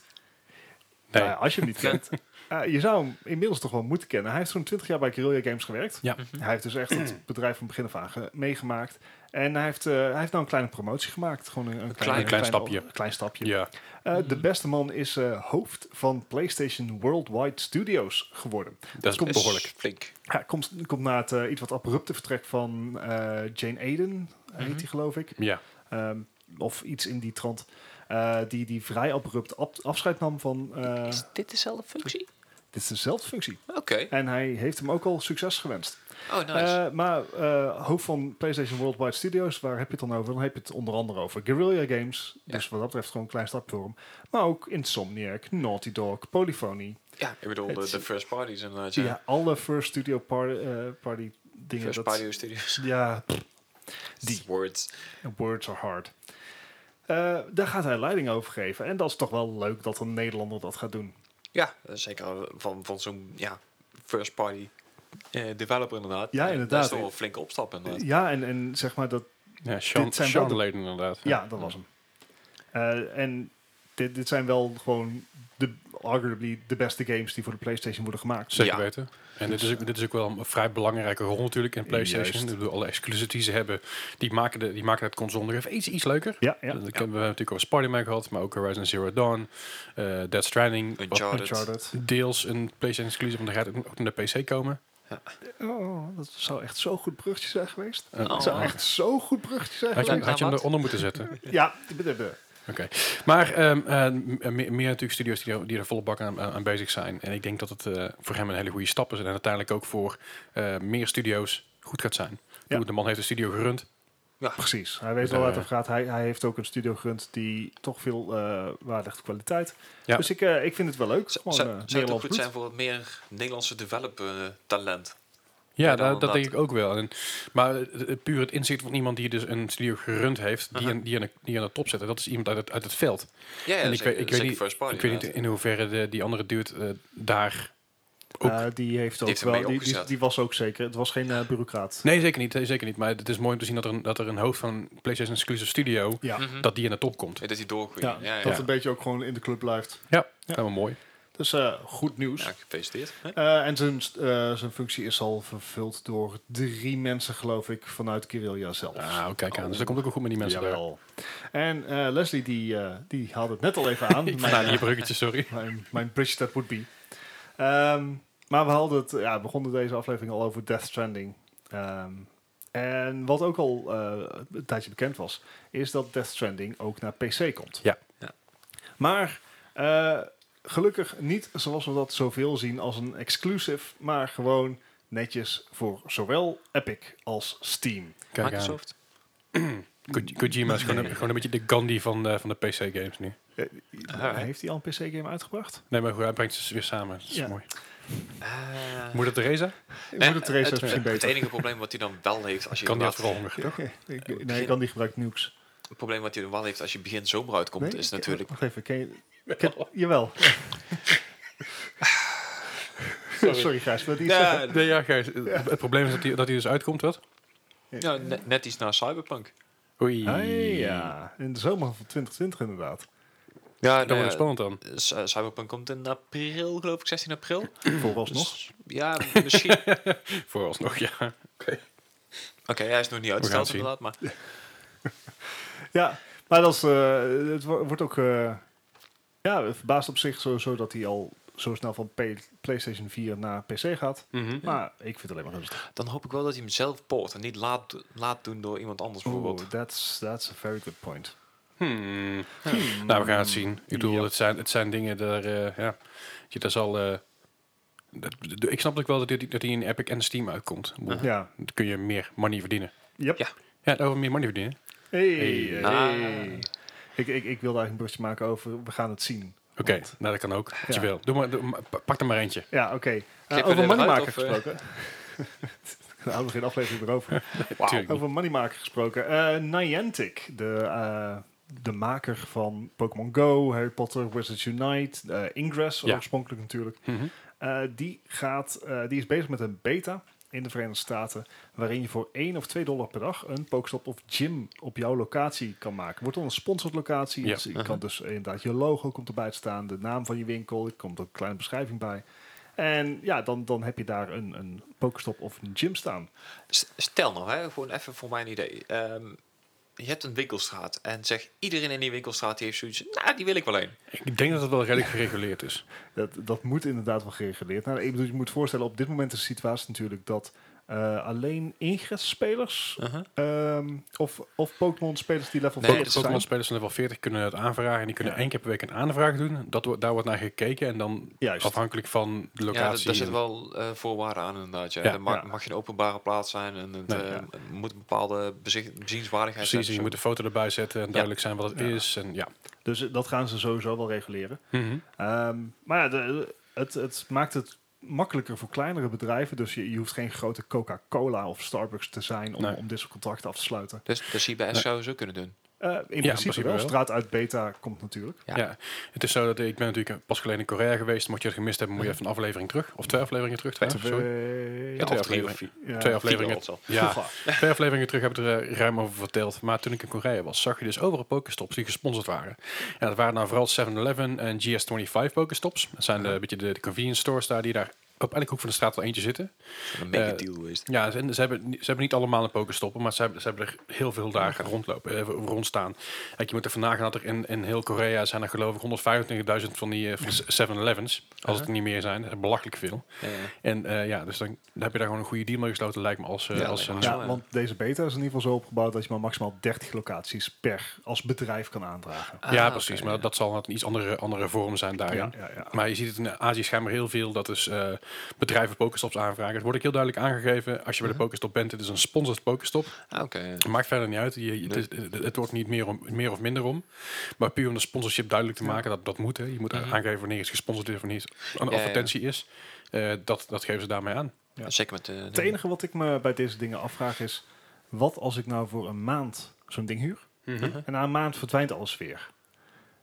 Speaker 1: Nee.
Speaker 2: Nou ja, als je
Speaker 1: <laughs>
Speaker 2: hem niet kent. eh, je zou hem inmiddels toch wel moeten kennen. Hij heeft zo'n 20 jaar bij Guerrilla Games gewerkt.
Speaker 1: Ja.
Speaker 2: Hij heeft dus echt
Speaker 1: <clears throat>
Speaker 2: het bedrijf van begin af aan ge- meegemaakt. En hij heeft, eh, hij heeft nou een kleine promotie gemaakt. Gewoon een, een, kleine-
Speaker 1: klein
Speaker 2: kleine-
Speaker 1: stapje.
Speaker 2: een klein stapje.
Speaker 1: Ja,
Speaker 2: Eh, de beste man is eh, hoofd van PlayStation Worldwide Studios geworden.
Speaker 1: dat is
Speaker 2: Komt-
Speaker 1: behoorlijk.
Speaker 3: Flink.
Speaker 2: Hij komt, komt na het eh, iets wat abrupte vertrek van eh, Jane Aiden,
Speaker 1: Mhm.
Speaker 2: heet die geloof ik.
Speaker 1: Ja,
Speaker 2: Ehm, of iets in die trant. eh, die, die vrij abrupt ab- afscheid nam van... eh,
Speaker 3: Is dit dezelfde functie?
Speaker 2: dit is dezelfde functie.
Speaker 3: Oké.
Speaker 2: En hij heeft hem ook al succes gewenst.
Speaker 3: Oh, nice.
Speaker 2: Eh, maar eh, hoofd van PlayStation Worldwide Studios, waar heb je het dan over? Dan heb je het onder andere over Guerrilla Games.
Speaker 3: Ja.
Speaker 2: Dus wat dat betreft gewoon een klein stap voor hem. Maar ook Insomniac, Naughty Dog, Polyphony.
Speaker 3: ja, ik bedoel, de,
Speaker 2: het-
Speaker 3: de first parties eh, inderdaad.
Speaker 2: Ja,
Speaker 3: Ja.
Speaker 2: alle first studio par- eh, party dingen.
Speaker 3: first
Speaker 2: dat-
Speaker 3: party studios.
Speaker 2: ja, pff, <laughs> Die.
Speaker 3: Die. Words.
Speaker 2: words are hard. Eh, daar gaat hij leiding over geven. En dat is toch wel leuk dat een Nederlander dat gaat doen.
Speaker 3: Ja, eh, zeker van, van zo'n ja, first party eh, developer inderdaad.
Speaker 2: Ja,
Speaker 3: Eh, Dat
Speaker 2: inderdaad.
Speaker 3: is toch wel een flinke opstap eh, inderdaad.
Speaker 2: Ja, en, en zeg maar dat...
Speaker 1: ja Sean,
Speaker 2: Dit zijn
Speaker 1: Sean
Speaker 2: wel de-
Speaker 1: Layden inderdaad.
Speaker 2: Ja, dat was hem. Eh, en dit, dit zijn wel gewoon de, arguably de beste games die voor de PlayStation worden gemaakt.
Speaker 1: Zeker
Speaker 3: Ja.
Speaker 1: weten. En dit is, ook, dit is ook wel een vrij belangrijke rol natuurlijk in PlayStation.
Speaker 2: Juist.
Speaker 1: Ik bedoel, alle exclusies die ze hebben, die maken, de, die maken het console nog even iets, iets leuker.
Speaker 2: Ja,
Speaker 1: Ja.
Speaker 2: ja.
Speaker 1: Dat hebben we natuurlijk over Spider-Man gehad, maar ook Horizon Zero Dawn, eh Dead Stranding. wat
Speaker 3: Uncharted.
Speaker 2: Uncharted.
Speaker 1: Deels een PlayStation exclusive, want dan gaat het ook naar de PC komen.
Speaker 2: Oh, dat zou echt zo goed bruggetje zijn geweest.
Speaker 1: Eh,
Speaker 3: Oh. nou,
Speaker 2: Dat zou echt zo goed bruggetje zijn
Speaker 1: Had je,
Speaker 2: geweest.
Speaker 1: had je hem
Speaker 3: Wat?
Speaker 1: eronder moeten zetten?
Speaker 2: Ja, dit- dit- dit.
Speaker 1: Oké. Maar ehm, eh, m- eh, meer, meer natuurlijk studios die er, die er volle bak aan, aan bezig zijn. En ik denk dat het eh, voor hem een hele goede stap is. En uiteindelijk ook voor eh, meer studio's goed gaat zijn. Ik bedoel, De man heeft een studio gerund.
Speaker 2: Precies. Hij weet
Speaker 1: Eh.
Speaker 2: wel waar het over gaat. Hij, hij heeft ook een studio gerund die toch veel eh waar ligt op kwaliteit.
Speaker 1: Ja.
Speaker 2: Dus ik, eh, ik vind het wel leuk.
Speaker 3: Z-
Speaker 2: Gewoon,
Speaker 3: zou,
Speaker 2: eh,
Speaker 3: zou het ook
Speaker 2: Nederlands
Speaker 3: goed
Speaker 2: bloed.
Speaker 3: zijn voor wat meer Nederlandse developer eh, talent?
Speaker 1: Ja,
Speaker 3: Ja,
Speaker 1: da- dat,
Speaker 3: dan
Speaker 1: denk ik ook wel. En, maar eh, eh, puur het inzicht van iemand die dus een studio gerund heeft, die,
Speaker 3: Aha.
Speaker 1: aan, die, aan de, die aan de top zet, en dat is iemand uit het, uit het veld.
Speaker 3: Ja, ja
Speaker 1: En ik
Speaker 3: zeker,
Speaker 1: weet- ik weet
Speaker 3: zeker
Speaker 1: niet-
Speaker 3: first party
Speaker 1: ik weet niet
Speaker 3: inderdaad.
Speaker 1: in hoeverre de, die andere dude eh, daar ook-
Speaker 2: Eh, die heeft ook
Speaker 3: heeft hem
Speaker 2: wel.
Speaker 3: mee
Speaker 2: Die, die,
Speaker 3: opgezet.
Speaker 2: die was ook zeker. Het was geen eh, bureaucraat.
Speaker 1: Nee, zeker niet. eh, Zeker niet. Maar het is mooi om te zien dat er een, dat er een hoofd van een PlayStation Exclusive Studio,
Speaker 2: Ja.
Speaker 3: Mhm.
Speaker 1: dat die aan de top komt.
Speaker 3: Ja, dat hij doorgroeit.
Speaker 2: Ja,
Speaker 3: Ja, ja,
Speaker 2: dat
Speaker 3: ja.
Speaker 2: een beetje ook gewoon in de club blijft.
Speaker 1: Ja, helemaal mooi.
Speaker 2: Dus eh, goed nieuws.
Speaker 3: Ja, gefeliciteerd. Hè?
Speaker 2: Eh, en zijn, eh, zijn functie is al vervuld door drie mensen, geloof ik, vanuit Guerrilla zelf.
Speaker 1: Nou, kijk aan. Dus dat komt ook wel goed met die mensen daar.
Speaker 2: Jawel. En eh, Leslie, die, eh, die haalde het net al even
Speaker 1: <laughs> Ik
Speaker 2: aan. Mijn,
Speaker 1: vandaar die bruggetje, sorry.
Speaker 2: mijn, mijn bridge that would be. Ehm, maar we hadden het, ja, we begonnen deze aflevering al over Death Stranding. Ehm, En wat ook al eh, een tijdje bekend was, is dat Death Stranding ook naar PC komt.
Speaker 1: Ja.
Speaker 3: Ja.
Speaker 2: Maar eh, gelukkig niet zoals we dat zoveel zien als een exclusive, maar gewoon netjes voor zowel Epic als Steam.
Speaker 1: Kijk aan.
Speaker 3: Microsoft.
Speaker 1: Ko- Kojima is gewoon een, gewoon een beetje de Gandhi van, eh, van de PC-games nu.
Speaker 2: Eh,
Speaker 3: Ah, hè?
Speaker 2: heeft hij al een PC-game uitgebracht?
Speaker 1: Nee, maar goed, hij brengt ze dus weer samen. Dat is
Speaker 2: Ja.
Speaker 1: mooi.
Speaker 3: Ah.
Speaker 1: Moeder Theresa?
Speaker 2: Moeder Theresa is
Speaker 3: het,
Speaker 2: misschien
Speaker 3: het
Speaker 2: beter.
Speaker 3: enige probleem wat hij dan wel heeft als je
Speaker 1: Gandhi had
Speaker 3: inderdaad-
Speaker 1: vooral honger. toch?
Speaker 2: Ik- nee, kan die gebruikt nukes.
Speaker 3: het probleem wat hij dan wel heeft als je begin zomer uitkomt
Speaker 2: Nee,
Speaker 3: is
Speaker 2: ik-
Speaker 3: natuurlijk
Speaker 2: Wacht even, ken je... ken- jawel. Sorry, Gijs, wil je iets
Speaker 1: <laughs>
Speaker 2: zeggen?
Speaker 3: Ja,
Speaker 1: Nee, ja, Gijs. Het- Het probleem is dat hij, dat hij dus uitkomt, wat?
Speaker 3: ja, net, net iets na Cyberpunk.
Speaker 1: Oei.
Speaker 2: Ah, ja, in de zomer van 2020 inderdaad.
Speaker 3: Ja,
Speaker 1: Dat wordt het spannend dan.
Speaker 3: Eh, Cyberpunk komt in april, geloof ik, 16 april.
Speaker 2: Vooralsnog.
Speaker 3: Dus, ja, misschien.
Speaker 1: <laughs>
Speaker 3: Oké,
Speaker 1: Vooralsnog, ja.
Speaker 3: hij is nog
Speaker 1: gaan
Speaker 3: niet
Speaker 1: het
Speaker 3: uitgesteld
Speaker 1: zien.
Speaker 3: inderdaad, maar
Speaker 2: Ja, maar dat is, eh, het wo- wordt ook eh ja, verbaasd op zich sowieso dat hij al zo snel van P- PlayStation 4 naar PC gaat.
Speaker 1: Mhm.
Speaker 2: Maar ik vind het alleen maar rustig.
Speaker 3: dan hoop ik wel dat hij hem zelf poort en niet laat, laat doen door iemand anders bijvoorbeeld.
Speaker 2: Oeh, that's, that's a very good point.
Speaker 1: Hmm. Nou, we gaan het zien. Ik bedoel,
Speaker 2: Ja.
Speaker 1: het, zijn, het zijn dingen daar... eh, ja, je, daar zal... eh, dat, dat- ik snap ook wel dat hij dat die in Epic en Steam uitkomt. Ik bedoel,
Speaker 2: Ja.
Speaker 1: Dan kun je meer money verdienen.
Speaker 2: Yep.
Speaker 3: Ja.
Speaker 1: Ja, daarover meer money verdienen.
Speaker 2: Hey,
Speaker 1: Hey.
Speaker 2: hey. Ik, ik, ik wilde eigenlijk een brugje maken over, we gaan het zien.
Speaker 1: Oké, nou dat kan ook. Wat je
Speaker 2: Ja.
Speaker 1: wil. Doe maar, doe maar- pa- pak er maar eentje.
Speaker 2: Ja, oké. Eh,
Speaker 3: Knippen we
Speaker 2: over
Speaker 3: er nog
Speaker 2: moneymaker
Speaker 3: uit, of, eh?
Speaker 2: gesproken. <laughs> Daar hadden we geen aflevering meer over.
Speaker 1: Tuurlijk niet.
Speaker 2: Over moneymaker gesproken. Eh, Niantic, de, eh, de maker van Pokémon Go, Harry Potter, Wizards Unite, eh, Ingress
Speaker 1: Ja.
Speaker 2: oorspronkelijk natuurlijk.
Speaker 1: Mhm.
Speaker 2: Eh, die, gaat, eh, die is bezig met een beta in de Verenigde Staten, waarin je voor 1 of 2 dollar per dag een Pokestop of gym op jouw locatie kan maken. Wordt dan een sponsored locatie.
Speaker 1: Ja.
Speaker 2: Dus je kan dus inderdaad je logo komt erbij te staan, de naam van je winkel, er komt ook een kleine beschrijving bij. En ja, dan, dan heb je daar een, een Pokestop of een gym staan.
Speaker 3: S- Stel nou, hè, gewoon even voor mijn idee. Ehm, je hebt een winkelstraat en zeg iedereen in die winkelstraat die heeft zoiets. Nou, die wil ik wel een.
Speaker 1: Ik denk dat het wel redelijk gereguleerd is.
Speaker 2: Dat, dat moet inderdaad wel gereguleerd. Nou, ik bedoel, je moet voorstellen, op dit moment is de situatie natuurlijk dat eh, alleen ingress-spelers
Speaker 3: Uh-huh.
Speaker 2: ehm, of, of Pokémon-spelers die level
Speaker 3: Nee,
Speaker 1: Nee, de
Speaker 2: 40 zijn.
Speaker 1: Pokémon-spelers van level 40 kunnen het aanvragen. En die kunnen één keer per week een aanvraag doen. Dat, wordt- daar wordt naar gekeken. En dan
Speaker 2: Juist.
Speaker 1: afhankelijk van de
Speaker 3: Ja, daar-
Speaker 1: locatie.
Speaker 3: daar zitten wel eh, voorwaarden aan inderdaad. Ja.
Speaker 1: Ja.
Speaker 3: Dan mag,
Speaker 2: Ja.
Speaker 3: mag je een openbare plaats zijn en het
Speaker 1: Nee,
Speaker 3: eh,
Speaker 2: ja.
Speaker 3: het moet een bepaalde bezicht- bezienswaardigheid
Speaker 1: Precies, en je
Speaker 3: hebben.
Speaker 1: moet de foto erbij zetten en duidelijk zijn wat het
Speaker 2: Ja.
Speaker 1: is. En ja. Mhm.
Speaker 2: Dus eh, dat gaan ze sowieso wel reguleren. Ehm, maar ja, de- het, het maakt het makkelijker voor kleinere bedrijven. Dus je, je hoeft geen grote Coca-Cola of Starbucks te zijn om,
Speaker 1: Nee.
Speaker 2: om dit soort contracten af te sluiten.
Speaker 3: Dus, dus hierbij
Speaker 1: Nee.
Speaker 3: zouden ze ook kunnen doen.
Speaker 2: Eh, in, principe
Speaker 1: principe
Speaker 2: wel.
Speaker 1: wel.
Speaker 2: Straat uit beta komt natuurlijk.
Speaker 1: Ja.
Speaker 3: Ja.
Speaker 1: het is zo dat ik ben natuurlijk pas geleden in Korea geweest. Mocht je het gemist hebben, moet je even een aflevering terug. Of twee afleveringen terug. Twee, sorry.
Speaker 2: Twee-
Speaker 1: Ja, twee
Speaker 3: of drie of
Speaker 1: afleveringen.
Speaker 2: Eh, ja.
Speaker 1: Twee afleveringen.
Speaker 3: Vier wel,
Speaker 1: Ja, twee afleveringen terug heb ik er eh, ruim over verteld. Maar toen ik in Korea was, zag je dus overal Pokestops die gesponsord waren. En dat waren nou vooral 7-Eleven en GS25 Pokestops. Dat zijn de, een beetje de, de convenience stores daar die daar op elke hoek van de straat wel eentje zitten.
Speaker 3: Een mega
Speaker 1: Eh,
Speaker 3: deal geweest.
Speaker 1: Ja, ze, en ze, hebben, ni- ze hebben niet allemaal een pokerstoppen, maar ze hebben, ze hebben er heel veel dagen rondlopen, eh, rondstaan. Kijk, je moet er vandaag dat er in, in heel Korea zijn er geloof ik 125.000 van die eh, van de 7-Elevens, als het er niet meer zijn. Dat is belachelijk veel.
Speaker 3: Ja, ja.
Speaker 1: En eh, ja, dus dan, dan heb je daar gewoon een goede deal mee gesloten, lijkt me, als, eh,
Speaker 3: Ja,
Speaker 1: als
Speaker 3: lijkt me
Speaker 1: een
Speaker 3: wel.
Speaker 2: Ja, want deze beta is in ieder geval zo opgebouwd dat je maar maximaal 30 locaties per als bedrijf kan aandragen.
Speaker 3: Ah,
Speaker 1: ja,
Speaker 3: oké,
Speaker 1: precies.
Speaker 3: ja.
Speaker 1: Maar dat zal een iets andere, andere vorm zijn daarin.
Speaker 2: Ja, ja, ja.
Speaker 1: Maar je ziet het in Azië schijnbaar heel veel. Dat is eh, bedrijven pokerstops aanvragen. Het wordt ook heel duidelijk aangegeven. Als je
Speaker 3: Mhm.
Speaker 1: bij de pokerstop bent, het is een sponsored pokerstop.
Speaker 3: Ah, oké. ja.
Speaker 1: Het maakt verder niet uit. Je, je- het, is- het- het wordt niet meer, om, meer of minder om. Maar puur om de sponsorship duidelijk te maken, dat, dat moet. Hè. Je moet aangeven wanneer het gesponsord is of wanneer het een
Speaker 3: Ja, ja.
Speaker 1: advertentie is. Eh, dat, dat geven ze daarmee aan.
Speaker 2: Ja.
Speaker 3: Zeker met eh, de...
Speaker 2: Het enige wat ik me bij deze dingen afvraag is, wat als ik nou voor een maand zo'n ding huur? En na een maand verdwijnt alles weer.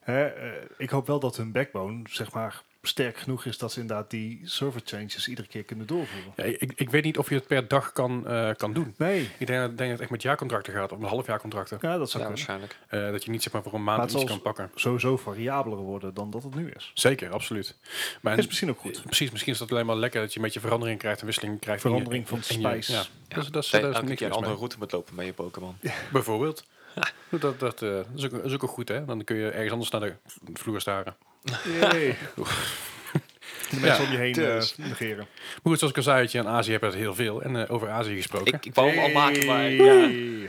Speaker 2: Hè, eh, ik hoop wel dat hun backbone, zeg maar, sterk genoeg is dat ze inderdaad die server changes iedere keer kunnen doorvoeren.
Speaker 1: Ja, ik, ik weet niet of je het per dag kan, eh, kan doen.
Speaker 2: Nee,
Speaker 1: Ik denk, dat- denk dat het echt met jaarcontracten gaat, of met halfjaarcontracten.
Speaker 2: ja, dat zou
Speaker 3: Ja,
Speaker 2: kunnen.
Speaker 3: waarschijnlijk.
Speaker 1: Eh, dat je niet zeg maar, voor een
Speaker 2: Maar
Speaker 1: maand
Speaker 2: het
Speaker 1: iets
Speaker 2: zal-
Speaker 1: kan pakken.
Speaker 2: Sowieso variabeler worden dan dat het nu is.
Speaker 1: Zeker, absoluut. Maar
Speaker 2: Is misschien ook
Speaker 1: <laughs>
Speaker 2: goed.
Speaker 1: Precies, misschien is dat alleen maar lekker dat je een beetje verandering krijgt en wisseling krijgt. in je-
Speaker 2: Verandering van
Speaker 1: in je-
Speaker 2: spijs.
Speaker 1: ja. Dus dat is,
Speaker 3: Dat
Speaker 1: daar is niks
Speaker 3: elke keer een
Speaker 1: mis mee.
Speaker 3: andere route moet lopen met je Pokémon.
Speaker 1: Bijvoorbeeld. Dat, dat, eh, dat is ook, dat is ook wel goed, hè? Dan kun je ergens anders naar de vloer staren.
Speaker 2: Yay. de mensen om je heen
Speaker 3: dus.
Speaker 2: eh, negeren.
Speaker 1: Maar goed, zoals ik al zei, weet je, in Azië heb je dat heel veel. En eh, over Azië gesproken.
Speaker 3: Ik, ik wou hem al maken, maar...
Speaker 2: Hey.
Speaker 3: Ja.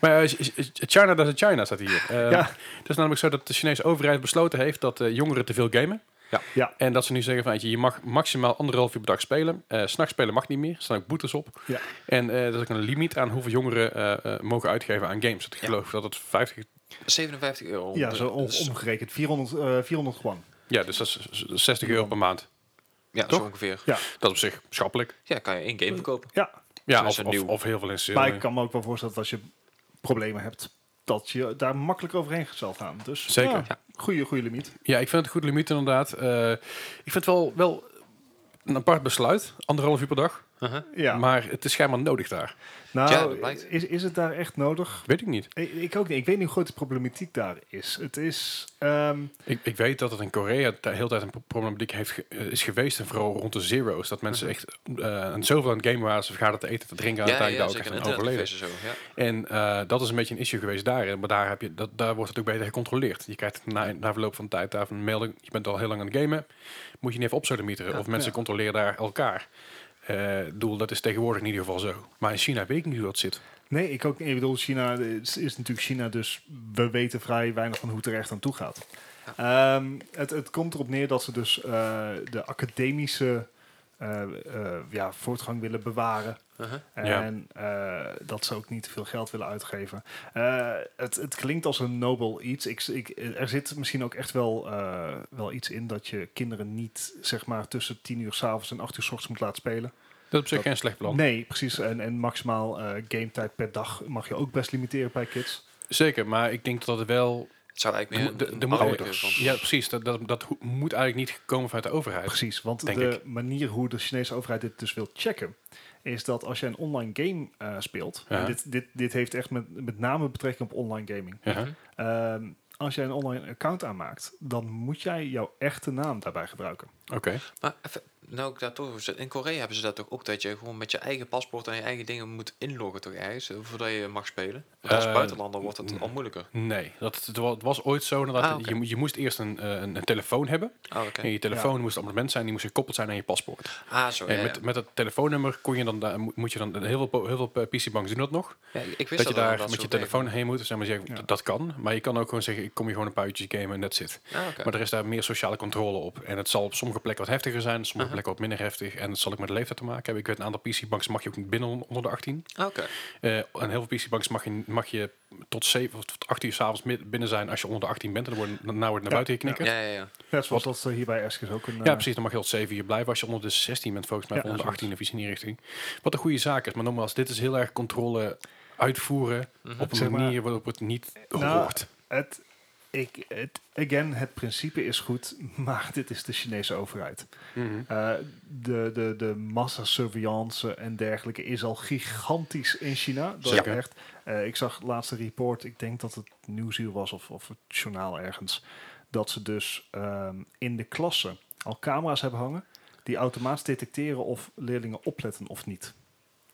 Speaker 1: Maar eh, Ch- Ch- China doesn't China staat hier. Eh,
Speaker 2: Ja.
Speaker 1: Het is namelijk zo dat de Chinese overheid besloten heeft dat eh, jongeren te veel gamen.
Speaker 3: Ja.
Speaker 2: Ja.
Speaker 1: En dat ze nu zeggen van, weet je, je mag maximaal anderhalf uur per dag spelen. Eh, S S'nachts spelen mag niet meer. Er staan ook boetes op.
Speaker 2: Ja.
Speaker 1: En eh, er is ook een limiet aan hoeveel jongeren eh, eh, mogen uitgeven aan games. Ik
Speaker 3: Ja.
Speaker 1: geloof dat het 50...
Speaker 3: 57 euro.
Speaker 2: Ja, zo om-
Speaker 3: Dus-
Speaker 2: omgerekend. 400, eh 400 gewoon.
Speaker 1: Ja, dus dat is z- z- 60 euro per maand.
Speaker 3: ja,
Speaker 1: toch? Eh,
Speaker 3: zo ongeveer.
Speaker 2: Ja,
Speaker 1: Dat is op zich schappelijk.
Speaker 3: Ja, kan je één game verkopen.
Speaker 2: ja.
Speaker 1: Ja,
Speaker 3: Dat
Speaker 1: of,
Speaker 3: is een
Speaker 1: of,
Speaker 3: nieuw.
Speaker 1: of heel veel in sale.
Speaker 2: maar ik kan me ook wel voorstellen dat als je problemen hebt, dat je daar makkelijk overheen zal gaan. Dus
Speaker 1: Zeker.
Speaker 2: Ja, goede, goede limiet.
Speaker 1: Ja, ik vind het een goed limiet inderdaad. Eh, ik vind het wel, wel een apart besluit. Anderhalf uur per dag.
Speaker 2: Ja.
Speaker 1: Maar het is schijnbaar nodig daar.
Speaker 3: Ja,
Speaker 2: nou,
Speaker 3: dat blijkt.
Speaker 2: is, is het daar echt nodig?
Speaker 1: Weet ik niet.
Speaker 2: Ik, ik ook niet. Ik weet niet hoe groot de problematiek daar is. Het is... ehm,
Speaker 1: Ik, ik weet dat het in Korea de hele tijd een pro- problematiek heeft ge- eh, is geweest. En vooral rond de zero's. Dat mensen echt eh, aan zoveel aan het gamen waren. Ze vergaarden te eten, te drinken. Aan het
Speaker 3: Mhm. Ja,
Speaker 1: einde
Speaker 3: ja,
Speaker 1: daar ook
Speaker 3: zeker.
Speaker 1: echt
Speaker 3: Een
Speaker 1: aan overleden.
Speaker 3: internetcafés en zo. Ja.
Speaker 1: En eh, dat is een beetje een issue geweest daar. Maar daar, heb je, dat, daar wordt het ook beter gecontroleerd. Je krijgt na, na verloop van tijd daar een melding. Je bent al heel lang aan het gamen. Moet je niet even opsodemieteren. of mensen
Speaker 2: ja.
Speaker 1: controleren daar elkaar. Eh, Ik doel, dat is tegenwoordig in ieder geval zo. Maar in China weet ik niet hoe dat zit.
Speaker 2: nee, ik ook niet. Ik bedoel, China is, is natuurlijk China, dus we weten vrij weinig van hoe het er echt aan toe gaat. Ehm, het, het komt erop neer dat ze dus eh, de academische eh, eh, ja, voortgang willen bewaren.
Speaker 3: Uh-huh.
Speaker 1: Ja.
Speaker 2: En eh, dat ze ook niet te veel geld willen uitgeven. Eh, het, het klinkt als een nobel iets. Ik, ik, er zit misschien ook echt wel, eh, wel iets in dat je kinderen niet zeg maar, tussen 10 uur s'avonds en 8 uur s ochtends moet laten spelen.
Speaker 1: Dat is op zich
Speaker 2: Dat-
Speaker 1: geen slecht plan.
Speaker 2: Nee, precies. En, en maximaal eh game tijd per dag mag je ook best limiteren bij kids.
Speaker 1: Zeker, maar ik denk dat het wel...
Speaker 3: Het zou eigenlijk meer
Speaker 1: de-
Speaker 3: een-
Speaker 1: de-
Speaker 3: een
Speaker 1: moet-
Speaker 3: ouder van-
Speaker 1: Ja, precies. Dat, dat, dat ho- moet eigenlijk niet komen vanuit de overheid.
Speaker 2: Precies, want
Speaker 1: Denk
Speaker 2: de
Speaker 1: ik.
Speaker 2: manier hoe de Chinese overheid dit dus wil checken, is dat als je een online game eh, speelt,
Speaker 1: Ja.
Speaker 2: en dit, dit, dit heeft echt met, met name betrekking op online gaming.
Speaker 1: Ja.
Speaker 2: Ehm, als jij een online account aanmaakt, dan moet jij jouw echte naam daarbij gebruiken.
Speaker 1: Oké.
Speaker 3: Maar even, nou ik daar toch over zit. In Korea hebben ze dat toch ook dat je gewoon met je eigen paspoort en je eigen dingen moet inloggen toch ergens eh, voordat je mag spelen. Want als
Speaker 1: Eh,
Speaker 3: buitenlander wordt het al moeilijker.
Speaker 1: Nee, dat, het wa- het was ooit zo. inderdaad.
Speaker 3: Ah, oké.
Speaker 1: je, mo- je moest eerst een, eh, een, een telefoon hebben.
Speaker 3: Ah, oké.
Speaker 1: En je telefoon moest een abonnement zijn. Die moest gekoppeld zijn aan je paspoort.
Speaker 3: Ah, zo. Ja,
Speaker 1: En met,
Speaker 3: ja.
Speaker 1: met dat telefoonnummer kon je dan, daar- mo- moet je dan heel veel, po- heel veel eh, PC-banks doen dat nog.
Speaker 3: Ja, ik
Speaker 1: Dat,
Speaker 3: wist dat,
Speaker 1: je
Speaker 3: er
Speaker 1: daar
Speaker 3: inderdaad
Speaker 1: met
Speaker 3: zo
Speaker 1: je telefoon
Speaker 3: werkt.
Speaker 1: heen moet. Dus dan maar zeggen,
Speaker 2: Ja.
Speaker 1: dat- dat kan. Maar je kan ook gewoon zeggen, ik kom je gewoon een paar uurtjes gamen en dat zit.
Speaker 3: Ah, oké.
Speaker 1: Maar er is daar meer sociale controle op. En het zal op sommige plekken wat heftiger zijn, sommige plekken wat minder heftig. En dat zal ook met de leeftijd te maken hebben. Ik weet, een aantal PC-banks mag je ook niet binnen on- onder de 18.
Speaker 3: Ah, oké.
Speaker 1: Eh, en heel veel PC-banks mag je, mag je tot 7 of tot 8 uur s'avonds binnen zijn als je onder de 18 bent. En dan wordt, daarna wordt naar buiten geknikkerd. Ja.
Speaker 3: Ja, ja, ja.
Speaker 2: Net zoals dat ze hier bij Eskis ook een... eh,
Speaker 1: precies. Dan mag je tot 7 uur blijven als je onder de 16 bent, volgens mij.
Speaker 2: Ja,
Speaker 1: of onder de
Speaker 2: zoiets.
Speaker 1: 18 of iets in die richting. Wat een goede zaak is. Maar nogmaals, dit is heel erg controle uitvoeren op een
Speaker 2: Mhm. Zeg maar-
Speaker 1: manier waarop het niet
Speaker 2: Nou,
Speaker 1: hoort.
Speaker 2: Het, ik, het, again, het principe is goed, <laughs> maar dit is de Chinese overheid.
Speaker 1: Mhm.
Speaker 2: Eh, de, de, de massasurveillance en dergelijke is al gigantisch in China. Dat
Speaker 1: Zeker.
Speaker 2: is echt. eh, ik zag laatste report, ik denk dat het nieuwsuur was of, of het journaal ergens, dat ze dus ehm, in de klassen al camera's hebben hangen die automatisch detecteren of leerlingen opletten of niet.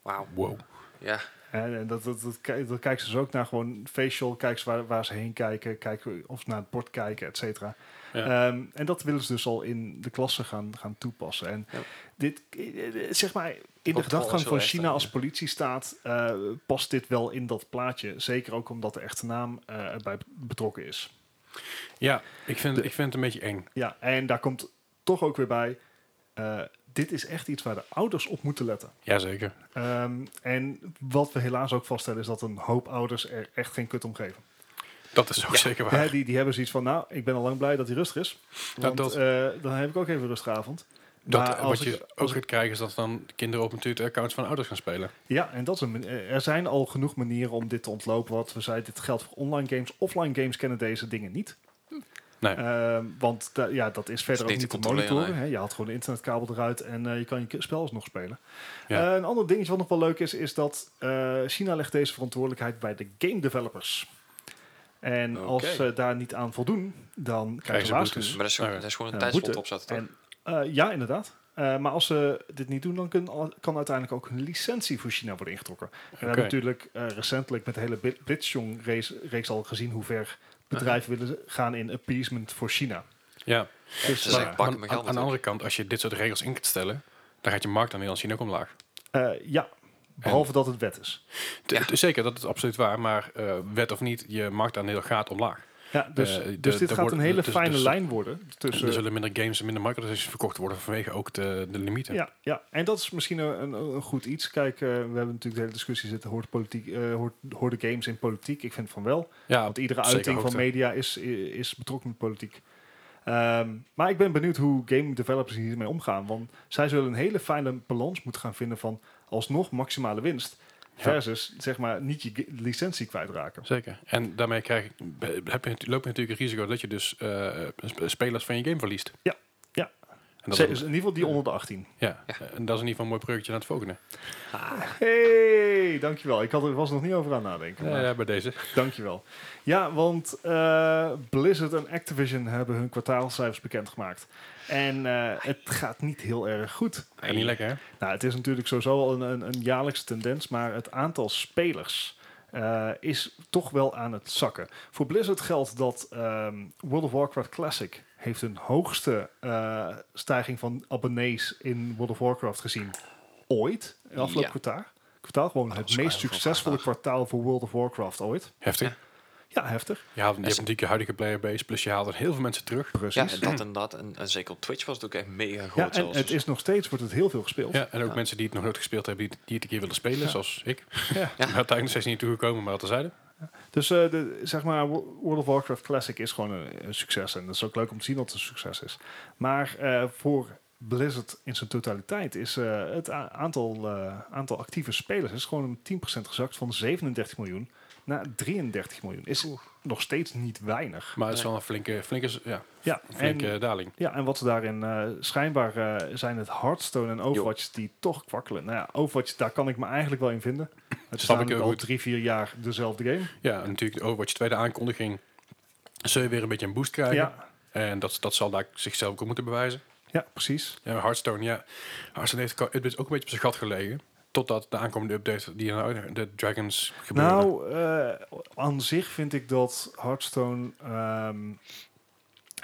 Speaker 3: Wauw.
Speaker 1: Wow.
Speaker 3: Ja.
Speaker 2: En, en dat, dat, dat, ki- dat kijken ze dus ook naar gewoon facial, kijken ze waar, waar ze heen kijken, kijken of ze naar het bord kijken, et cetera.
Speaker 1: Ja.
Speaker 2: Ehm, en dat willen ze dus al in de klassen gaan, gaan toepassen. En
Speaker 3: Ja.
Speaker 2: dit, eh, eh, zeg maar, in de
Speaker 3: Controle
Speaker 2: gedachtegang
Speaker 3: is wel
Speaker 2: van
Speaker 3: echt
Speaker 2: China
Speaker 3: een-
Speaker 2: als politiestaat eh, past dit wel in dat plaatje. Zeker ook omdat de echte naam eh, erbij betrokken is.
Speaker 1: Ja, ik vind, ik vind het een beetje eng.
Speaker 2: Ja, en daar komt toch ook weer bij, eh, dit is echt iets waar de ouders op moeten letten.
Speaker 1: Jazeker.
Speaker 2: Ehm, en wat we helaas ook vaststellen is dat een hoop ouders er echt geen kut om geven.
Speaker 1: Dat is ook zeker waar.
Speaker 2: Hè, die, die hebben zoiets van, nou, ik ben al lang blij dat hij rustig is. Want
Speaker 1: dat-
Speaker 2: eh, dan heb ik ook even een rustige avond.
Speaker 1: Dat,
Speaker 2: Maar
Speaker 1: eh,
Speaker 2: als
Speaker 1: wat je
Speaker 2: ik-
Speaker 1: ook gaat krijgen is dat dan kinderen op natuurlijk de accounts van ouders gaan spelen.
Speaker 2: Ja, en dat is een, man- eh, er zijn al genoeg manieren om dit te ontlopen. Wat we zeiden, dit geldt voor online games. Offline games kennen deze dingen niet.
Speaker 1: Nee.
Speaker 2: Ehm, want da- ja, dat is verder
Speaker 3: niet
Speaker 2: ook
Speaker 3: te
Speaker 2: niet te
Speaker 3: controleren,
Speaker 2: monitoren. Hè. Je haalt gewoon de internetkabel eruit en eh, je kan je k- spel alsnog spelen.
Speaker 1: Ja.
Speaker 2: Eh, een ander dingetje wat nog wel leuk is, is dat eh, China legt deze verantwoordelijkheid bij de game developers. En
Speaker 3: Oké.
Speaker 2: als ze daar niet aan voldoen, dan krijgen
Speaker 1: ze
Speaker 2: ze waarschuwing.
Speaker 3: Maar dat is, gewoon-
Speaker 1: Oké.
Speaker 3: dat is gewoon een
Speaker 2: Nou Ja,
Speaker 3: tijdslot
Speaker 2: boete.
Speaker 3: opzetten toch?
Speaker 2: En, eh, ja, inderdaad. Eh, maar als ze dit niet doen, dan kun, kan uiteindelijk ook hun licentie voor China worden ingetrokken. En we hebben
Speaker 1: Oké.
Speaker 2: natuurlijk eh, recentelijk met de hele Bli- Blitzjong race, reeks al gezien hoe ver bedrijven willen gaan in appeasement voor China.
Speaker 1: Ja.
Speaker 2: Dus,
Speaker 3: Ze zijn
Speaker 2: maar-
Speaker 3: pakken
Speaker 1: aan,
Speaker 3: mijn
Speaker 1: aan- aan
Speaker 3: geld
Speaker 1: de
Speaker 3: natuurlijk.
Speaker 1: andere kant, als je dit soort regels in gaat stellen, dan gaat je marktaandeel zien ook omlaag.
Speaker 2: eh, ja, behalve dat het wet is.
Speaker 1: T-
Speaker 3: Ja.
Speaker 1: t- Zeker, dat is absoluut waar, maar eh, wet of niet, je marktaandeel gaat omlaag.
Speaker 2: Ja, dus
Speaker 1: Eh, de-
Speaker 2: dus dit
Speaker 1: er
Speaker 2: gaat
Speaker 1: wordt-
Speaker 2: een hele
Speaker 1: dus- dus-
Speaker 2: fijne lijn worden. Tussen,
Speaker 1: er zullen minder games en minder microtransactions verkocht worden vanwege ook de, de limieten.
Speaker 2: Ja, ja, en dat is misschien een, een- een goed iets. Kijk, eh, we hebben natuurlijk de hele discussie zitten, hoort, politiek, eh, hoort, hoort de games in politiek? Ik vind van wel,
Speaker 1: Ja,
Speaker 2: want iedere
Speaker 1: zeker
Speaker 2: uiting van
Speaker 1: hoogte.
Speaker 2: media is, is betrokken met politiek. Ehm, maar ik ben benieuwd hoe game developers hiermee omgaan, want zij zullen een hele fijne balans moeten gaan vinden van alsnog maximale winst versus, zeg maar, niet je ge- licentie kwijtraken.
Speaker 1: Zeker. En daarmee krijg, je- be- heb je, loop je natuurlijk het risico dat je dus eh, sp- spelers van je game verliest.
Speaker 2: Ja, ja.
Speaker 1: En dat,
Speaker 2: Ze-
Speaker 1: is,
Speaker 2: in ieder geval die onder de 18.
Speaker 1: ja. En dat is in ieder geval een mooi projectje naar het volgende.
Speaker 2: Hey, dankjewel. Ik had er was er nog niet over aan nadenken. maar-
Speaker 1: Ja, bij deze.
Speaker 2: Dankjewel. Ja, want eh, Blizzard en Activision hebben hun kwartaalcijfers bekendgemaakt. En eh, het gaat niet heel erg goed.
Speaker 1: En niet lekker, hè?
Speaker 2: Nou, het is natuurlijk sowieso al een, een, een jaarlijkse tendens, maar het aantal spelers eh, is toch wel aan het zakken. Voor Blizzard geldt dat ehm, World of Warcraft Classic heeft een hoogste eh, stijging van abonnees in World of Warcraft gezien ooit, in het afgelopen
Speaker 3: Ja.
Speaker 2: kwartaal. Kwartaal gewoon
Speaker 3: dat
Speaker 2: het
Speaker 3: is
Speaker 2: meest
Speaker 3: wel
Speaker 2: succesvolle kwartaal voor World of Warcraft ooit.
Speaker 1: Heftig.
Speaker 2: Ja, heftig.
Speaker 1: Je, haalt, je hebt natuurlijk je huidige playerbase, plus je haalt er heel veel mensen terug.
Speaker 3: Ja,
Speaker 2: Precies.
Speaker 3: en dat inderdaad. En, en zeker op Twitch was het ook echt mega groot.
Speaker 2: Ja, en
Speaker 3: zelfs.
Speaker 2: het is nog steeds, wordt het heel veel gespeeld.
Speaker 1: Ja, en ook mensen die het nog nooit gespeeld hebben, die, die het een keer willen spelen, zoals ik.
Speaker 2: Ja.
Speaker 1: Ja. Maar uiteindelijk nog steeds niet toegekomen, maar dat terzijde.
Speaker 2: Dus eh, de, zeg maar, Wo- World of Warcraft Classic is gewoon een, een succes. En dat is ook leuk om te zien dat het een succes is. Maar eh, voor Blizzard in zijn totaliteit is eh, het a- aantal, eh, aantal actieve spelers is gewoon om 10% gezakt van 37 miljoen naar 33 miljoen. Is nog steeds niet weinig.
Speaker 1: Maar het is wel een flinke, flinke, ja,
Speaker 2: Ja, en,
Speaker 1: flinke daling.
Speaker 2: ja, en wat ze daarin eh, schijnbaar eh, zijn het Hearthstone en Overwatch die toch kwakkelen. Nou ja, Overwatch, daar kan ik me eigenlijk wel in vinden. Het is
Speaker 1: Snap ik
Speaker 2: namelijk
Speaker 1: heel
Speaker 2: al
Speaker 1: goed.
Speaker 2: drie, vier jaar dezelfde game.
Speaker 1: Ja, en natuurlijk de Overwatch tweede aankondiging zul je weer een beetje een boost krijgen.
Speaker 2: Ja,
Speaker 1: En dat, dat zal daar zichzelf ook op moeten bewijzen.
Speaker 2: ja precies.
Speaker 1: Ja, Hearthstone, ja. Hearthstone heeft ko- het is ook een beetje op zijn gat gelegen. Totdat de aankomende update, die nou- de Dragons gebeuren.
Speaker 2: Nou, eh, aan zich vind ik dat Hearthstone... ehm,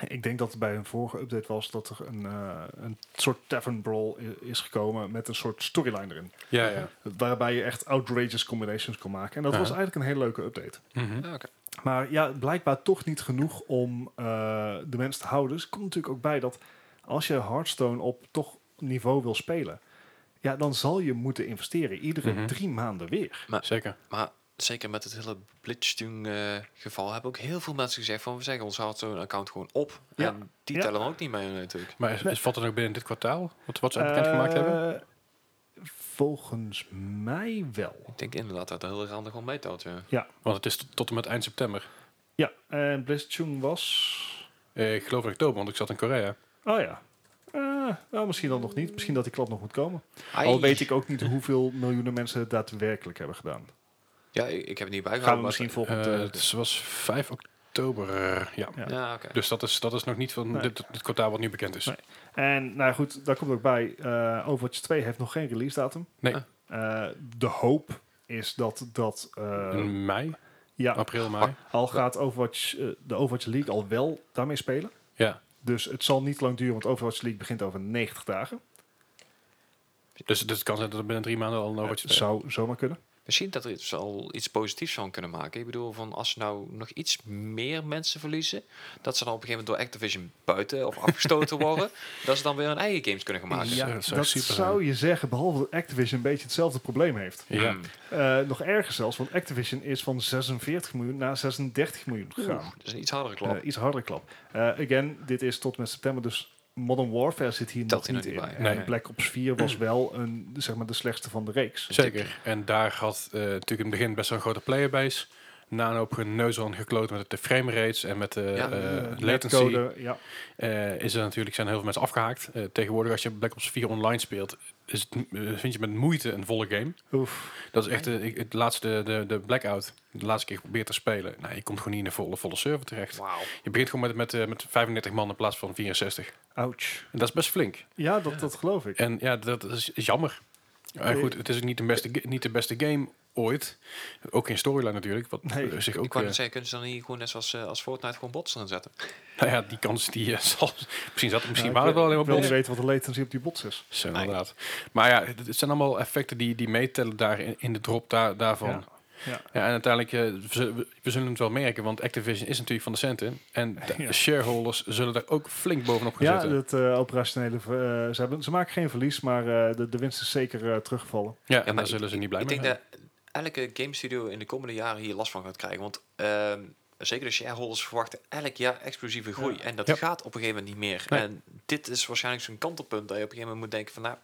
Speaker 2: ik denk dat het bij een vorige update was dat er een, eh, een soort tavern brawl i- is gekomen met een soort storyline erin.
Speaker 1: ja, ja.
Speaker 2: Waarbij je echt outrageous combinations kon maken. En dat was
Speaker 1: Ja.
Speaker 2: eigenlijk een hele leuke update.
Speaker 1: Mhm.
Speaker 3: Ah, oké.
Speaker 2: Maar ja, blijkbaar toch niet genoeg om eh, de mensen te houden. Dus het komt natuurlijk ook bij dat als je Hearthstone op toch niveau wil spelen... Ja, dan zal je moeten investeren. Iedere
Speaker 1: Mhm.
Speaker 2: drie maanden weer.
Speaker 1: Zeker.
Speaker 3: Maar zeker met het hele Blitzstung eh, geval hebben ook heel veel mensen gezegd van we zeggen ons houdt zo'n account gewoon op.
Speaker 2: Ja.
Speaker 3: En die
Speaker 2: Ja.
Speaker 3: tellen we ook niet mee natuurlijk.
Speaker 1: Maar is, is- valt het ook binnen dit kwartaal? Wat, wat ze bekendgemaakt hebben?
Speaker 2: Eh, Volgens mij wel.
Speaker 3: Ik denk inderdaad dat dat heel randig wel meetelt. Ja.
Speaker 1: Want het is tot, tot en met eind september.
Speaker 2: Ja, en Blitzchung was...
Speaker 1: Eh, ik geloof in oktober, want ik zat in Korea.
Speaker 2: Oh ja. Eh, nou, misschien dan nog niet. Misschien dat die klap nog moet komen.
Speaker 3: Ai.
Speaker 2: Al weet ik ook niet hoeveel miljoenen mensen het daadwerkelijk hebben gedaan.
Speaker 3: Ja, ik, ik heb het niet
Speaker 2: Gaan
Speaker 3: bijgehouden.
Speaker 2: we
Speaker 3: maar-
Speaker 2: misschien volgend...
Speaker 1: Eh,
Speaker 2: eh,
Speaker 1: het was 5 oktober, eh, ja.
Speaker 2: Ja.
Speaker 3: Ja, oké.
Speaker 1: Dus dat is, dat is nog niet van
Speaker 2: Nee.
Speaker 1: dit, dit kwartaal wat nu bekend is.
Speaker 2: Nee. en nou ja, goed, daar komt ook bij. eh Overwatch 2 heeft nog geen release datum.
Speaker 1: Nee.
Speaker 3: Ah.
Speaker 2: Eh, de hoop is dat dat... eh,
Speaker 1: In mei,
Speaker 2: ja, Ah.
Speaker 1: april, mei.
Speaker 2: al gaat Overwatch, eh, de Overwatch League al wel daarmee spelen.
Speaker 1: Ja.
Speaker 2: Dus het zal niet lang duren, want Overwatch League begint over 90 dagen.
Speaker 1: Dus, dus het kan zijn dat er binnen drie maanden al een overtje...
Speaker 2: Het zou zomaar kunnen.
Speaker 3: Misschien dat er iets, al iets positiefs van kunnen maken. Ik bedoel, van als ze nou nog iets meer mensen verliezen, dat ze dan op een gegeven moment door Activision buiten
Speaker 1: <laughs>
Speaker 3: of afgestoten worden, dat ze dan weer hun eigen games kunnen gaan maken.
Speaker 1: Ja,
Speaker 2: Ja,
Speaker 1: Ah, dat
Speaker 2: dat
Speaker 1: zou super zijn.
Speaker 2: zou je zeggen, behalve dat Activision een beetje hetzelfde probleem heeft.
Speaker 1: ja.
Speaker 3: Hmm.
Speaker 2: Eh, nog erger zelfs, want Activision is van 46 miljoen naar 36 miljoen gegaan.
Speaker 3: Dat is een iets hardere klap.
Speaker 2: Eh, iets hardere klap. Eh, again, dit is tot en met september, dus Modern Warfare zit hier
Speaker 3: Telt
Speaker 2: nog
Speaker 3: hier
Speaker 2: niet
Speaker 3: nog
Speaker 2: in.
Speaker 3: niet bij,
Speaker 1: hè?
Speaker 2: En
Speaker 1: Nee.
Speaker 2: Black Ops 4 was wel een, zeg maar de slechtste van de reeks.
Speaker 1: Zeker. En daar had eh, natuurlijk in het begin best wel een grote playerbase. Na een hoop geneuzel en gekloot met de frame rates en met de
Speaker 3: Ja.
Speaker 1: eh,
Speaker 2: Eh,
Speaker 1: latency.
Speaker 2: netcode, ja.
Speaker 1: eh, is er natuurlijk, zijn heel veel mensen afgehaakt. Eh, tegenwoordig als je Black Ops 4 online speelt, is het, eh, vind je met moeite een volle game.
Speaker 2: Oef.
Speaker 1: Dat is echt de, ik- het laatste, de, de blackout. De laatste keer geprobeerd te spelen. Nou, je komt gewoon niet in de volle, volle server terecht.
Speaker 3: Wauw.
Speaker 1: Je begint gewoon met, met, eh, met 35 man in plaats van 64.
Speaker 2: Ouch.
Speaker 1: En dat is best flink.
Speaker 2: Ja, dat, dat geloof ik.
Speaker 1: En ja, dat is, is jammer. Maar
Speaker 2: Nee.
Speaker 1: goed, het is ook niet de beste, ge- niet de beste game ooit. Ook geen storyline natuurlijk, wat
Speaker 2: Nee,
Speaker 1: eh, zich
Speaker 3: Ik
Speaker 1: ook...
Speaker 3: wou
Speaker 1: eh,
Speaker 3: net zeggen, kunnen ze dan niet gewoon net zoals, eh, als Fortnite gewoon bots erin zetten?
Speaker 1: nou ja, die kans die eh, <laughs> zal... Misschien zat er misschien waren het
Speaker 2: Ja, ik
Speaker 1: wel alleen maar
Speaker 2: ik wil
Speaker 1: bots.
Speaker 2: niet weten wat de latency op die bots is.
Speaker 1: Zo,
Speaker 3: Nee.
Speaker 1: inderdaad. Maar ja, het, het zijn allemaal effecten die, die meetellen daar in, in de drop daar, daarvan.
Speaker 2: Ja.
Speaker 1: Ja.
Speaker 2: Ja.
Speaker 1: en uiteindelijk, eh, we, zullen- we zullen het wel merken, want Activision is natuurlijk van de centen. En de
Speaker 2: <laughs> Ja.
Speaker 1: shareholders zullen daar ook flink bovenop gaan
Speaker 2: Ja,
Speaker 1: zitten.
Speaker 2: het eh, operationele. ver- eh, ze, hebben, ze maken geen verlies, maar eh, de, de winst is zeker eh, teruggevallen.
Speaker 1: Ja, en
Speaker 3: maar
Speaker 1: daar
Speaker 3: ik-
Speaker 1: zullen ze niet blij
Speaker 3: ik
Speaker 1: mee
Speaker 3: denk
Speaker 1: zijn.
Speaker 3: dat elke game studio in de komende jaren hier last van gaat krijgen. Want ehm, zeker de shareholders verwachten elk jaar explosieve groei. En dat
Speaker 1: Ja.
Speaker 3: gaat op een gegeven moment niet meer.
Speaker 1: Nee.
Speaker 3: En dit is waarschijnlijk zo'n kantelpunt dat je op een gegeven moment moet denken van nou,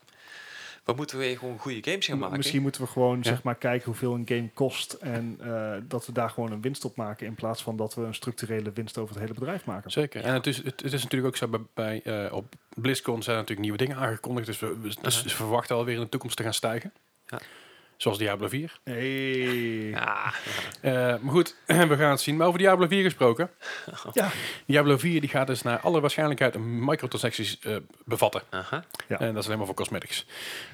Speaker 3: we moeten weer gewoon goede games gaan
Speaker 2: M-
Speaker 3: maken.
Speaker 2: Misschien moeten we gewoon
Speaker 1: Ja.
Speaker 2: zeg maar, kijken hoeveel een game kost. En eh, dat we daar gewoon een winst op maken. In plaats van dat we een structurele winst over het hele bedrijf maken.
Speaker 1: Zeker. En het is, het, het is natuurlijk ook zo bij, bij eh, op BlizzCon zijn natuurlijk nieuwe dingen aangekondigd. Dus we, we- dus we verwachten alweer in de toekomst te gaan stijgen.
Speaker 3: Ja.
Speaker 1: Zoals Diablo 4.
Speaker 2: Hey.
Speaker 3: Ah,
Speaker 1: Eh, maar goed, <clears throat> we gaan het zien. Maar over Diablo 4 gesproken.
Speaker 2: Ja.
Speaker 1: Diablo 4 die gaat dus naar alle waarschijnlijkheid microtransacties eh, bevatten.
Speaker 3: aha.
Speaker 2: Ja.
Speaker 1: En dat is alleen maar voor cosmetics.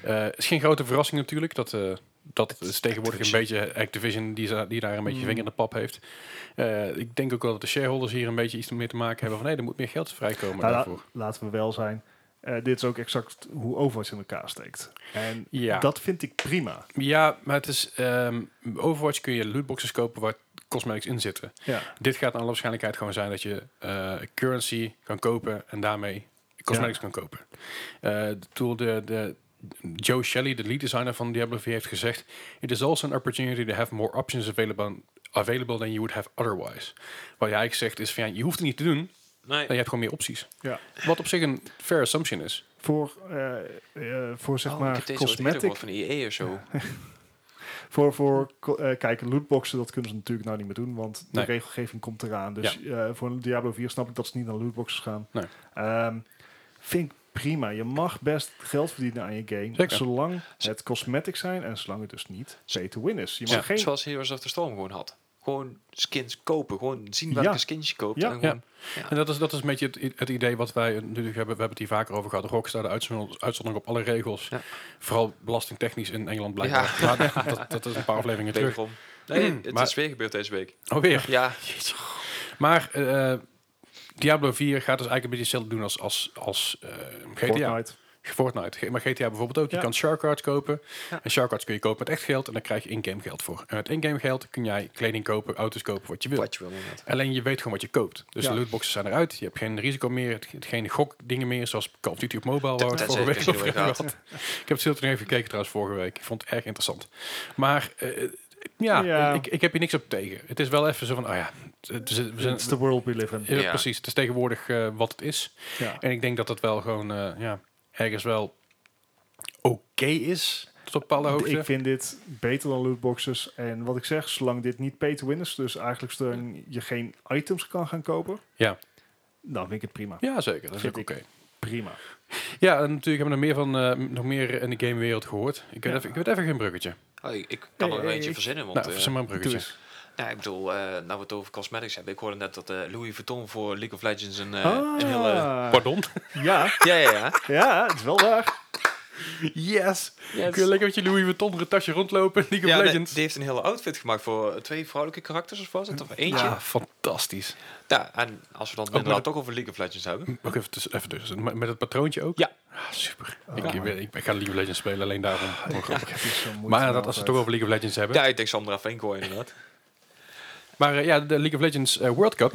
Speaker 1: Eh, Het is geen grote verrassing natuurlijk. Dat, eh, dat is tegenwoordig een beetje Activision die, za- die daar een beetje vinger in de pap heeft. Eh, ik denk ook wel dat de shareholders hier een beetje iets mee te maken hebben. Van nee, er moet meer geld vrijkomen
Speaker 2: Nou, la-
Speaker 1: daarvoor.
Speaker 2: laten we wel zijn. eh, dit is ook exact hoe Overwatch in elkaar steekt. En
Speaker 1: Ja.
Speaker 2: dat vind ik prima.
Speaker 1: Ja, maar het is... ehm, Overwatch kun je lootboxes kopen waar cosmetics in zitten.
Speaker 2: Ja.
Speaker 1: Dit gaat naar alle waarschijnlijkheid gewoon zijn dat je eh, currency kan kopen en daarmee cosmetics
Speaker 2: Ja.
Speaker 1: kan kopen. Eh, toen de, de Joe Shelley, de lead designer van Diablo 4, heeft gezegd: It is also an opportunity to have more options available, available than you would have otherwise. Wat jij eigenlijk zegt is: van, ja, je hoeft het niet te doen, maar
Speaker 3: Nee.
Speaker 1: je hebt gewoon meer opties.
Speaker 2: ja.
Speaker 1: Wat op zich een fair assumption is.
Speaker 2: Voor, eh, eh, voor zeg
Speaker 3: Oh, ik
Speaker 2: maar
Speaker 3: heb deze ooit eerder
Speaker 2: cosmetic
Speaker 3: gehoord van EA of zo.
Speaker 2: Voor, voor ko- eh, kijk, lootboxen, dat kunnen ze natuurlijk nou niet meer doen, want de
Speaker 1: Nee.
Speaker 2: regelgeving komt eraan. Dus eh, voor een Diablo 4 snap ik dat ze niet naar lootboxes gaan.
Speaker 1: Nee.
Speaker 2: Ehm, vind ik prima. Je mag best geld verdienen aan je game,
Speaker 1: Zeker.
Speaker 2: zolang het cosmetics zijn en zolang het dus niet pay to win is. Je mag
Speaker 1: Ja,
Speaker 2: geen...
Speaker 3: Zoals Heroes of the Storm gewoon had. Gewoon skins kopen. Gewoon zien
Speaker 2: Ja.
Speaker 3: welke skins je koopt.
Speaker 2: Ja.
Speaker 3: en gewoon,
Speaker 1: En dat is, dat is een beetje het, i- het idee wat wij natuurlijk hebben. We hebben het hier vaker over gehad. Rockstar, de uitzondering, uitzondering op alle regels.
Speaker 3: Ja.
Speaker 1: Vooral belastingtechnisch in Engeland blijkbaar. Maar <laughs> dat, dat is een paar afleveringen terug.
Speaker 3: wederom. Nee, het
Speaker 1: Maar-
Speaker 3: is weer gebeurd deze week.
Speaker 1: Oh, weer.
Speaker 3: Ja,
Speaker 1: Maar eh, eh, Diablo 4 gaat dus eigenlijk een beetje hetzelfde doen als, als, als eh, GTA.
Speaker 2: Fortnite.
Speaker 1: Fortnite. Ge- Maar GTA bijvoorbeeld ook.
Speaker 2: Ja.
Speaker 1: Je kan shark cards kopen.
Speaker 3: Ja.
Speaker 1: En shark cards kun je kopen met echt geld. En daar krijg je in-game geld voor. En met in-game geld kun jij kleding kopen, auto's kopen, wat je wil.
Speaker 3: wat je wil inderdaad.
Speaker 1: Alleen je weet gewoon wat je koopt. Dus
Speaker 2: Ja.
Speaker 1: de lootboxen zijn eruit. Je hebt geen risico meer. het- het- Geen gokdingen meer. Zoals Call of Duty op mobile. Waar we het
Speaker 3: Tenzij
Speaker 1: vorige week
Speaker 3: Casino
Speaker 1: over hebben
Speaker 3: gaat.
Speaker 1: gehad. Ik heb het heel terug even gekeken trouwens vorige week. Ik vond het erg interessant. Maar eh, ja,
Speaker 2: Ja.
Speaker 1: Ik, ik heb hier niks op tegen. Het is wel even zo van... Oh ja, het, is- we zijn,
Speaker 2: It's the world we live in.
Speaker 1: ja,
Speaker 3: Ja.
Speaker 1: precies. Het is tegenwoordig eh, wat het is.
Speaker 2: Ja.
Speaker 1: En ik denk dat dat wel gewoon eh, ja, ergens wel oké is. Tot op bepaalde hoogte.
Speaker 2: Ik vind dit beter dan lootboxes. En wat ik zeg, zolang dit niet pay to win is, dus eigenlijk zolang je geen items kan gaan kopen,
Speaker 1: Ja.
Speaker 2: dan vind ik het prima.
Speaker 1: ja, zeker. Dat is
Speaker 2: Vind
Speaker 1: ook oké.
Speaker 2: Prima.
Speaker 1: Ja, en natuurlijk hebben we nog meer, van, eh, nog meer in de gamewereld gehoord. Ik weet,
Speaker 2: Ja.
Speaker 1: even, ik weet even geen bruggetje.
Speaker 3: Oh, ik, ik kan
Speaker 2: Hey,
Speaker 3: er wel
Speaker 2: hey,
Speaker 3: eentje
Speaker 2: ik-
Speaker 3: verzinnen. Want,
Speaker 1: nou,
Speaker 3: eh,
Speaker 1: verzin maar een
Speaker 2: Doe
Speaker 1: bruggetje.
Speaker 2: eens.
Speaker 3: nou, ik bedoel, eh nou we het over cosmetics hebben. Ik hoorde net dat eh, Louis Vuitton voor League of Legends een, eh een hele...
Speaker 2: Ah.
Speaker 1: Pardon?
Speaker 3: <laughs>
Speaker 2: Ja,
Speaker 3: Ja, ja, ja.
Speaker 2: ja, het is wel waar.
Speaker 1: Yes! Kun je lekker met je Louis Vuitton tasje rondlopen in League
Speaker 3: Ja,
Speaker 1: of
Speaker 3: nee,
Speaker 1: Legends?
Speaker 3: die heeft een hele outfit gemaakt voor eh, twee vrouwelijke karakters of was het? Of eentje?
Speaker 1: ja,
Speaker 3: Ja. Oh,
Speaker 1: fantastisch.
Speaker 3: en als we dan
Speaker 1: met
Speaker 3: inderdaad ook over League of Legends hebben.
Speaker 1: Ook even, tussen- even tussen. Met met het patroontje ook?
Speaker 3: Ja.
Speaker 1: Ah, super. Ik, ik, ik, ik ga League of Legends spelen, alleen daarom.
Speaker 2: Het is zo moeite
Speaker 1: Maar dat, als
Speaker 2: me
Speaker 1: we het
Speaker 2: altijd.
Speaker 1: toch over League of Legends hebben.
Speaker 3: Ja, ik denk Sandra Venko inderdaad.
Speaker 1: Maar eh, ja, de League of Legends eh, World Cup,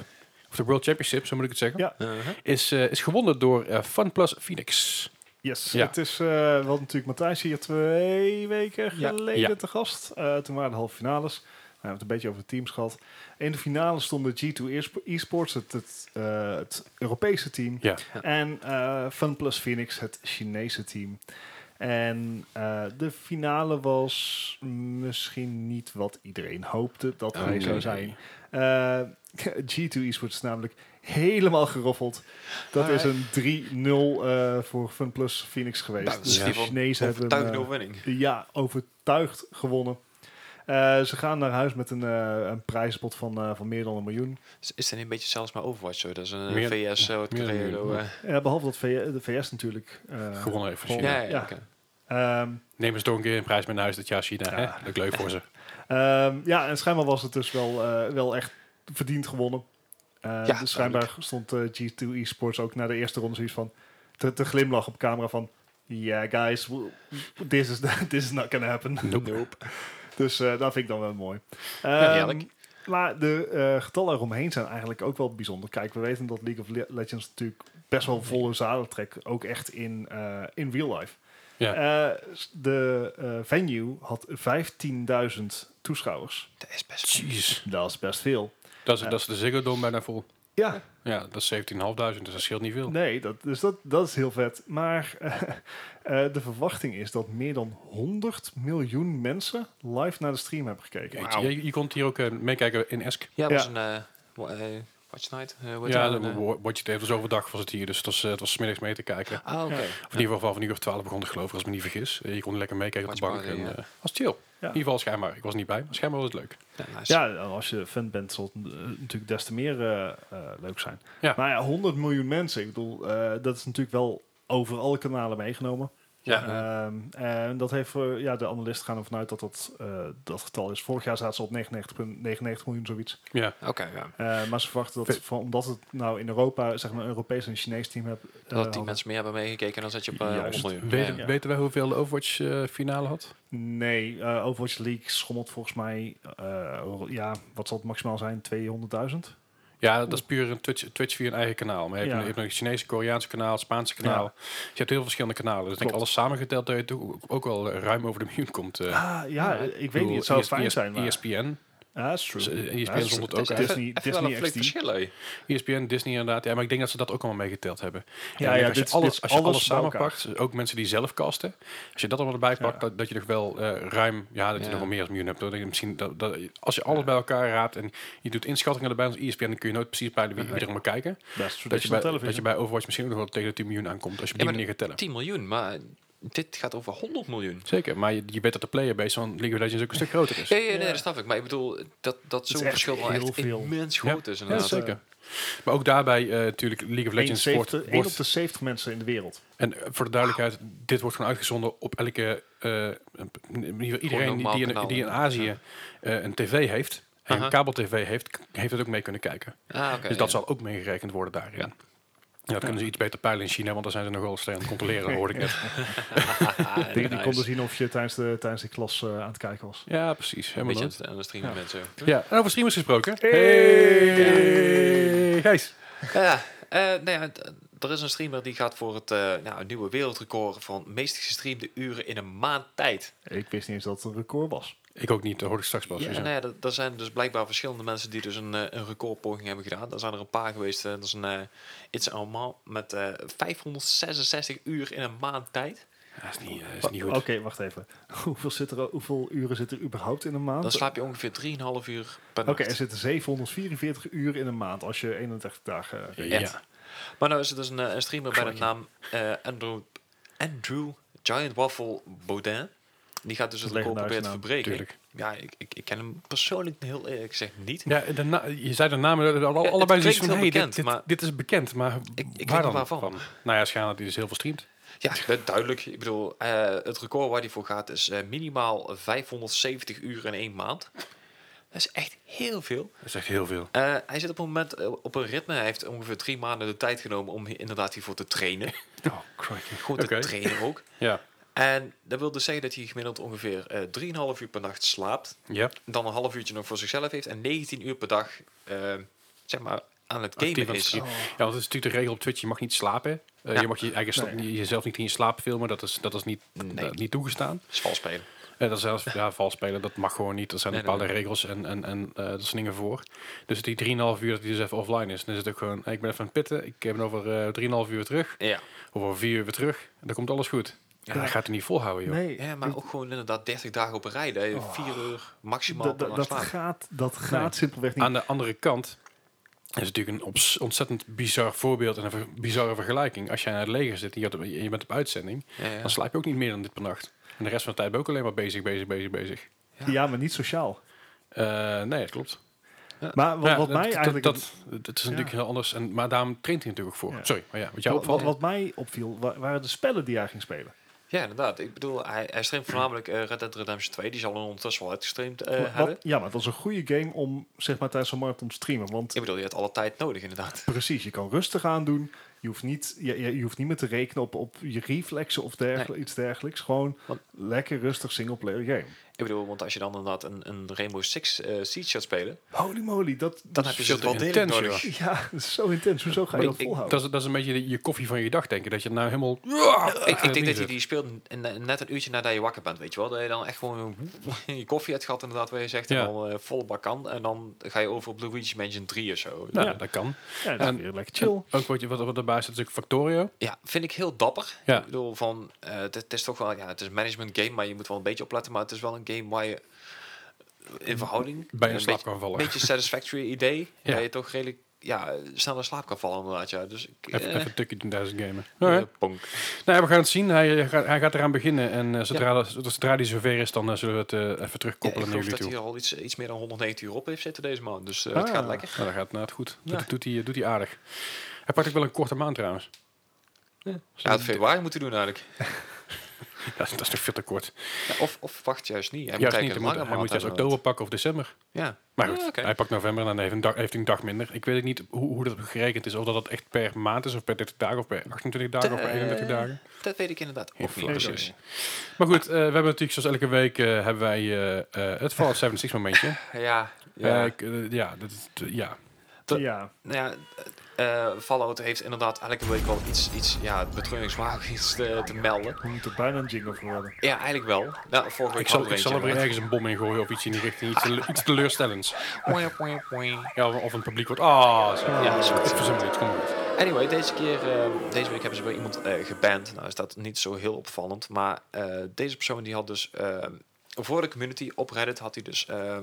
Speaker 1: of de World Championship, zo moet ik het zeggen,
Speaker 2: Ja,
Speaker 3: <laughs> Uh-huh.
Speaker 1: is, eh, is gewonnen door eh, FunPlus Phoenix.
Speaker 2: yes.
Speaker 1: Ja.
Speaker 2: Het is wel natuurlijk Matthijs hier twee weken
Speaker 3: Ja.
Speaker 2: geleden
Speaker 1: Ja.
Speaker 2: te gast. Eh, toen waren de halve finales. We hebben het een beetje over de teams gehad. In de finale stonden G2 Esp- Esports, het, het, eh, het Europese team.
Speaker 1: Ja.
Speaker 2: En eh FunPlus Phoenix, het Chinese team. En eh, de finale was misschien niet wat iedereen hoopte dat hij
Speaker 1: Oh,
Speaker 2: zou
Speaker 1: nee.
Speaker 2: zijn. Eh, G2 Esports is namelijk helemaal geroffeld. Dat is een 3-0 eh, voor FunPlus Phoenix geweest.
Speaker 3: Nou, dat is
Speaker 2: Dus
Speaker 3: in
Speaker 2: de
Speaker 3: ieder geval
Speaker 2: Chinezen hebben hem,
Speaker 3: Overtuigende
Speaker 2: eh,
Speaker 3: overwinning.
Speaker 2: ja, overtuigd gewonnen. Eh, ze gaan naar huis met een, eh, een prijspot van, eh, van meer dan een miljoen.
Speaker 3: Is, is er niet een beetje zelfs maar Overwatch zo? Dat is een eh,
Speaker 1: Meer-
Speaker 3: VS,
Speaker 1: meer dan
Speaker 3: Zuid-Korea.
Speaker 1: een
Speaker 3: zo,
Speaker 1: miljoen.
Speaker 3: eh.
Speaker 2: Eh, behalve dat V- de VS natuurlijk eh,
Speaker 1: Gewonnen heeft
Speaker 2: Ja.
Speaker 1: China.
Speaker 3: Ja, ja,
Speaker 2: Ja.
Speaker 3: oké.
Speaker 2: Eh, Ehm,
Speaker 1: Neem eens door een keer een prijs mee naar huis dit jaar China.
Speaker 2: Ja.
Speaker 1: Hè? Leuk, leuk voor ze.
Speaker 2: ehm, ja, en schijnbaar was het dus wel, eh, wel echt verdiend gewonnen. Eh,
Speaker 3: Ja,
Speaker 2: dus schijnbaar stond eh, G2 Esports ook na de eerste ronde zoiets van te, te glimlach op camera van... Yeah, guys, w- w- this is, <laughs> this is not gonna happen. Dus eh, dat vind ik dan wel mooi. Ehm,
Speaker 3: heerlijk.
Speaker 2: maar de eh, getallen eromheen zijn eigenlijk ook wel bijzonder. Kijk, we weten dat League of Le- Legends natuurlijk best wel volle zalen trekt. Ook echt in, eh, in real life.
Speaker 1: Ja.
Speaker 2: Eh, s- de eh, venue had 15.000 toeschouwers.
Speaker 3: Dat is best
Speaker 1: Jeez.
Speaker 2: Dat is best veel.
Speaker 1: Dat is,
Speaker 2: Ja.
Speaker 1: dat is de Ziggo Dome bijna vol.
Speaker 2: Ja,
Speaker 1: Ja, dat is 17.500, dus dat scheelt niet veel.
Speaker 2: Nee, dat, dus dat, dat is heel vet. Maar <laughs> eh, eh, de verwachting is dat meer dan 100 miljoen mensen live naar de stream hebben gekeken.
Speaker 1: Jeetje, Je, je komt hier ook eh, meekijken in Esk.
Speaker 3: Ja, dat was
Speaker 2: Ja.
Speaker 3: een eh, wa- eh, Watch Night. eh, wat
Speaker 1: Ja,
Speaker 3: dan,
Speaker 1: de
Speaker 3: eh?
Speaker 1: wo- Watch It was overdag was het hier, dus het was, eh, het was 's middags mee te kijken.
Speaker 3: Ah, oké.
Speaker 2: Ja.
Speaker 1: Of in ieder geval vanaf een uur of twaalf begon te geloven, als ik me niet vergis. Eh, Je kon lekker meekijken op de
Speaker 3: Watch
Speaker 1: bank. en,
Speaker 3: party, ja.
Speaker 1: eh, was chill. In ieder geval schijnbaar. Ik was er niet bij, maar schijnbaar was het leuk.
Speaker 3: Ja, nice.
Speaker 2: Ja, en als je fan bent, zal het eh, natuurlijk des te meer eh, eh, leuk zijn.
Speaker 1: Ja.
Speaker 2: Maar ja, 100 miljoen mensen, ik bedoel, eh, dat is natuurlijk wel over alle kanalen meegenomen.
Speaker 3: Ja.
Speaker 2: Ehm, en dat heeft, eh, ja, de analisten gaan ervan uit dat dat, eh, dat getal is. Vorig jaar zaten ze op 99,99 miljoen, zoiets.
Speaker 1: Ja,
Speaker 3: Oké, ja.
Speaker 2: Eh, maar ze verwachten dat, van, omdat het nou in Europa, zeg maar, een Europees en een Chinees team hebt. eh,
Speaker 3: Dat die
Speaker 2: hadden-
Speaker 3: mensen meer hebben meegekeken dan zet je op eh
Speaker 2: Juist.
Speaker 3: 100 miljoen.
Speaker 1: Weten,
Speaker 3: Ja.
Speaker 1: weten wij hoeveel de Overwatch eh, finale had?
Speaker 2: Nee, eh, Overwatch League schommelt volgens mij, eh, ro- ja, wat zal het maximaal zijn? 200.000?
Speaker 1: Ja, dat is puur een Twitch, Twitch via een eigen kanaal. Maar je hebt,
Speaker 2: Ja.
Speaker 1: een, je hebt een Chinese, Koreaanse kanaal, Spaanse kanaal.
Speaker 2: Ja.
Speaker 1: Dus je hebt heel veel verschillende kanalen. Dus ik denk
Speaker 2: Klopt.
Speaker 1: alles samengeteld dat je toch ook wel ruim over de miljoen komt. eh.
Speaker 2: Ah, ja,
Speaker 3: Ja, E
Speaker 2: ik weet
Speaker 1: bedoel, E
Speaker 2: niet. Het zou
Speaker 1: ES-
Speaker 2: fijn
Speaker 1: ES-
Speaker 2: zijn, maar...
Speaker 1: ESPN.
Speaker 2: Ja, dat is
Speaker 1: Dus,
Speaker 2: true.
Speaker 1: eh, ESPN
Speaker 2: dat is-
Speaker 1: zond het
Speaker 3: Het
Speaker 1: ook
Speaker 3: is
Speaker 1: uit.
Speaker 2: Disney-
Speaker 3: even- even wel
Speaker 2: Disney
Speaker 3: een flink
Speaker 2: XD.
Speaker 3: verschil, hè.
Speaker 1: ESPN, Disney inderdaad. Ja, maar ik denk dat ze dat ook allemaal meegeteld hebben.
Speaker 2: Ja,
Speaker 1: En ik denk
Speaker 2: ja,
Speaker 1: als je
Speaker 2: dit-
Speaker 1: alles,
Speaker 2: dit
Speaker 1: als je
Speaker 2: alles
Speaker 1: alles
Speaker 2: bij elkaar.
Speaker 1: samenpakt, ook mensen die zelf casten, als je dat allemaal erbij pakt, dat, dat je nog wel eh, ruim, ja, dat je
Speaker 3: Ja.
Speaker 1: nog wel meer als miljoen hebt. hoor. Ik denk misschien dat, dat, als je alles bij elkaar raadt en je doet inschattingen erbij E als ESPN, dan kun je nooit precies peilen wie, wie er maar kijken.
Speaker 2: Dat is
Speaker 1: Dat je, bij,
Speaker 2: traditional
Speaker 1: dat je
Speaker 2: television.
Speaker 1: bij Overwatch misschien ook nog wel tegen de 10 miljoen aankomt, als je op die
Speaker 3: Ja, maar
Speaker 1: manier gaat tellen.
Speaker 3: 10 miljoen, maar dit gaat over 100 miljoen.
Speaker 1: Zeker, maar je, je weet dat de playerbase van League of Legends ook een stuk groter is.
Speaker 3: Ja, ja, Eh, nee, dat snap ik. Maar ik bedoel, dat, dat
Speaker 2: is
Speaker 3: zo'n
Speaker 2: echt
Speaker 3: verschil wel
Speaker 2: heel
Speaker 3: echt
Speaker 2: veel.
Speaker 3: immens
Speaker 1: Ja.
Speaker 3: groot is.
Speaker 1: Ja,
Speaker 3: Inderdaad. eh.
Speaker 1: zeker. Maar ook daarbij eh, natuurlijk League of Legends wordt,
Speaker 2: 71 1 op
Speaker 1: wordt-
Speaker 2: de 70 mensen in de wereld.
Speaker 1: En eh, voor de duidelijkheid, dit wordt gewoon uitgezonden op elke. eh, in ieder geval iedereen die,
Speaker 3: normaal
Speaker 1: die, in,
Speaker 3: kanaal,
Speaker 1: die in
Speaker 3: ja.
Speaker 1: Azië eh, een tv heeft. En
Speaker 3: Aha.
Speaker 1: een kabel-tv heeft, k- heeft het ook mee kunnen kijken.
Speaker 3: Ah, oké.
Speaker 1: dus dat
Speaker 3: ja.
Speaker 1: zal ook meegerekend worden daarin.
Speaker 3: Ja.
Speaker 1: Ja. dat kunnen ze iets beter peilen in China, want daar zijn ze nog wel steeds aan het
Speaker 3: <laughs>
Speaker 1: controleren, hoorde ik net.
Speaker 3: Ah, ja,
Speaker 2: Die, die
Speaker 3: nice.
Speaker 2: konden zien of je tijdens de, tijdens de klas eh, aan het kijken was.
Speaker 1: Ja, precies.
Speaker 3: Een
Speaker 1: Helemaal
Speaker 3: beetje aan
Speaker 1: nooit.
Speaker 3: het- aan de streamen
Speaker 2: Ja.
Speaker 3: mensen.
Speaker 1: Ja, en over streamers gesproken.
Speaker 2: Hey!
Speaker 1: Gijs.
Speaker 3: Ja, eh, nou ja, d- er is een streamer die gaat voor het eh, nou, nieuwe wereldrecord van meest gestreamde uren in een maand tijd.
Speaker 2: Ik wist niet eens dat het een record was.
Speaker 1: Ik ook niet, dat hoorde ik straks pas.
Speaker 3: Ja,
Speaker 1: dus,
Speaker 3: nou
Speaker 1: eh,
Speaker 3: ja, dat- er zijn dus blijkbaar verschillende mensen die dus een, eh, een recordpoging hebben gedaan. Daar zijn er een paar geweest. eh, dat is een eh, It's allemaal met eh, 566 uur in een maand tijd.
Speaker 1: ja, is niet, eh, is niet goed.
Speaker 2: Oké, wacht even. <laughs> Hoeveel, zit er, hoeveel uren zit er überhaupt in een maand?
Speaker 3: Dan slaap je ongeveer 3,5 uur per
Speaker 2: Oké,
Speaker 3: nacht.
Speaker 2: er zitten 744 uur in een maand als je 31 dagen... eh,
Speaker 1: Ja.
Speaker 3: echt. Maar nou is er dus een, eh, een streamer bij de naam eh, Andrew, Andrew Giant Waffle Baudin. Die gaat dus het record
Speaker 2: Legendarische
Speaker 3: proberen te
Speaker 2: naam,
Speaker 3: verbreken.
Speaker 1: tuurlijk.
Speaker 3: Ja, ik, ik, ik ken hem persoonlijk heel eerlijk gezegd niet.
Speaker 1: Ja, de na- je zei de namen, eh, alle- allebei
Speaker 3: klinkt
Speaker 1: zoiets van,
Speaker 3: heel
Speaker 1: hey,
Speaker 3: bekend,
Speaker 1: dit, dit,
Speaker 3: maar-
Speaker 1: dit is bekend, maar
Speaker 3: ik weet
Speaker 1: waar
Speaker 3: niet
Speaker 1: dan
Speaker 3: waarvan.
Speaker 1: Nou ja, schijnbaar dat hij dus heel veel streamt.
Speaker 3: Ja, <laughs> dat- duidelijk. Ik bedoel, eh, het record waar hij voor gaat is eh, minimaal 570 uur in één maand. Dat is echt heel veel.
Speaker 1: Dat is echt heel veel.
Speaker 3: Eh, hij zit op een moment eh, op een ritme. Hij heeft ongeveer drie maanden de tijd genomen om hier inderdaad hiervoor te trainen.
Speaker 2: Oh, crikey.
Speaker 3: Gewoon te
Speaker 1: Oké.
Speaker 3: trainen ook.
Speaker 1: Ja.
Speaker 3: En dat wil dus zeggen dat hij gemiddeld ongeveer eh 3,5 uur per nacht slaapt.
Speaker 1: Ja.
Speaker 3: dan een half uurtje nog voor zichzelf heeft en 19 uur per dag eh, zeg maar aan het
Speaker 1: Actief aan
Speaker 3: gamen
Speaker 1: het
Speaker 3: is.
Speaker 1: streamen. ja, want het is Oh. natuurlijk de regel op Twitch, je mag niet slapen. Eh,
Speaker 3: Ja.
Speaker 1: Je mag je eigen sta-
Speaker 2: Nee.
Speaker 1: jezelf niet in je slaap filmen, dat is, dat is niet,
Speaker 3: Nee.
Speaker 1: dat is niet toegestaan.
Speaker 3: Is vals spelen.
Speaker 1: Eh, dat is zelfs ja, vals spelen, dat mag gewoon niet. Er zijn
Speaker 3: Nee,
Speaker 1: bepaalde
Speaker 3: nee,
Speaker 1: regels en, en, en eh, dat zijn dingen voor. Dus die 3,5 uur dat hij dus even offline is, dan is het ook gewoon, hey, ik ben even aan het pitten, ik ben over eh 3,5 uur terug,
Speaker 3: Ja.
Speaker 1: of over 4 uur weer terug, en dan komt alles goed. Ja,
Speaker 3: Ja.
Speaker 1: dat gaat hij niet volhouden, joh.
Speaker 2: Nee,
Speaker 3: ja, maar ook gewoon inderdaad 30 dagen op een rij. Dat je
Speaker 2: Oh.
Speaker 3: 4 uur maximaal
Speaker 2: dat,
Speaker 3: per
Speaker 2: dat,
Speaker 3: dag
Speaker 2: dat
Speaker 3: slaap.
Speaker 2: gaat, dat gaat simpelweg niet.
Speaker 1: Aan de andere kant is het natuurlijk een obs- ontzettend bizar voorbeeld en een ver- bizarre vergelijking. Als jij naar het leger zit en je, had- en je bent op uitzending,
Speaker 3: Ja, ja.
Speaker 1: dan slaap je ook niet meer dan dit per nacht. En de rest van de tijd ben je ook alleen maar bezig, bezig, bezig, bezig.
Speaker 3: Ja.
Speaker 2: ja. maar niet sociaal.
Speaker 1: Eh, nee, dat klopt.
Speaker 2: Maar wat,
Speaker 1: Ja,
Speaker 2: wat
Speaker 1: dat-
Speaker 2: mij
Speaker 1: dat,
Speaker 2: eigenlijk...
Speaker 1: Dat, dat, is natuurlijk heel anders, en, maar daarom traint hij natuurlijk ook voor.
Speaker 2: Ja.
Speaker 1: Sorry, maar ja, wat jou
Speaker 2: wat, wat,
Speaker 1: opvalt...
Speaker 2: wat mij opviel, wa- waren de spellen die jij ging spelen.
Speaker 3: Ja, inderdaad. Ik bedoel, hij, hij streamt voornamelijk eh, Red Dead Redemption 2. Die zal hij ondertussen wel uitgestreamd eh,
Speaker 2: Wat-
Speaker 3: hebben.
Speaker 2: ja, maar het was een goede game om zeg maar tijdens een marathon te streamen. Want
Speaker 3: Ik bedoel, je hebt alle tijd nodig, inderdaad.
Speaker 2: precies, je kan rustig aandoen. Je hoeft niet, je, je, je hoeft niet meer te rekenen op, op je reflexen of dergel- iets dergelijks. Gewoon
Speaker 3: Want-
Speaker 2: lekker rustig singleplayer game.
Speaker 3: Ik bedoel, want als je dan inderdaad een, een Rainbow Six eh Siege gaat spelen,
Speaker 2: Holy moly, dat,
Speaker 3: dan heb je
Speaker 1: veel
Speaker 3: ze
Speaker 1: te
Speaker 3: wel degelijk
Speaker 1: intens,
Speaker 3: nodig.
Speaker 1: joh.
Speaker 2: <laughs> Ja, dat is zo intens. Hoezo ga je
Speaker 3: Ik-
Speaker 2: dat
Speaker 3: ik-
Speaker 2: volhouden?
Speaker 1: Dat is, dat is een beetje de- je koffie van je dag denken. Dat je nou helemaal...
Speaker 2: Eh,
Speaker 3: Ik, ik denk dat je
Speaker 1: zit.
Speaker 3: die speelt in- in- net een uurtje nadat je wakker bent, weet je wel. Dat je dan echt gewoon <laughs> je koffie hebt gehad, inderdaad, wat je zegt.
Speaker 1: Ja.
Speaker 3: En dan eh, volle bak kan. En dan ga je over op Luigi's Mansion 3 of zo.
Speaker 1: Nou,
Speaker 2: Ja.
Speaker 1: dat kan.
Speaker 2: ja, dat
Speaker 1: en-
Speaker 2: is weer lekker chill.
Speaker 1: Ook wat, je, wat, wat erbij zit is ook Factorio.
Speaker 3: Ja, vind ik heel dapper.
Speaker 1: Ja.
Speaker 3: Ik bedoel, van, eh, het, het is toch wel, ja, het is een management game, maar je moet wel een beetje opletten. Maar het is wel een game waar je eh, in verhouding
Speaker 1: Bij je in
Speaker 3: een
Speaker 1: slaap
Speaker 3: beetje,
Speaker 1: kan vallen.
Speaker 3: een beetje satisfactory
Speaker 1: <laughs>
Speaker 3: idee.
Speaker 1: Ja.
Speaker 3: Dat je toch redelijk ja, snel in slaap kan vallen, inderdaad. Ja. Dus ik,
Speaker 1: Even,
Speaker 3: eh,
Speaker 1: even een tukje doen tijdens het gamen.
Speaker 3: eh,
Speaker 1: Alright.
Speaker 3: bonk.
Speaker 1: Nou, ja, we gaan het zien. Hij, eh, gaat, hij gaat eraan beginnen. En eh, zodra, dat, zodra die zover is, dan eh, zullen we het eh, even
Speaker 3: Ja, ik
Speaker 1: terugkoppelen naar jullie
Speaker 3: geloof dat
Speaker 1: toe.
Speaker 3: hij er al iets, iets meer dan 190 uur op heeft zitten deze maand. Dus eh,
Speaker 2: Ah.
Speaker 3: het gaat lekker.
Speaker 1: Nou, dat gaat nou, het goed.
Speaker 3: Ja.
Speaker 1: Doet, doet, hij, doet hij aardig. Hij pakt ook wel een korte maand trouwens. <laughs>
Speaker 3: Ja, het februari moeten doen eigenlijk.
Speaker 1: Ja, dat is toch veel te kort.
Speaker 3: Ja, of, of wacht, juist niet. Hij
Speaker 1: Juist
Speaker 3: moet
Speaker 1: niet,
Speaker 3: eigenlijk
Speaker 1: hij moet,
Speaker 3: een lange
Speaker 1: hij
Speaker 3: maand
Speaker 1: moet juist
Speaker 3: hebben.
Speaker 1: oktober pakken of december.
Speaker 3: Ja.
Speaker 1: Maar goed,
Speaker 3: Ja, oké.
Speaker 1: hij pakt november en dan heeft hij een dag, heeft hij een dag minder. Ik weet ook niet hoe, hoe dat gerekend is. Of dat dat echt per maand is, of per 30 dagen, of per 28 dagen, of per 31
Speaker 3: Eh,
Speaker 1: dagen.
Speaker 3: Dat weet ik inderdaad
Speaker 1: Geen
Speaker 3: ook niet
Speaker 1: flauw idee.
Speaker 3: precies.
Speaker 1: Maar goed, eh, we hebben natuurlijk zoals elke week eh, hebben wij eh, eh, het
Speaker 3: <laughs>
Speaker 1: Fallout 76 momentje.
Speaker 3: Ja,
Speaker 1: Ja,
Speaker 3: ja.
Speaker 1: ja, dat is, eh, ja.
Speaker 3: dat-
Speaker 2: ja,
Speaker 3: Nou ja, eh, Fallout heeft inderdaad elke week wel iets, iets ja, betreuringswaardig iets te, te melden.
Speaker 2: we moeten bijna een jingle voor
Speaker 3: <laughs>
Speaker 2: hebben.
Speaker 3: Ja, eigenlijk wel. Nou, vorige week
Speaker 1: Ik zal,
Speaker 3: hadden
Speaker 1: ik
Speaker 3: we
Speaker 1: zal er weer
Speaker 3: eentje,
Speaker 1: ergens een bom in gooien of iets in die richting. Iets, tele- iets teleurstellends.
Speaker 3: maar- Poing, poing, poing.
Speaker 1: Ja, of of een publiek wordt... Ah, zo.
Speaker 3: Ja, dat is
Speaker 1: ik
Speaker 3: goed.
Speaker 1: verzin het. Kom maar.
Speaker 3: Anyway, deze keer, eh, deze week hebben ze weer iemand eh, geband. Nou is dat niet zo heel opvallend, maar eh, deze persoon die had dus eh, voor de community op Reddit had hij dus eh,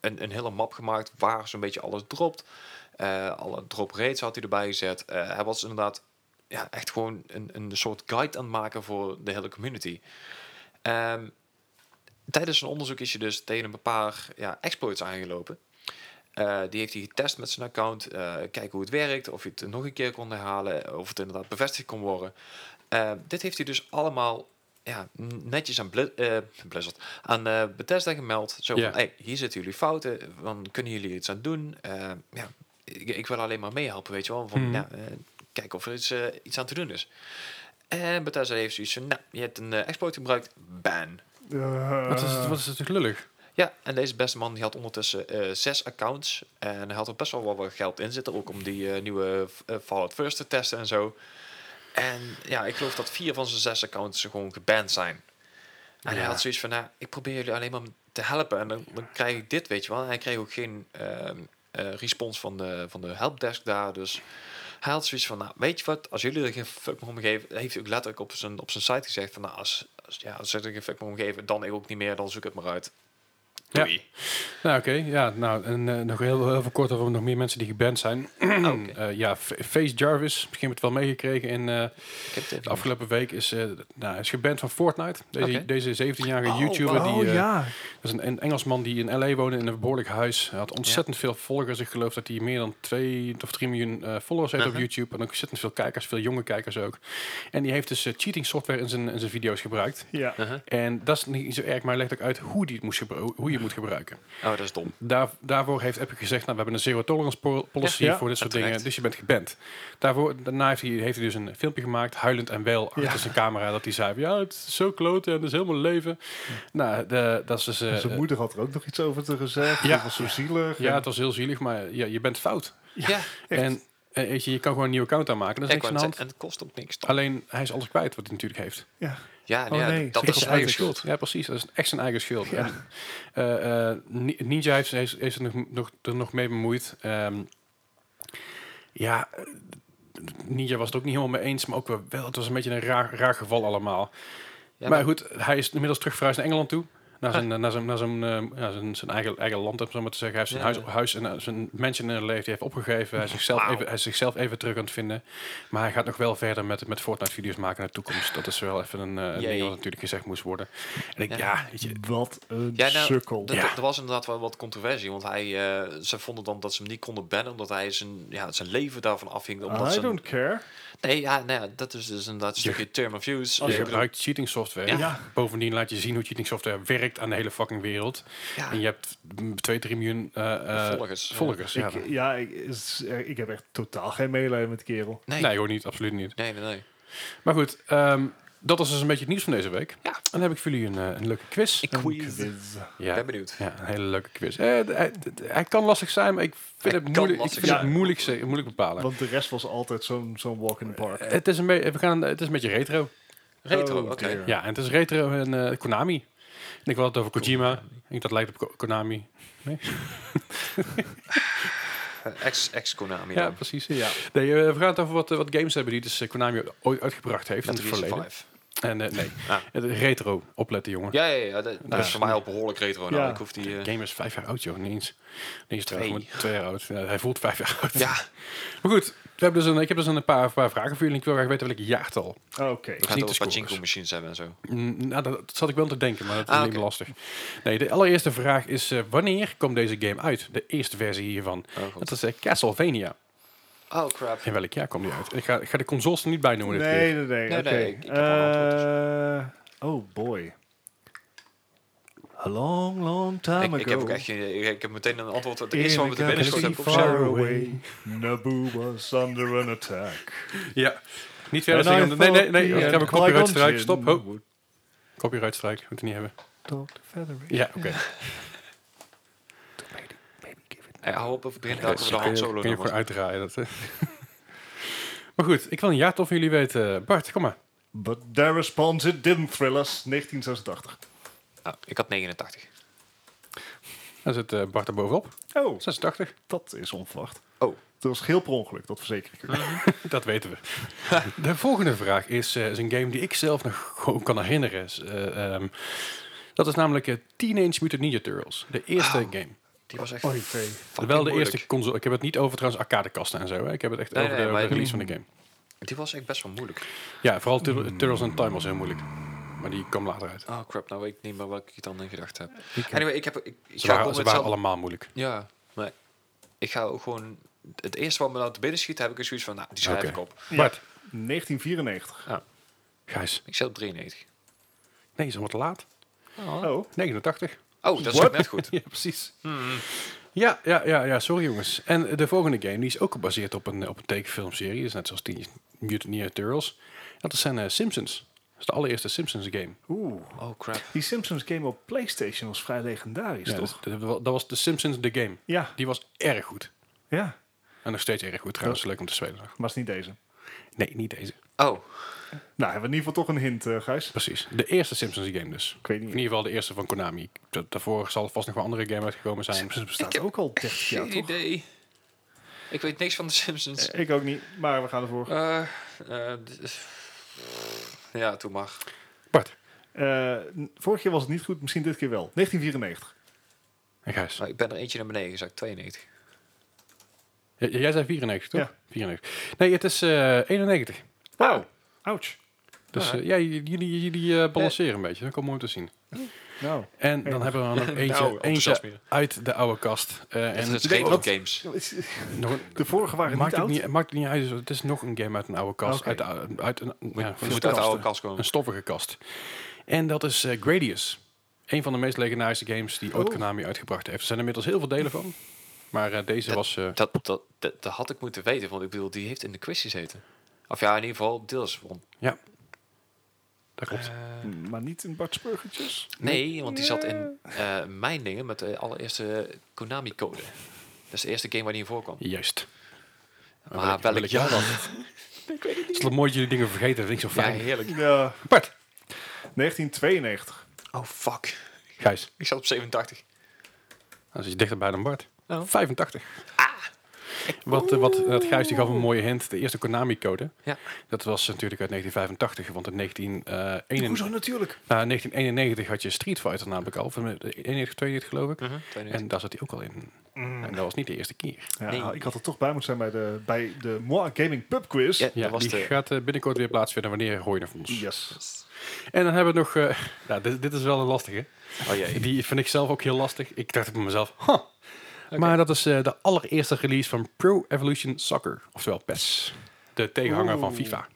Speaker 3: een, een hele map gemaakt waar zo'n beetje alles dropt. Eh, alle drop rates had hij erbij gezet. Eh, hij was inderdaad ja, echt gewoon een, een soort guide aan het maken voor de hele community. Ehm, tijdens een onderzoek is je dus tegen een paar ja, exploits aangelopen. Eh, die heeft hij getest met zijn account. eh, kijken hoe het werkt. Of je het nog een keer kon herhalen. eh, Of het inderdaad bevestigd kon worden. Eh, dit heeft hij dus allemaal ja, n- netjes aan, Bli- eh, Blizzard, aan eh, Bethesda gemeld. Zo van,
Speaker 1: Ja.
Speaker 3: hey, hier zitten jullie fouten. Dan kunnen jullie iets aan doen. Eh, ja, ik, ik wil alleen maar meehelpen, weet je wel. Van,
Speaker 1: Mhm.
Speaker 3: ja, eh, kijken of er iets, eh, iets aan te doen is. En Bethesda heeft zoiets van, nou, je hebt een eh, exploit gebruikt. Ban.
Speaker 2: Eh,
Speaker 1: Wat is, het- wat is het natuurlijk lullig.
Speaker 3: Ja, en deze beste man die had ondertussen eh, zes accounts. En hij had er best wel wat wel geld in zitten. Ook om die eh, nieuwe eh, Fallout First te testen en zo. En ja, ik geloof dat vier van zijn zes accounts gewoon geband zijn. En hij
Speaker 1: Ja.
Speaker 3: had zoiets van, nou, ik probeer jullie alleen maar te helpen. En dan, dan krijg ik dit, weet je wel. En hij kreeg ook geen ehm, eh, respons van de, van de helpdesk daar. Dus hij had zoiets van, nou, weet je wat? Als jullie er geen fuck meer om geven... Heeft hij ook letterlijk op zijn, op zijn site gezegd van, nou, als, als, ja, als ze er geen fuck meer om geven... Dan ik ook niet meer, dan zoek het maar uit.
Speaker 1: Ja. <laughs>
Speaker 3: Doei.
Speaker 1: Nou, oké. Ja, nou, en eh, nog heel, heel veel kort over nog meer mensen die geband zijn.
Speaker 3: Oké.
Speaker 1: Eh, ja, F- Face Jarvis, misschien heb je het wel meegekregen. In, eh,
Speaker 3: Ik heb dit
Speaker 1: de afgelopen week is, eh, nou, hij is geband van Fortnite. Deze,
Speaker 3: Oké.
Speaker 1: deze 17-jarige
Speaker 3: Oh,
Speaker 1: YouTuber.
Speaker 2: Oh
Speaker 1: Die, eh,
Speaker 2: ja,
Speaker 1: Dat is een, een Engelsman die in L.A. woonde in een behoorlijk huis. Hij had ontzettend veel volgers. Ik geloof dat hij meer dan 2 of 3 miljoen eh, followers heeft op
Speaker 3: Uh-huh.
Speaker 1: YouTube. En ook ontzettend veel kijkers, veel jonge kijkers ook. En die heeft dus eh, cheating software in zijn, in zijn video's gebruikt.
Speaker 2: ja.
Speaker 1: En dat is niet zo erg, maar hij legt ook uit hoe, die het moest gebru- hoe je het moet gebruiken.
Speaker 3: Oh, dat is dom.
Speaker 1: Daar, daarvoor heeft Epic gezegd, nou, we hebben een zero tolerance pol- policy
Speaker 2: Ja, ja,
Speaker 1: voor dit soort
Speaker 3: terecht.
Speaker 1: dingen, dus je bent geband. Daarvoor, daarna heeft hij, heeft hij dus een filmpje gemaakt, huilend en wel, achter
Speaker 2: Ja.
Speaker 1: zijn camera, dat hij zei, van, ja, het is zo kloten en het is helemaal leven. Nou, de, dat is dus... eh,
Speaker 2: Zijn moeder had er ook nog iets over te gezegd.
Speaker 1: Ja.
Speaker 2: Ja. Dat was zo zielig.
Speaker 1: eh, ja,
Speaker 2: En-
Speaker 1: het was heel zielig, maar ja, je bent fout.
Speaker 3: Ja,
Speaker 2: Echt.
Speaker 1: En eh, weet je, je kan gewoon een nieuwe account aanmaken, dat is
Speaker 3: ik
Speaker 1: niks
Speaker 3: wou
Speaker 1: aan de
Speaker 3: net zeggen,
Speaker 1: hand.
Speaker 3: en het kost ook niks.
Speaker 1: Alleen, hij is alles kwijt wat hij natuurlijk heeft.
Speaker 2: ja.
Speaker 3: Ja,
Speaker 2: Oh,
Speaker 3: ja
Speaker 2: nee,
Speaker 3: dat
Speaker 2: zeker
Speaker 3: is zijn
Speaker 2: als
Speaker 3: eigen
Speaker 2: het-
Speaker 3: schuld.
Speaker 1: Ja, precies. Dat is echt zijn eigen schuld. En, eh, eh, Ni- Ninja heeft, heeft, heeft er, nog, nog, er nog mee bemoeid. Ehm, ja, eh, Ninja was het ook niet helemaal mee eens, maar ook wel- wel. Het was een beetje een raar, raar geval allemaal.
Speaker 3: Ja, nou, Ah.
Speaker 1: maar goed, hij is inmiddels terugverhuisd naar Engeland toe. naar zijn, naar zijn, naar zijn, eh, ja, zijn, zijn eigen, eigen land, om het zo maar te zeggen. Hij heeft zijn
Speaker 3: Ja.
Speaker 1: huis, huis en eh, zijn mensen in het leven die heeft opgegeven. Hij is, zichzelf even, hij is zichzelf even terug aan het vinden. Maar hij gaat nog wel verder met, met Fortnite-video's maken in de toekomst. Dat is wel even een eh, een
Speaker 3: Jee.
Speaker 1: ding wat natuurlijk gezegd moest worden. En ik, ja,
Speaker 3: Ja.
Speaker 1: weet je,
Speaker 2: Wat een
Speaker 3: Ja, nou,
Speaker 2: sukkel.
Speaker 3: Dat-
Speaker 1: Ja.
Speaker 3: dat- Er was inderdaad wel wat controversie, want hij, eh, ze vonden dan dat ze hem niet konden bannen omdat hij zijn, ja, zijn leven daarvan afhing. Omdat
Speaker 2: I
Speaker 3: zijn-
Speaker 2: don't care.
Speaker 3: Nee, ja, nou ja, dat is dus inderdaad een
Speaker 1: Je-
Speaker 3: stukje term of use. Oh,
Speaker 1: je
Speaker 3: Ik bedoel,
Speaker 1: gebruikt cheating software.
Speaker 2: Ja.
Speaker 1: Bovendien laat je zien hoe cheating software werkt aan de hele fucking wereld.
Speaker 3: ja,
Speaker 1: En je hebt 2, 3 miljoen eh, eh,
Speaker 3: volgers. eh,
Speaker 1: volgers. Ja.
Speaker 2: Ik, ja, ik, is- eh, ik heb echt totaal geen medelijden met die kerel.
Speaker 3: Nee,
Speaker 1: Nee,
Speaker 3: nee,
Speaker 1: hoor niet, absoluut niet.
Speaker 3: nee, nee.
Speaker 1: Maar goed, ehm, dat was dus een beetje het nieuws van deze week.
Speaker 3: Ja.
Speaker 1: En dan heb ik voor jullie een, eh, een leuke quiz.
Speaker 3: Ik quiz. Ik
Speaker 2: Quiz.
Speaker 1: ja.
Speaker 3: ben benieuwd.
Speaker 1: ja, een hele leuke quiz. Eh, d- hij- d- hij kan lastig zijn, maar ik vind
Speaker 3: Hij
Speaker 1: het
Speaker 3: kan
Speaker 1: moeilijk, ik
Speaker 3: lastig
Speaker 1: vind
Speaker 2: zijn.
Speaker 1: het moeilijk, ze- moeilijk bepalen. Eh,
Speaker 2: Want de rest was altijd zo'n zo'n walk in the park.
Speaker 3: Eh,
Speaker 1: het, is een be- we gaan, het is een beetje retro.
Speaker 3: Retro,
Speaker 2: Oh,
Speaker 3: oké.
Speaker 2: dear.
Speaker 1: Ja, en het is retro en eh, Konami. Ik denk wel het over Kojima. Ik denk dat lijkt op Ko- Konami.
Speaker 3: Eh, Ex, ex Konami.
Speaker 1: Ja,
Speaker 3: Ja,
Speaker 1: precies. Ja. Nee, eh, we gaan het over wat, eh, wat games hebben die dus eh, Konami ooit uitgebracht heeft in het verleden.
Speaker 3: 5.
Speaker 1: En eh, nee,
Speaker 3: Ah.
Speaker 1: Het is retro, opletten jongen.
Speaker 3: Ja, ja, ja, dat, dat
Speaker 1: Ja.
Speaker 3: is voor mij al behoorlijk retro. Nou,
Speaker 2: Ja.
Speaker 3: ik hoef die. eh,
Speaker 1: De game is vijf jaar oud, joh. Niet eens, niet eens twee.
Speaker 3: Twee.
Speaker 1: twee jaar oud. Ja, hij voelt vijf jaar oud.
Speaker 3: ja,
Speaker 1: Maar goed, we hebben dus een, ik heb dus een paar, paar vragen voor jullie. Ik wil graag weten welk jaartal.
Speaker 2: Oké.
Speaker 3: we
Speaker 1: niet
Speaker 3: gaan
Speaker 1: de
Speaker 3: toch
Speaker 1: scores.
Speaker 3: pachinko machines hebben en zo. Oh,
Speaker 1: Mm, nou, dat, dat zat ik wel te denken, maar dat is
Speaker 3: Ah,
Speaker 1: niet
Speaker 3: oké.
Speaker 1: meer lastig. Nee, de allereerste vraag is, eh, wanneer komt deze game uit? De eerste versie hiervan.
Speaker 3: Oh, goed.
Speaker 1: Dat is eh, Castlevania.
Speaker 3: Oh crap.
Speaker 1: In welk jaar komt die uit? Ik ga, ik ga de consoles er niet bij noemen dit
Speaker 2: Nee,
Speaker 1: keer.
Speaker 2: nee, nee.
Speaker 3: Nee,
Speaker 2: oké.
Speaker 3: nee, ik- ik heb al een antwoord,
Speaker 2: Eh, oh boy. A long, long time
Speaker 3: Ik,
Speaker 1: Ah,
Speaker 2: ago.
Speaker 3: ik heb ook echt geen. Ik, ik heb meteen een antwoord. Het eerste wat me te binnen
Speaker 1: galaxy
Speaker 3: schoot heb ik
Speaker 1: far
Speaker 3: opgeschreven.
Speaker 1: away,
Speaker 2: Naboo was under an attack.
Speaker 1: Ja. Niet verder zeggen. Nee, nee, nee. Ik heb een copyright strike. Stop. oh. Ho.
Speaker 2: Talk
Speaker 1: Copyright strike. Moet het niet hebben.
Speaker 2: to Federation.
Speaker 1: Ja, oké.
Speaker 2: Maybe give it.
Speaker 3: Hey, hou op of begin
Speaker 1: Ja,
Speaker 3: elke de hand solo
Speaker 1: dus Kun je voor
Speaker 3: nummers.
Speaker 1: uitdraaien. Dat, eh. <laughs> maar goed, ik wil een jaartal van jullie weten. Bart, kom maar.
Speaker 2: But their response it didn't thrill us. 1986.
Speaker 3: Ah, ik had 89.
Speaker 1: Dan zit eh, Bart er bovenop.
Speaker 2: Oh,
Speaker 1: 86.
Speaker 2: dat is onverwacht.
Speaker 3: Oh.
Speaker 2: Dat was heel per ongeluk, dat verzeker ik u.
Speaker 1: Ah, Dat weten we.
Speaker 3: <laughs>
Speaker 1: De volgende vraag is, eh, is een game die ik zelf nog gewoon kan herinneren. Is, eh, ehm, dat is namelijk eh, Teenage Mutant Ninja Turtles. De eerste
Speaker 3: Ah,
Speaker 1: game.
Speaker 3: Die was echt.
Speaker 2: Oei, vee.
Speaker 1: Wel
Speaker 3: fucking
Speaker 1: de
Speaker 3: moeilijk.
Speaker 1: eerste console. Ik heb het niet over trouwens arcadekasten en zo. Hè. Ik heb het echt
Speaker 3: Nee,
Speaker 1: over
Speaker 3: nee,
Speaker 1: de,
Speaker 3: maar-
Speaker 1: over de release van de game.
Speaker 3: Die was echt best wel moeilijk.
Speaker 1: Ja, vooral Tur- Turtles in Time was heel moeilijk. Maar die kwam later uit.
Speaker 3: Oh crap, nou weet ik niet meer welke ik dan in gedachten heb. Anyway, ik heb. Ik, ik
Speaker 1: Ze
Speaker 3: ga
Speaker 1: waren,
Speaker 3: gewoon
Speaker 1: ze
Speaker 3: met
Speaker 1: waren
Speaker 3: allemaal.
Speaker 1: allemaal moeilijk.
Speaker 3: Ja, maar ik ga ook gewoon. Het eerste wat me nou te binnen schiet, heb ik dus zoiets van. Nou, die schrijf
Speaker 1: Oké.
Speaker 3: ik op.
Speaker 1: Bart,
Speaker 2: 1994.
Speaker 1: Gijs.
Speaker 3: Ik zit op 93.
Speaker 1: Nee, is al wat laat.
Speaker 3: Oh,
Speaker 2: Oh.
Speaker 1: 89.
Speaker 3: oh dat is
Speaker 2: What?
Speaker 3: ook net goed.
Speaker 1: <laughs>
Speaker 3: Hmm.
Speaker 1: ja, precies. Ja, ja, ja, ja, sorry jongens. En eh, de volgende game die is ook gebaseerd op een, op een tekenfilmserie. Dus net zoals die Mutant Ninja Turtles. Dat zijn eh, Simpsons. Dat is de allereerste Simpsons game.
Speaker 2: Oeh.
Speaker 3: Oh crap.
Speaker 2: Die Simpsons game op PlayStation was vrij legendarisch,
Speaker 1: Ja,
Speaker 2: toch?
Speaker 1: dat, dat- dat was de Simpsons The Game.
Speaker 2: Ja,
Speaker 1: Die was erg goed.
Speaker 2: ja.
Speaker 1: En nog steeds erg goed trouwens. Leuk om te spelen. nog.
Speaker 2: Was niet deze.
Speaker 1: Nee, niet deze.
Speaker 3: Oh,
Speaker 2: Nou, hebben we in ieder geval toch een hint, eh Gijs?
Speaker 1: Precies. De eerste Simpsons game dus.
Speaker 2: Ik weet
Speaker 1: In
Speaker 2: niet.
Speaker 1: ieder geval de eerste van Konami. Da- Daarvoor zal vast nog wel andere game uitgekomen zijn.
Speaker 2: Simpsons bestaat
Speaker 3: heb
Speaker 2: ook al 30 jaar,
Speaker 3: geen
Speaker 2: toch?
Speaker 3: idee. Ik weet niks van de Simpsons.
Speaker 2: Eh, Ik ook niet, maar we gaan ervoor.
Speaker 3: Eh, eh, d- ja, toen mag.
Speaker 1: Bart
Speaker 2: Eh, n- vorig jaar was het niet goed, misschien dit keer wel. 1994.
Speaker 1: en Gijs.
Speaker 3: Maar ik ben er eentje naar beneden gezakt, 92.
Speaker 1: J- Jij zei 94, toch?
Speaker 2: Ja.
Speaker 1: 94. Nee, het is eh 91.
Speaker 2: Wauw. Ouch.
Speaker 1: Dus
Speaker 3: Ah.
Speaker 1: eh, ja, j- jullie, jullie eh, balanceren een beetje. Dat komt mooi om te zien.
Speaker 2: Nou.
Speaker 1: En dan hebben
Speaker 3: <laughs>
Speaker 1: we er nog eentje, eentje
Speaker 3: enthousiasme.
Speaker 1: uit de oude kast. Eh,
Speaker 3: Dat
Speaker 1: en
Speaker 3: is
Speaker 2: nee,
Speaker 3: retro
Speaker 2: wat-
Speaker 3: games.
Speaker 1: nog een-
Speaker 2: De vorige waren
Speaker 1: maakt, het
Speaker 2: niet oud. Ah,
Speaker 1: niet, maakt het niet uit. Het is nog een game uit een oude kast.
Speaker 2: Oké.
Speaker 1: Uit, de oude- uit een, ja,
Speaker 3: We
Speaker 1: van de
Speaker 3: moeten uit de oude
Speaker 1: kasten.
Speaker 3: kast komen.
Speaker 1: een stoffige kast. En dat is eh, Gradius. Een van de meest legendarische games die ooit
Speaker 2: Oh.
Speaker 1: Konami uitgebracht heeft. Er zijn inmiddels heel veel delen van. Maar eh, deze was... eh,
Speaker 3: Dat, dat, dat, dat had ik moeten weten, want ik bedoel, die heeft in de quiz gezeten. Of ja, in ieder geval deels. Want,
Speaker 1: ja, dat klopt.
Speaker 3: eh,
Speaker 2: Maar niet in Bart's Burgertjes.
Speaker 3: nee, want die zat in eh, mijn dingen met de allereerste Konami-code. Dat is de eerste game waar die in voorkwam.
Speaker 1: Juist.
Speaker 3: Maar welk jaar
Speaker 1: <laughs> dan? Het is wel mooi dat jullie dingen vergeten. Dat vind ik zo
Speaker 3: Ja,
Speaker 1: fijn.
Speaker 3: heerlijk.
Speaker 2: Ja.
Speaker 1: Bart,
Speaker 2: 1992.
Speaker 3: Oh, fuck.
Speaker 1: Gijs. Nou,
Speaker 3: Ik zat op 87.
Speaker 1: Dat is iets dichterbij dan Bart.
Speaker 3: Oh.
Speaker 1: 85. Wat, eh, wat, dat Gijs die gaf een mooie hint. De eerste Konami-code.
Speaker 3: Ja.
Speaker 1: Dat was natuurlijk uit 1985. Want in eh, 1991,
Speaker 2: Hoezo natuurlijk?
Speaker 1: nou, in 1991 had je Street Fighter namelijk al. Of eh, 91, 92 geloof ik.
Speaker 3: En,
Speaker 1: Mhm. En daar zat hij ook al in.
Speaker 3: Mm.
Speaker 1: En dat was niet de eerste keer.
Speaker 2: Ja,
Speaker 3: Nee.
Speaker 2: Ik had er toch bij moeten zijn bij de, bij de Moi Gaming Pub Quiz.
Speaker 3: ja,
Speaker 1: Ja,
Speaker 3: dat was
Speaker 1: die
Speaker 3: de...
Speaker 1: gaat eh, binnenkort weer plaatsvinden wanneer hoor je nog van ons.
Speaker 2: Yes.
Speaker 1: En dan hebben we nog... eh, <laughs> nou, dit, dit is wel een lastige.
Speaker 3: Oh jee.
Speaker 1: Die vind ik zelf ook heel lastig. Ik dacht bij mezelf, huh. Maar dat is eh, de allereerste release van Pro Evolution Soccer. Oftewel PES. De tegenhanger van
Speaker 2: Oeh.
Speaker 1: FIFA.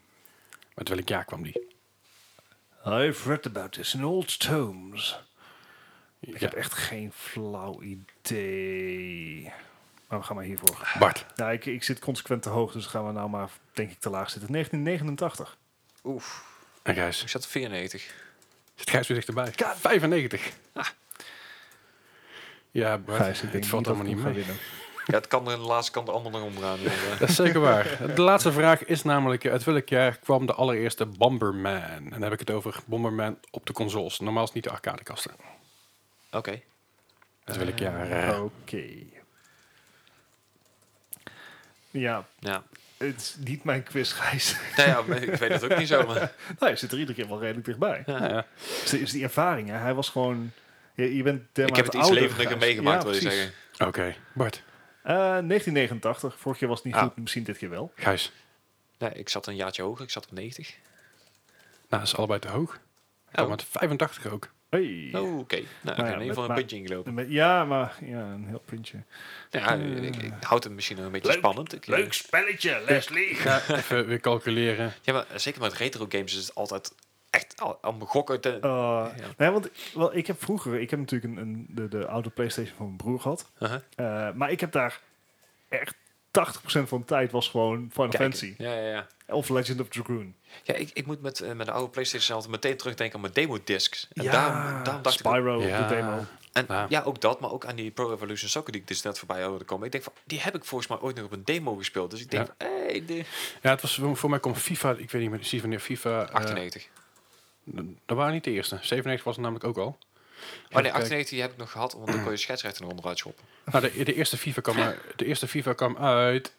Speaker 1: Met welk jaar kwam die?
Speaker 2: I've read about this in old tomes.
Speaker 1: Ja,
Speaker 2: Ik heb echt geen flauw idee. Maar we gaan maar hiervoor.
Speaker 1: Bart.
Speaker 2: Nou, ik, ik zit consequent te hoog, dus gaan we nou maar, denk ik, te laag zitten. 1989.
Speaker 3: Oef.
Speaker 1: En Gijs.
Speaker 3: Ik zat op 94.
Speaker 1: Zit Gijs weer dichterbij? 95.
Speaker 2: Ah.
Speaker 1: Ja, Bart. dit valt allemaal niet mee.
Speaker 3: Ja, het kan er in de laatste kant de ander nog omgaan.
Speaker 1: <laughs>
Speaker 3: maar, eh,
Speaker 1: Dat is zeker
Speaker 2: <laughs>
Speaker 1: waar. De laatste vraag is namelijk, eh, uit welk jaar kwam de allereerste Bomberman? En dan heb ik het over Bomberman op de consoles. Normaal is het niet de arcadekasten.
Speaker 3: Oké.
Speaker 1: Uit welk jaar?
Speaker 2: Oké.
Speaker 1: eh,
Speaker 2: Ja,
Speaker 3: Ja.
Speaker 2: het is niet mijn quiz, Gijs. <laughs>
Speaker 3: Nou ja, maar ik weet het ook niet zo, maar...
Speaker 2: nou, je zit er iedere keer wel redelijk dichtbij.
Speaker 1: nou ja.
Speaker 2: Dus is die ervaring, hè? Hij was gewoon... Je, je bent
Speaker 3: Ik heb het iets levendiger meegemaakt, wil je zeggen.
Speaker 1: Oké, Bart.
Speaker 2: Eh, 1989. Vorig jaar was het niet
Speaker 3: Ah.
Speaker 2: goed, misschien dit keer wel.
Speaker 1: Gijs.
Speaker 3: Nee, ik zat een jaartje hoger. Ik zat op 90.
Speaker 1: Nou, dat is allebei te hoog. Ja,
Speaker 3: Oh.
Speaker 1: want 85 ook.
Speaker 2: Hey.
Speaker 3: Oh, oké. Nou, ik
Speaker 2: ja,
Speaker 3: heb in
Speaker 2: met-
Speaker 3: ieder geval een
Speaker 2: maar-
Speaker 3: puntje ingelopen. Nou
Speaker 2: Met- ja, maar ja, een heel puntje.
Speaker 3: Ja, ik, ik houd het misschien nog een beetje
Speaker 2: Leuk,
Speaker 3: spannend. Ik, eh,
Speaker 2: spelletje, Leslie.
Speaker 3: <laughs>
Speaker 1: Even weer calculeren.
Speaker 3: Ja, maar zeker met retro games is het altijd echt al- allemaal gokken. Te,
Speaker 2: Oh,
Speaker 3: Ja.
Speaker 2: eh, nee, want wel, ik heb vroeger, ik heb natuurlijk een, een, de, de oude PlayStation van mijn broer gehad.
Speaker 3: Uh-huh.
Speaker 2: Eh, maar ik heb daar echt 80% van de tijd was gewoon Final
Speaker 3: Kijken.
Speaker 2: Fantasy.
Speaker 3: Ja, ja, ja.
Speaker 2: Of Legend of Dragoon.
Speaker 3: ja ik, ik moet met, eh, met de oude PlayStation altijd meteen terugdenken aan mijn demo-discs. En
Speaker 2: ja,
Speaker 3: daarom, daarom dacht ik... ook-
Speaker 2: Spyro,
Speaker 1: Ja.
Speaker 2: de demo.
Speaker 3: En,
Speaker 1: Ja.
Speaker 3: ja. ook dat, maar ook aan die Pro Evolution Soccer die ik dus net voorbij hoorde komen. Ik denk van, die heb ik volgens mij ooit nog op een demo gespeeld. Dus ik denk
Speaker 1: Ja.
Speaker 3: van, hey, de...
Speaker 1: Ja, het was voor mij kwam FIFA, ik weet niet meer precies wanneer FIFA... eh,
Speaker 3: 98.
Speaker 1: d- dat waren niet de eerste. 97 was het namelijk ook al.
Speaker 3: oh nee,
Speaker 1: kijk.
Speaker 3: 98 die heb ik nog gehad, want dan
Speaker 1: <clears throat>
Speaker 3: kon je scheidsrechter onderuit schoppen.
Speaker 1: Nou, de, de, eerste FIFA kwam, uit- de eerste FIFA kwam uit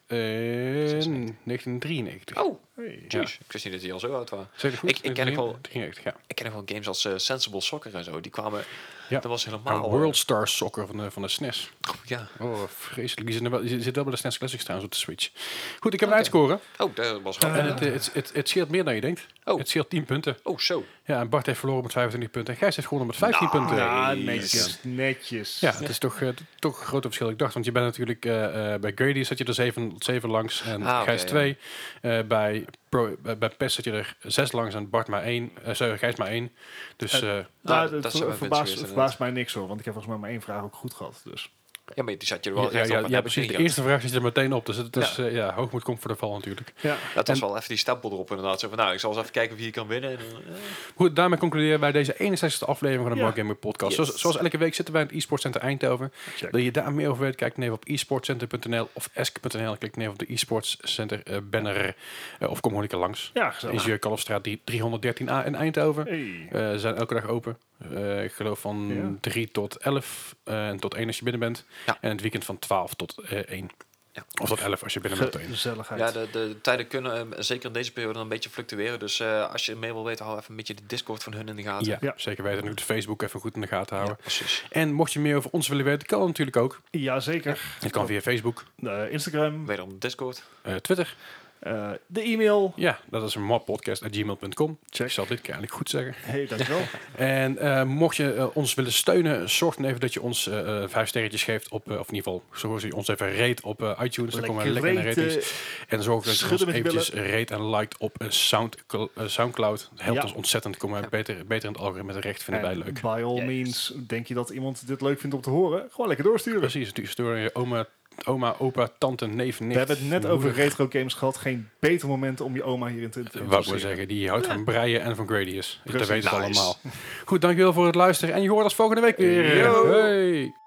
Speaker 1: in 1993.
Speaker 3: Oh,
Speaker 2: Hey.
Speaker 3: jeez. Ik wist niet dat die al zo oud waren.
Speaker 1: Zeg ik goed?
Speaker 3: Ik- ik ken ook wel-
Speaker 1: 1993, ja.
Speaker 3: Ik ken nog wel games als eh, Sensible Soccer en zo. Die kwamen...
Speaker 1: Ja.
Speaker 3: Dat was
Speaker 1: Maar
Speaker 3: helemaal...
Speaker 1: World Star Soccer van de, van de SNES.
Speaker 3: Ja.
Speaker 1: Oh, vreselijk. Die zit, er wel- die zit wel bij de SNES Classics trouwens op de Switch. Goed, ik heb een uitscore.
Speaker 3: Oh, dat was grappig.
Speaker 1: En het, eh, het, het, het scheelt meer dan je denkt.
Speaker 3: Oh.
Speaker 1: Het scheelt 10 punten.
Speaker 3: Oh, zo.
Speaker 1: Ja, en Bart heeft verloren met 25 punten. En Gijs heeft gewonnen met 15
Speaker 3: Nou,
Speaker 1: punten.
Speaker 2: Ja,
Speaker 3: Nice.
Speaker 2: netjes, netjes.
Speaker 1: Ja, het is toch, eh, t- toch een groot verschil. Ik dacht, want je bent natuurlijk eh, eh, bij Grady zat je er 7, langs en
Speaker 3: Ah, oké,
Speaker 1: Gijs
Speaker 3: ja.
Speaker 1: 2. Eh, bij, Pro, eh, bij PES zat je er 6 langs en Bart maar 1. eh sorry, Gijs maar 1. Dus eh,
Speaker 2: Nou, dat
Speaker 3: dat- dat
Speaker 2: ver-
Speaker 3: zou wel
Speaker 2: verbaast,
Speaker 3: mensen geweest,
Speaker 2: verbaast mij niks hoor, want ik heb volgens mij maar één vraag ook goed gehad. Dus.
Speaker 3: Ja, maar die zat je er wel
Speaker 1: ja,
Speaker 3: echt
Speaker 1: ja,
Speaker 3: op.
Speaker 1: ja,
Speaker 3: en heb ik
Speaker 1: precies.
Speaker 3: niet
Speaker 1: De
Speaker 3: gehad.
Speaker 1: eerste vraag zit er meteen op. Dus het is ja. ja, hoogmoed komt voor de val natuurlijk.
Speaker 2: Ja.
Speaker 3: Dat was wel even die stempel erop inderdaad. Zo van, nou, ik zal eens even kijken of je hier kan winnen. En, dan, eh.
Speaker 1: Goed, daarmee concluderen wij deze 61e aflevering van de
Speaker 2: Ja.
Speaker 1: Mark Gamer Podcast.
Speaker 3: Yes.
Speaker 1: Zoals, zoals elke week zitten wij in het e-sport center Eindhoven.
Speaker 2: Check.
Speaker 1: Wil je daar meer over weten, kijk dan even op e-sportcenter.nl of esk.nl. Klik dan even op de e-sports center eh, banner eh, of kom gewoon een keer langs.
Speaker 2: Ja,
Speaker 1: In
Speaker 2: gezellig.
Speaker 1: Jeur Kalfstraat 313a in Eindhoven.
Speaker 2: Hey.
Speaker 1: Eh, Ze zijn elke dag open. Eh, ik geloof van
Speaker 2: Ja.
Speaker 1: 3 tot 11 eh, en tot 1 als je binnen bent.
Speaker 3: Ja.
Speaker 1: En het weekend van 12 tot eh 1.
Speaker 3: Ja.
Speaker 1: Of tot 11 als je binnen bent tot 1.
Speaker 2: Gezelligheid.
Speaker 3: Ja, de, de tijden kunnen eh, zeker in deze periode een beetje fluctueren. Dus eh, als je mee wil weten, hou even een beetje de Discord van hun in de gaten.
Speaker 1: Ja,
Speaker 2: Ja.
Speaker 1: zeker weten. En ook de Facebook even goed in de gaten
Speaker 3: Ja,
Speaker 1: houden.
Speaker 3: precies.
Speaker 1: En mocht je meer over ons willen weten, kan dat natuurlijk ook.
Speaker 2: Jazeker.
Speaker 1: Het kan via Facebook,
Speaker 2: Eh, Instagram,
Speaker 3: Wederom de Discord.
Speaker 1: eh, Twitter.
Speaker 2: eh, de e-mail.
Speaker 1: Ja, dat is mobpodcast.gmail.com.
Speaker 2: Check.
Speaker 1: Ik zal dit keer eigenlijk goed zeggen.
Speaker 2: Hey, dankjewel.
Speaker 1: En eh, mocht je eh, ons willen steunen, zorg dan even dat je ons eh, eh, vijf sterretjes geeft op, eh, of in ieder geval, zorg dat je ons even rate op eh, iTunes. Dan komen we lekker in de
Speaker 2: Lekker
Speaker 1: ratings. En zorg dat je ons
Speaker 2: Schudden met je
Speaker 1: eventjes rate en liked op eh, Sound, eh, Soundcloud. Dat helpt
Speaker 2: Ja.
Speaker 1: ons ontzettend. Komen we beter, beter in het algoritme terecht. Vinden wij
Speaker 2: En
Speaker 1: leuk.
Speaker 2: By all
Speaker 3: Yes.
Speaker 2: means, denk je dat iemand dit leuk vindt om te horen? Gewoon lekker doorsturen.
Speaker 1: Precies, die door je oma, oma, opa, tante, neef, nicht.
Speaker 2: We hebben het net
Speaker 1: moeder.
Speaker 2: over retro games gehad. Geen beter moment om je oma hierin te te
Speaker 1: Wat ik wil
Speaker 2: interesseren.
Speaker 1: zeggen, die houdt van breien en van Gradius. Dat
Speaker 2: Precies.
Speaker 1: weten we
Speaker 3: Nice.
Speaker 1: allemaal. Goed, dankjewel voor het luisteren. En je hoort ons volgende week weer.
Speaker 2: Yo.
Speaker 1: Hey.